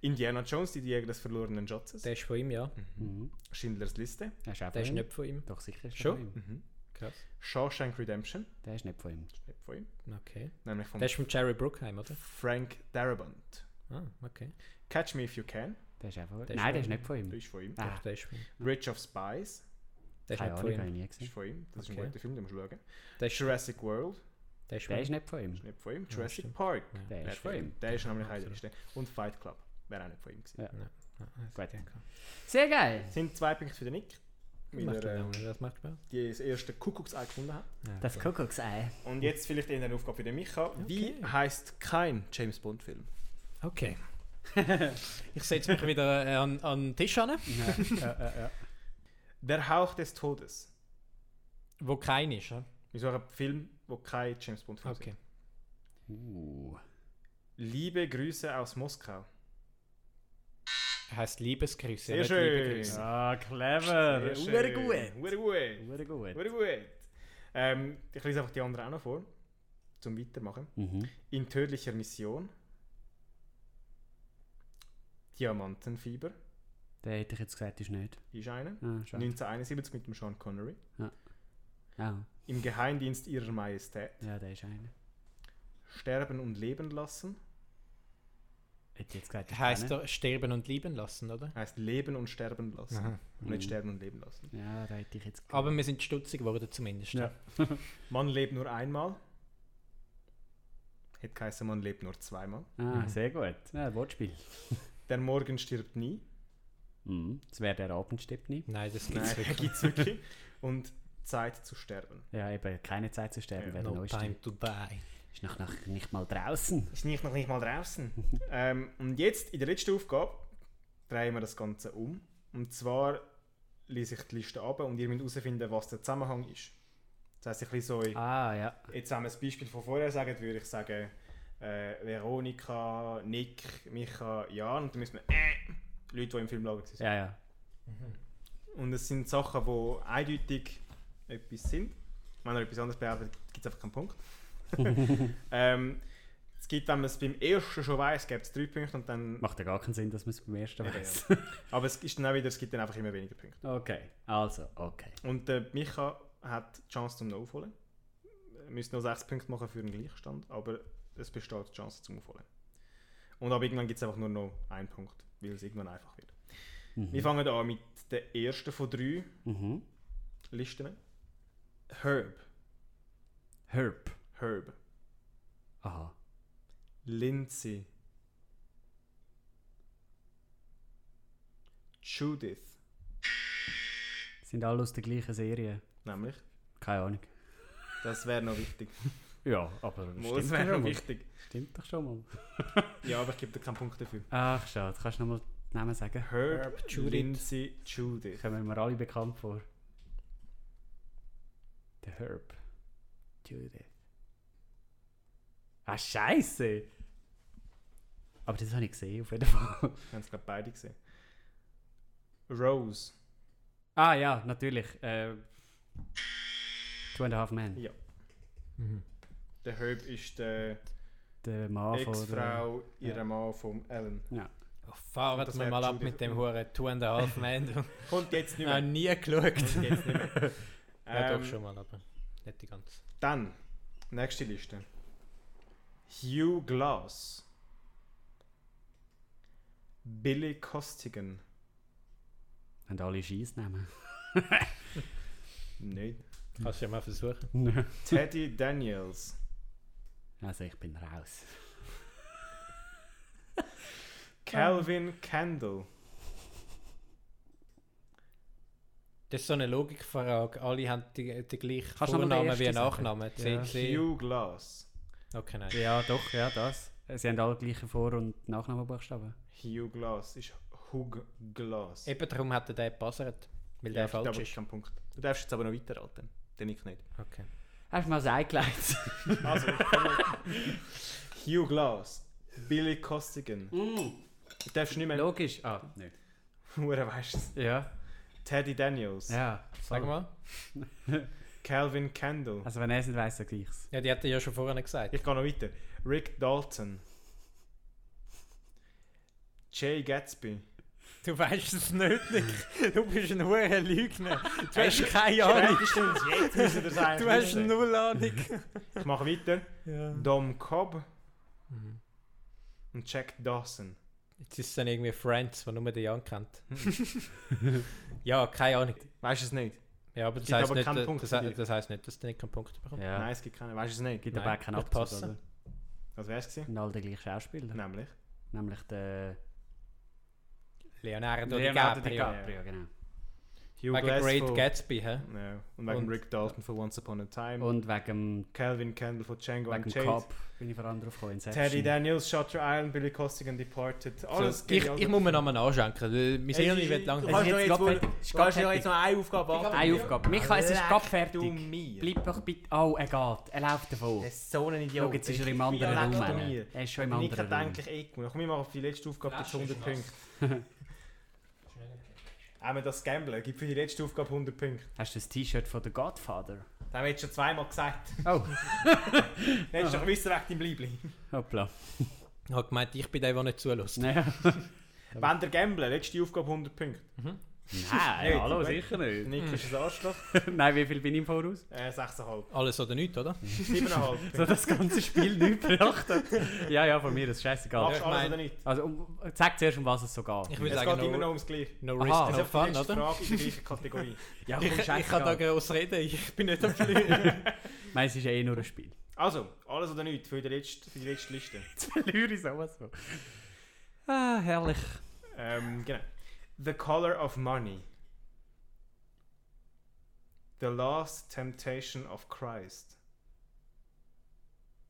Speaker 2: Indiana Jones, die Jäger des verlorenen Schatzes.
Speaker 4: Der ist von ihm, ja.
Speaker 5: Mhm.
Speaker 2: Schindlers Liste.
Speaker 5: Der ist auch von
Speaker 4: Der ist
Speaker 2: Mhm.
Speaker 5: ihm.
Speaker 4: nicht von ihm.
Speaker 5: Doch, sicher ist der
Speaker 4: Schon?
Speaker 5: von ihm.
Speaker 4: Krass.
Speaker 2: Shawshank Redemption.
Speaker 5: Der ist nicht von ihm.
Speaker 2: Nicht Von ihm.
Speaker 4: Okay.
Speaker 2: Nämlich von
Speaker 4: Der ist von Jerry Bruckheim, oder?
Speaker 2: Frank Darabont.
Speaker 4: Ah, okay.
Speaker 2: Catch Me If You Can.
Speaker 4: Mhm.
Speaker 5: Der ist auch von
Speaker 4: Der
Speaker 5: ihm.
Speaker 4: ist
Speaker 5: Nein,
Speaker 4: von
Speaker 5: der ist
Speaker 4: ihm.
Speaker 5: nicht von
Speaker 2: Das
Speaker 5: ihm.
Speaker 2: ist von ihm.
Speaker 5: Ah,
Speaker 4: Doch, der ist von ihm.
Speaker 2: Rich of Spies.
Speaker 4: Der ist
Speaker 5: keine Ahnung,
Speaker 4: nicht
Speaker 5: habe
Speaker 4: von
Speaker 5: ich
Speaker 4: ihm.
Speaker 5: nie
Speaker 2: Das ist
Speaker 5: gesehen.
Speaker 2: von ihm. Das ist
Speaker 4: Okay.
Speaker 2: ein guter Film, den musst du schauen.
Speaker 4: Der ist, der
Speaker 2: Jurassic World.
Speaker 4: ist von
Speaker 5: Der ist
Speaker 4: ihm.
Speaker 5: nicht von ihm.
Speaker 2: Ist nicht von ihm.
Speaker 4: Ja,
Speaker 2: Jurassic
Speaker 4: stimmt.
Speaker 2: Park.
Speaker 4: Ja.
Speaker 5: Der
Speaker 2: Wer
Speaker 5: ist von ihm.
Speaker 2: Der ist nämlich auch
Speaker 4: Absolut.
Speaker 2: der Liste. Und Fight Club. Wäre auch nicht von ihm gewesen.
Speaker 5: Ja.
Speaker 4: Ah,
Speaker 5: Gut.
Speaker 4: okay.
Speaker 5: Sehr geil.
Speaker 2: Sind zwei Punkte für den Nick. Weil
Speaker 4: Macht
Speaker 2: er
Speaker 4: Spaß.
Speaker 2: äh,
Speaker 4: Das macht Spaß.
Speaker 2: die das erste Kuckucksei gefunden hat.
Speaker 5: Das Kuckucksei.
Speaker 2: Und jetzt vielleicht eher eine Aufgabe für den Micha. Wie heißt kein James Bond Film?
Speaker 4: Okay. <laughs> ich setze mich wieder äh, an, an den Tisch an,
Speaker 5: ja, ja, ja.
Speaker 2: Der Hauch des Todes.
Speaker 4: wo kein ist. hä?
Speaker 2: Wir suchen Filme, wo kein James Bond Film
Speaker 4: Okay.
Speaker 5: Uh.
Speaker 2: sind. Liebe Grüße aus Moskau.
Speaker 4: Heißt Liebesgrüße.
Speaker 2: Sehr
Speaker 4: nicht
Speaker 2: schön.
Speaker 4: Liebegrüße.
Speaker 5: Ah, clever. Sehr gut.
Speaker 2: Sehr gut.
Speaker 5: Sehr gut.
Speaker 2: Sehr gut. Ähm, ich lese einfach die anderen auch noch vor, zum Weitermachen.
Speaker 5: Mhm.
Speaker 2: In tödlicher Mission. Diamantenfieber
Speaker 5: Den hätte ich jetzt gesagt, ist nicht.
Speaker 2: ist eine.
Speaker 5: Ah, schade.
Speaker 2: 1971 mit dem Sean Connery.
Speaker 5: Ah,
Speaker 2: Im Geheimdienst ihrer Majestät.
Speaker 5: ja, der ist einer.
Speaker 2: Sterben und leben lassen.
Speaker 5: Hätte ich jetzt gesagt, ist
Speaker 4: Heißt
Speaker 5: keiner.
Speaker 4: er Sterben und Lieben lassen, oder?
Speaker 2: Heißt leben und sterben lassen. Und nicht
Speaker 5: Mhm.
Speaker 2: sterben und leben lassen.
Speaker 5: Ja, da hätte ich jetzt
Speaker 4: Aber wir sind stutzig geworden zumindest.
Speaker 5: Ja.
Speaker 2: Man lebt nur einmal. Hätte geheißen, man lebt nur zweimal.
Speaker 5: Ah,
Speaker 4: Mhm.
Speaker 5: sehr gut. Ja, Wortspiel.
Speaker 2: Der Morgen stirbt nie.
Speaker 5: Mhm. Das wäre der ne? Abendstippni.
Speaker 4: Nein, das
Speaker 2: Nein,
Speaker 4: gibt's wirklich.
Speaker 2: <laughs> gibt's wirklich. Und Zeit zu sterben.
Speaker 5: Ja, eben, keine Zeit zu sterben,
Speaker 2: Ja,
Speaker 5: wäre der
Speaker 4: No
Speaker 5: neueste.
Speaker 4: time to die.
Speaker 5: Ist noch, noch nicht mal draußen.
Speaker 2: Ist nicht noch nicht mal
Speaker 5: <laughs>
Speaker 2: draußen. ähm, und jetzt, in der letzten Aufgabe, drehen wir das Ganze um. Und zwar lese ich die Liste ab und ihr müsst herausfinden, was der Zusammenhang ist. Das heisst, ich lese euch
Speaker 5: Ah, ja.
Speaker 2: jetzt haben wir ein Beispiel von vorher sagen, würde ich sagen, äh, Veronika, Nick, Micha, Jan. Und dann müssen wir äh, Leute, die im Filmlager sind.
Speaker 5: Ja, ja.
Speaker 2: Und es sind Sachen, die eindeutig etwas sind. Wenn er etwas anderes behauptet, gibt es einfach keinen Punkt. ähm, es gibt, wenn man es beim ersten schon weiß, gibt es drei Punkte und dann.
Speaker 5: Macht ja gar keinen Sinn, dass man es beim ersten
Speaker 2: Ja,
Speaker 5: weiß. <laughs>
Speaker 2: Aber es ist dann auch wieder, es gibt dann einfach immer weniger Punkte.
Speaker 5: Okay, also, okay.
Speaker 2: Und der Micha hat die Chance zum Aufholen. Er müsste noch sechs Punkte machen für den Gleichstand, aber es besteht die Chance zum Aufholen. Und ab irgendwann gibt es einfach nur noch einen Punkt, weil es irgendwann einfach wird. Wir fangen an mit der ersten von drei
Speaker 5: Mhm.
Speaker 2: Listen. Herb.
Speaker 5: Herb.
Speaker 2: Herb.
Speaker 5: Aha.
Speaker 2: Lindsay. Judith.
Speaker 5: Sind alle aus der gleichen Serie?
Speaker 2: Nämlich.
Speaker 5: Keine Ahnung.
Speaker 2: Das wäre noch wichtig.
Speaker 5: Ja, aber
Speaker 2: Das
Speaker 5: doch
Speaker 2: wäre
Speaker 5: schon
Speaker 2: noch
Speaker 5: mal.
Speaker 2: wichtig.
Speaker 5: Stimmt doch schon <laughs> mal.
Speaker 2: Ja, aber ich gebe dir keinen Punkt dafür.
Speaker 5: Ach, schade. Kannst du nochmal die Namen sagen?
Speaker 2: Herb,
Speaker 4: Judith.
Speaker 2: Lindsay, Judith.
Speaker 5: Kommen mir alle bekannt vor. Der Herb. Judith. Ah, Scheiße! Oh, Aber das habe ich gesehen, auf jeden Fall.
Speaker 2: Wir haben es gerade beide gesehen. Rose.
Speaker 5: <laughs> ah, ja, natürlich. Äh, Two and a Half Men.
Speaker 2: Ja. Der Herb ist der
Speaker 5: Der Mann von. Der,
Speaker 2: Ex-Frau ihrer Mann von Ellen.
Speaker 4: Oh,
Speaker 2: Und das
Speaker 4: fahren wir
Speaker 2: wär
Speaker 4: mal ab
Speaker 2: Judith.
Speaker 4: mit dem Huren Two and a
Speaker 2: <laughs>
Speaker 4: Half Man. Ich
Speaker 2: Kommt jetzt nicht
Speaker 4: habe
Speaker 2: mehr. <laughs>
Speaker 4: nie geschaut.
Speaker 2: Kommt jetzt nicht mehr.
Speaker 4: Ja,
Speaker 2: Ähm,
Speaker 4: doch schon mal, aber nicht die ganze.
Speaker 2: Dann, nächste Liste. Hugh Glass. Billy Costigan.
Speaker 5: haben alle <laughs> Scheissnamen.
Speaker 2: Nein.
Speaker 4: Kannst du ja mal versuchen.
Speaker 2: Teddy Daniels.
Speaker 5: also, ich bin raus.
Speaker 2: Calvin Kendall.
Speaker 4: Das ist so eine Logikfrage. Alle haben die- den gleichen
Speaker 5: Kannst du noch mal den
Speaker 4: Vornamen wie
Speaker 5: ersten
Speaker 4: Nachnamen.
Speaker 5: sagen?
Speaker 4: C,
Speaker 2: Hugh Glass.
Speaker 4: Okay, nein.
Speaker 5: Ja, doch, ja, das. Sie haben alle gleiche Vor- und Nachnamenbuchstaben.
Speaker 2: Hugh Glass ist Hugh Glass.
Speaker 4: Eben darum hat er den gepassert. Weil der
Speaker 2: ich glaube,
Speaker 4: falsch
Speaker 2: ich
Speaker 4: ist.
Speaker 2: keinen Punkt. Du darfst jetzt aber noch weiterraten. Den ich nicht.
Speaker 4: Okay.
Speaker 5: Hast du mal das eingeleitet?
Speaker 2: Also, ich komme- Hugh Glass. Billy Costigan. Mm. Du darfst nicht mehr.
Speaker 5: Logisch. Ah, nicht.
Speaker 2: Hure weißt es.
Speaker 5: Ja,
Speaker 2: Teddy Daniels.
Speaker 5: ja.
Speaker 4: Sag mal.
Speaker 2: Calvin Kendall.
Speaker 5: Also, wenn er es nicht weiss, sag ich's.
Speaker 4: Ja, die hat er ja schon vorher gesagt.
Speaker 2: Ich gehe noch weiter. Rick Dalton. Jay Gatsby.
Speaker 4: Du weißt es nicht, Nick. Du bist ein hoher Lügner. Du hast keine Ahnung.
Speaker 2: Jetzt müssen wir das eigentlich
Speaker 4: Du hast
Speaker 2: wissen.
Speaker 4: null Ahnung.
Speaker 2: Ich mache weiter.
Speaker 4: Ja.
Speaker 2: Dom Cobb Mhm. und Jack Dawson.
Speaker 4: Jetzt ist es dann irgendwie Friends, die nur den Jan kennt. <laughs> ja, keine Ahnung.
Speaker 2: Weißt du es nicht?
Speaker 4: Ja, aber das
Speaker 2: Gibt
Speaker 4: heisst
Speaker 2: aber
Speaker 4: nicht,
Speaker 2: keinen Punkt
Speaker 4: das,
Speaker 2: für dich.
Speaker 4: das heisst nicht, dass du nicht keinen Punkt bekommst.
Speaker 5: Ja.
Speaker 2: Nein, es gibt keinen. Weißt du es nicht?
Speaker 5: Gibt
Speaker 4: Nein,
Speaker 5: aber auch keinen
Speaker 4: wird
Speaker 5: Abzug,
Speaker 4: passen.
Speaker 5: oder?
Speaker 2: Was wäre es gewesen?
Speaker 5: Sind alle der gleiche Schauspieler.
Speaker 2: Nämlich.
Speaker 5: Nämlich der
Speaker 4: Leonardo,
Speaker 5: Leonardo
Speaker 4: DiCaprio.
Speaker 5: DiCaprio, genau.
Speaker 2: Hugh
Speaker 4: Wegen
Speaker 2: Glass
Speaker 4: Great
Speaker 2: von-
Speaker 4: Gatsby, hä?
Speaker 2: Ja, und wegen
Speaker 4: Und-
Speaker 2: Rick Dalton von Once Upon a Time.
Speaker 5: Und wegen,
Speaker 2: Calvin Kendall von Django
Speaker 5: wegen
Speaker 2: Unchained.
Speaker 5: Cup bin ich vor allem drauf gekommen. Inception.
Speaker 2: Teddy Daniels, Shutter Island, Billy Costigan, Departed. Alles
Speaker 4: so, ich,
Speaker 2: genial.
Speaker 4: ich muss mir nochmal anschenken. weil Mein
Speaker 2: Ey,
Speaker 4: Hirn wird
Speaker 2: Du kannst
Speaker 5: Es ist
Speaker 4: langsam.
Speaker 2: noch
Speaker 5: jetzt
Speaker 2: jetzt,
Speaker 5: gerade
Speaker 2: wohl-
Speaker 5: fertig.
Speaker 2: du
Speaker 5: Ist
Speaker 2: kannst
Speaker 5: gerade
Speaker 2: noch jetzt noch eine Aufgabe ab.
Speaker 5: Eine Aufgabe. Michael, es ist gerade
Speaker 2: Du
Speaker 5: fertig.
Speaker 2: mir.
Speaker 5: Bleib doch bitte... Oh, er geht. Er läuft davon.
Speaker 2: Das ist so ein Idiot.
Speaker 5: Schau, jetzt ist er im anderen
Speaker 2: Ja, leck
Speaker 5: Raum.
Speaker 2: doch
Speaker 5: äh.
Speaker 2: mir.
Speaker 5: Er ist schon im
Speaker 2: Ich
Speaker 5: anderen
Speaker 2: hätte
Speaker 5: Raum.
Speaker 2: eigentlich eh gewonnen. Komm, ich mache auf die letzte Aufgabe
Speaker 4: Lass
Speaker 2: jetzt 100
Speaker 4: es, lass
Speaker 2: Punkte. Auch wenn das Gamblen gibt für die letzte Aufgabe 100 Punkte.
Speaker 5: Hast du das T-Shirt von The Godfather?
Speaker 2: Das haben wir jetzt schon zweimal <laughs> gesagt.
Speaker 5: Oh, <laughs>
Speaker 2: Dann hättest du doch wissen weg deinem Bleibli. <laughs>
Speaker 5: hoppla.
Speaker 4: Ich habe gemeint, ich bin der, der nicht zulässt.
Speaker 5: Nein,
Speaker 2: Wenn der Gamblen, letzte Aufgabe 100 Punkte.
Speaker 5: Nein hallo, sicher nicht.
Speaker 2: Nick ist ein Arschloch.
Speaker 5: Nein, wie viel bin ich im Voraus?
Speaker 2: Äh, 6,5.
Speaker 4: Alles oder nichts, oder?
Speaker 2: 7,5.
Speaker 5: <laughs> So das ganze <laughs> Spiel nicht bedacht hat. Ja, ja, von mir ist scheißegal.
Speaker 2: Machst
Speaker 4: ich
Speaker 2: du alles
Speaker 4: mein-
Speaker 2: oder nicht?
Speaker 5: Also, um, zeig zuerst, um was es so geht.
Speaker 4: Ich würde
Speaker 2: Es geht
Speaker 4: sagen,
Speaker 2: immer noch
Speaker 4: no,
Speaker 2: ums Gleiche.
Speaker 4: no
Speaker 5: Aha. Das
Speaker 4: risk,
Speaker 2: Das
Speaker 4: no
Speaker 2: ist einfach die
Speaker 4: fun,
Speaker 2: letzte
Speaker 4: oder?
Speaker 2: Frage in der gleichen Kategorie.
Speaker 5: Ja, komm,
Speaker 4: Ich, ich kann da
Speaker 5: scheißegal.
Speaker 4: groß
Speaker 2: <laughs>
Speaker 4: reden, ich bin nicht am Fliegen.
Speaker 5: Ich meine, es ist eh nur ein Spiel.
Speaker 2: Also, alles oder nichts für die letzte, für die letzte Liste.
Speaker 5: <laughs> Jetzt verliere ich sowas von. Ah, herrlich.
Speaker 2: Ähm, genau. The Color of Money. The Last Temptation of Christ.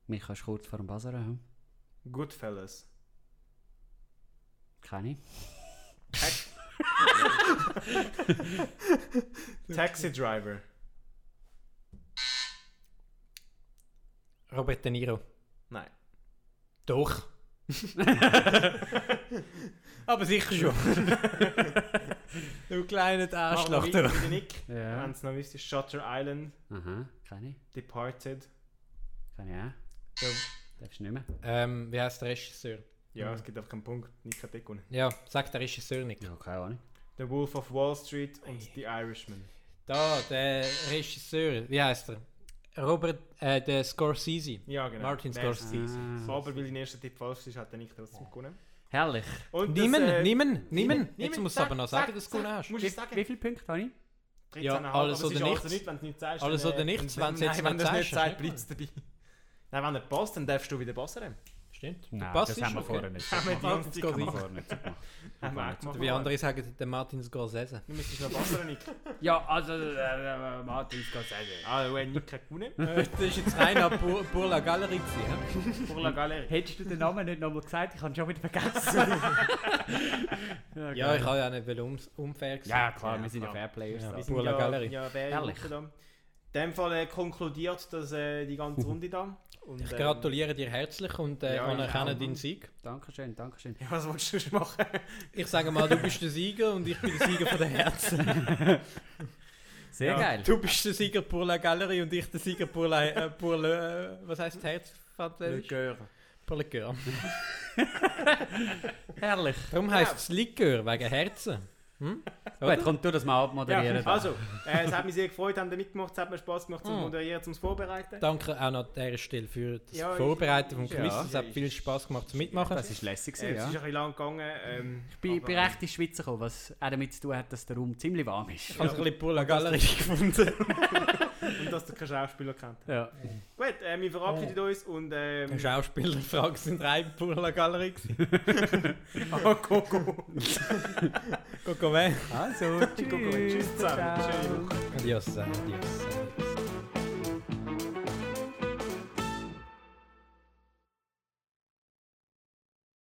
Speaker 5: Mich kannst du kurz vor dem Buzzer haben.
Speaker 2: Goodfellas.
Speaker 5: Keine.
Speaker 2: Taxi Driver.
Speaker 4: Robert De Niro.
Speaker 2: Nein.
Speaker 4: Doch.
Speaker 2: <laughs>
Speaker 4: Aber sicher
Speaker 2: <laughs>
Speaker 4: schon. du kleiner Arschloch.
Speaker 2: Machen wir
Speaker 4: du.
Speaker 2: weiter mit dem Nick.
Speaker 5: Ja.
Speaker 2: Wenn es noch wisst, ist Shutter Island,
Speaker 5: Aha, keine.
Speaker 2: Departed.
Speaker 5: Keine auch. Ja. Darfst du nicht mehr.
Speaker 4: Ähm, wie heißt der Regisseur?
Speaker 2: Ja, es gibt auch keinen Punkt. Nick hat eh gewonnen.
Speaker 4: Ja, sag der Regisseur nicht.
Speaker 5: Ja, keine Ahnung.
Speaker 2: The Wolf of Wall Street und The Irishman.
Speaker 4: Da, der Regisseur, wie heißt er? Robert, äh, der Scorsese.
Speaker 2: Ja, genau.
Speaker 4: Martin
Speaker 2: Wer-
Speaker 4: Scorsese.
Speaker 5: Ah.
Speaker 2: Aber weil dein erster Tipp falsch ist, hat er nicht trotzdem gewonnen.
Speaker 5: Herrlich.
Speaker 2: Und das,
Speaker 4: Niemen,
Speaker 2: äh,
Speaker 4: niemen, niemen. Jetzt
Speaker 2: niemen.
Speaker 4: musst du
Speaker 2: Sag,
Speaker 4: aber noch
Speaker 2: sag,
Speaker 4: sagen, dass du gewonnen hast.
Speaker 2: Musst
Speaker 5: Wie,
Speaker 2: du sagen?
Speaker 5: wie viele Punkte habe ich?
Speaker 4: Ja,
Speaker 2: 13,5,
Speaker 4: alles
Speaker 2: halt- aber es
Speaker 4: oder
Speaker 2: ist
Speaker 4: nichts.
Speaker 2: Nicht, wenn du nichts sagst,
Speaker 4: Alles
Speaker 2: dann,
Speaker 4: oder
Speaker 2: äh,
Speaker 4: nichts,
Speaker 2: dann-
Speaker 4: wenn du jetzt
Speaker 2: nein, wenn
Speaker 4: nicht
Speaker 2: das nicht
Speaker 4: sagst,
Speaker 2: sagt, bleibt es dabei. <laughs> Nein, wenn er passt, dann darfst du wieder passen.
Speaker 4: Stimmt.
Speaker 5: Nein,
Speaker 4: Passt,
Speaker 5: das
Speaker 4: ist
Speaker 5: haben wir
Speaker 4: okay.
Speaker 5: vorher nicht.
Speaker 2: Haben wir die ganze Zeit
Speaker 4: Scorsese.
Speaker 5: Haben wir
Speaker 2: gemacht.
Speaker 5: vorher nicht so gemacht.
Speaker 2: Haben wir auch gemacht.
Speaker 4: Wie andere sagen, der Martin Scorsese.
Speaker 2: Du müsstest noch passen, Nick.
Speaker 5: Ja, also, äh, äh, Martin Scorsese.
Speaker 2: Ah, du hast Nick hat gewonnen.
Speaker 4: das ist jetzt rein an Bur Burla Galerie gewesen.
Speaker 2: Pour la Galerie.
Speaker 5: Hättest du den Namen nicht nochmal gesagt? Ich habe ihn schon wieder <laughs> vergessen.
Speaker 4: hä? Ja, ich habe ja nicht wollen, ums- unfair
Speaker 5: ja,
Speaker 4: sein.
Speaker 5: klar,
Speaker 2: Ja,
Speaker 5: wir sind ja
Speaker 2: klar.
Speaker 5: Fairplayers.
Speaker 4: Ja.
Speaker 5: Ja.
Speaker 2: Wir sind
Speaker 4: Pour la
Speaker 2: ja-
Speaker 4: Galerie.
Speaker 2: Ja, wer
Speaker 5: Herrlich.
Speaker 2: Nick da. In dem Fall äh, konkludiert dass äh, die ganze Runde da. Und,
Speaker 4: Ich
Speaker 2: ähm,
Speaker 4: gratuliere dir herzlich und äh,
Speaker 2: Ja, ich
Speaker 4: anerkenne
Speaker 5: auch.
Speaker 4: deinen Sieg.
Speaker 5: Dankeschön, Dankeschön.
Speaker 2: Ja, was wolltest du sonst machen?
Speaker 4: Ich sage mal, du bist der Sieger und ich bin der Sieger von der Herzen.
Speaker 5: Sehr
Speaker 2: Ja.
Speaker 5: geil.
Speaker 4: Du bist der Sieger pour la Galerie und ich der Sieger pour la... Äh, pour le, äh, was heisst Herz? äh,
Speaker 2: Le
Speaker 4: Französisch?
Speaker 2: Coeur.
Speaker 4: Pour le Cœur.
Speaker 5: Herrlich.
Speaker 4: Darum heisst es Likör, wegen Herzen. Hm? Oder?
Speaker 5: Gut, komm, tu das mal
Speaker 2: <laughs>
Speaker 5: abmoderieren.
Speaker 2: Ja,
Speaker 5: da.
Speaker 2: also, äh, es hat mich sehr gefreut, haben da mitgemacht, es hat mir Spaß gemacht zum
Speaker 4: Mm.
Speaker 2: Moderieren, zum Vorbereiten. Äh,
Speaker 4: Danke auch noch an dieser Stelle für das
Speaker 2: Ja, ich-
Speaker 4: Vorbereiten vom
Speaker 2: ja,
Speaker 4: Quiz. Es hat
Speaker 2: ist-
Speaker 4: viel Spass gemacht zu mitmachen.
Speaker 5: das ist lässig
Speaker 2: Äh,
Speaker 5: gewesen,
Speaker 2: es ist ein
Speaker 5: ja.
Speaker 2: bisschen lang gegangen. Ähm,
Speaker 5: Ich bin,
Speaker 2: aber-
Speaker 5: bin recht in die Schweiz gekommen, was auch damit zu tun hat, dass der Raum ziemlich warm ist.
Speaker 4: Ich habe ein bisschen pour la Galerie <laughs> gefunden.
Speaker 2: Und dass du keinen Schauspieler kennt.
Speaker 5: Ja.
Speaker 2: Gut, äh, wir verabschieden uns und ähm,
Speaker 4: Schauspielerfragen sind rein pour la Galerie gewesen.
Speaker 2: oh, Coco.
Speaker 4: Guck mal.
Speaker 5: Also, <laughs>
Speaker 2: Coco, tschüss zusammen. Tschüss.
Speaker 4: Adios, adios.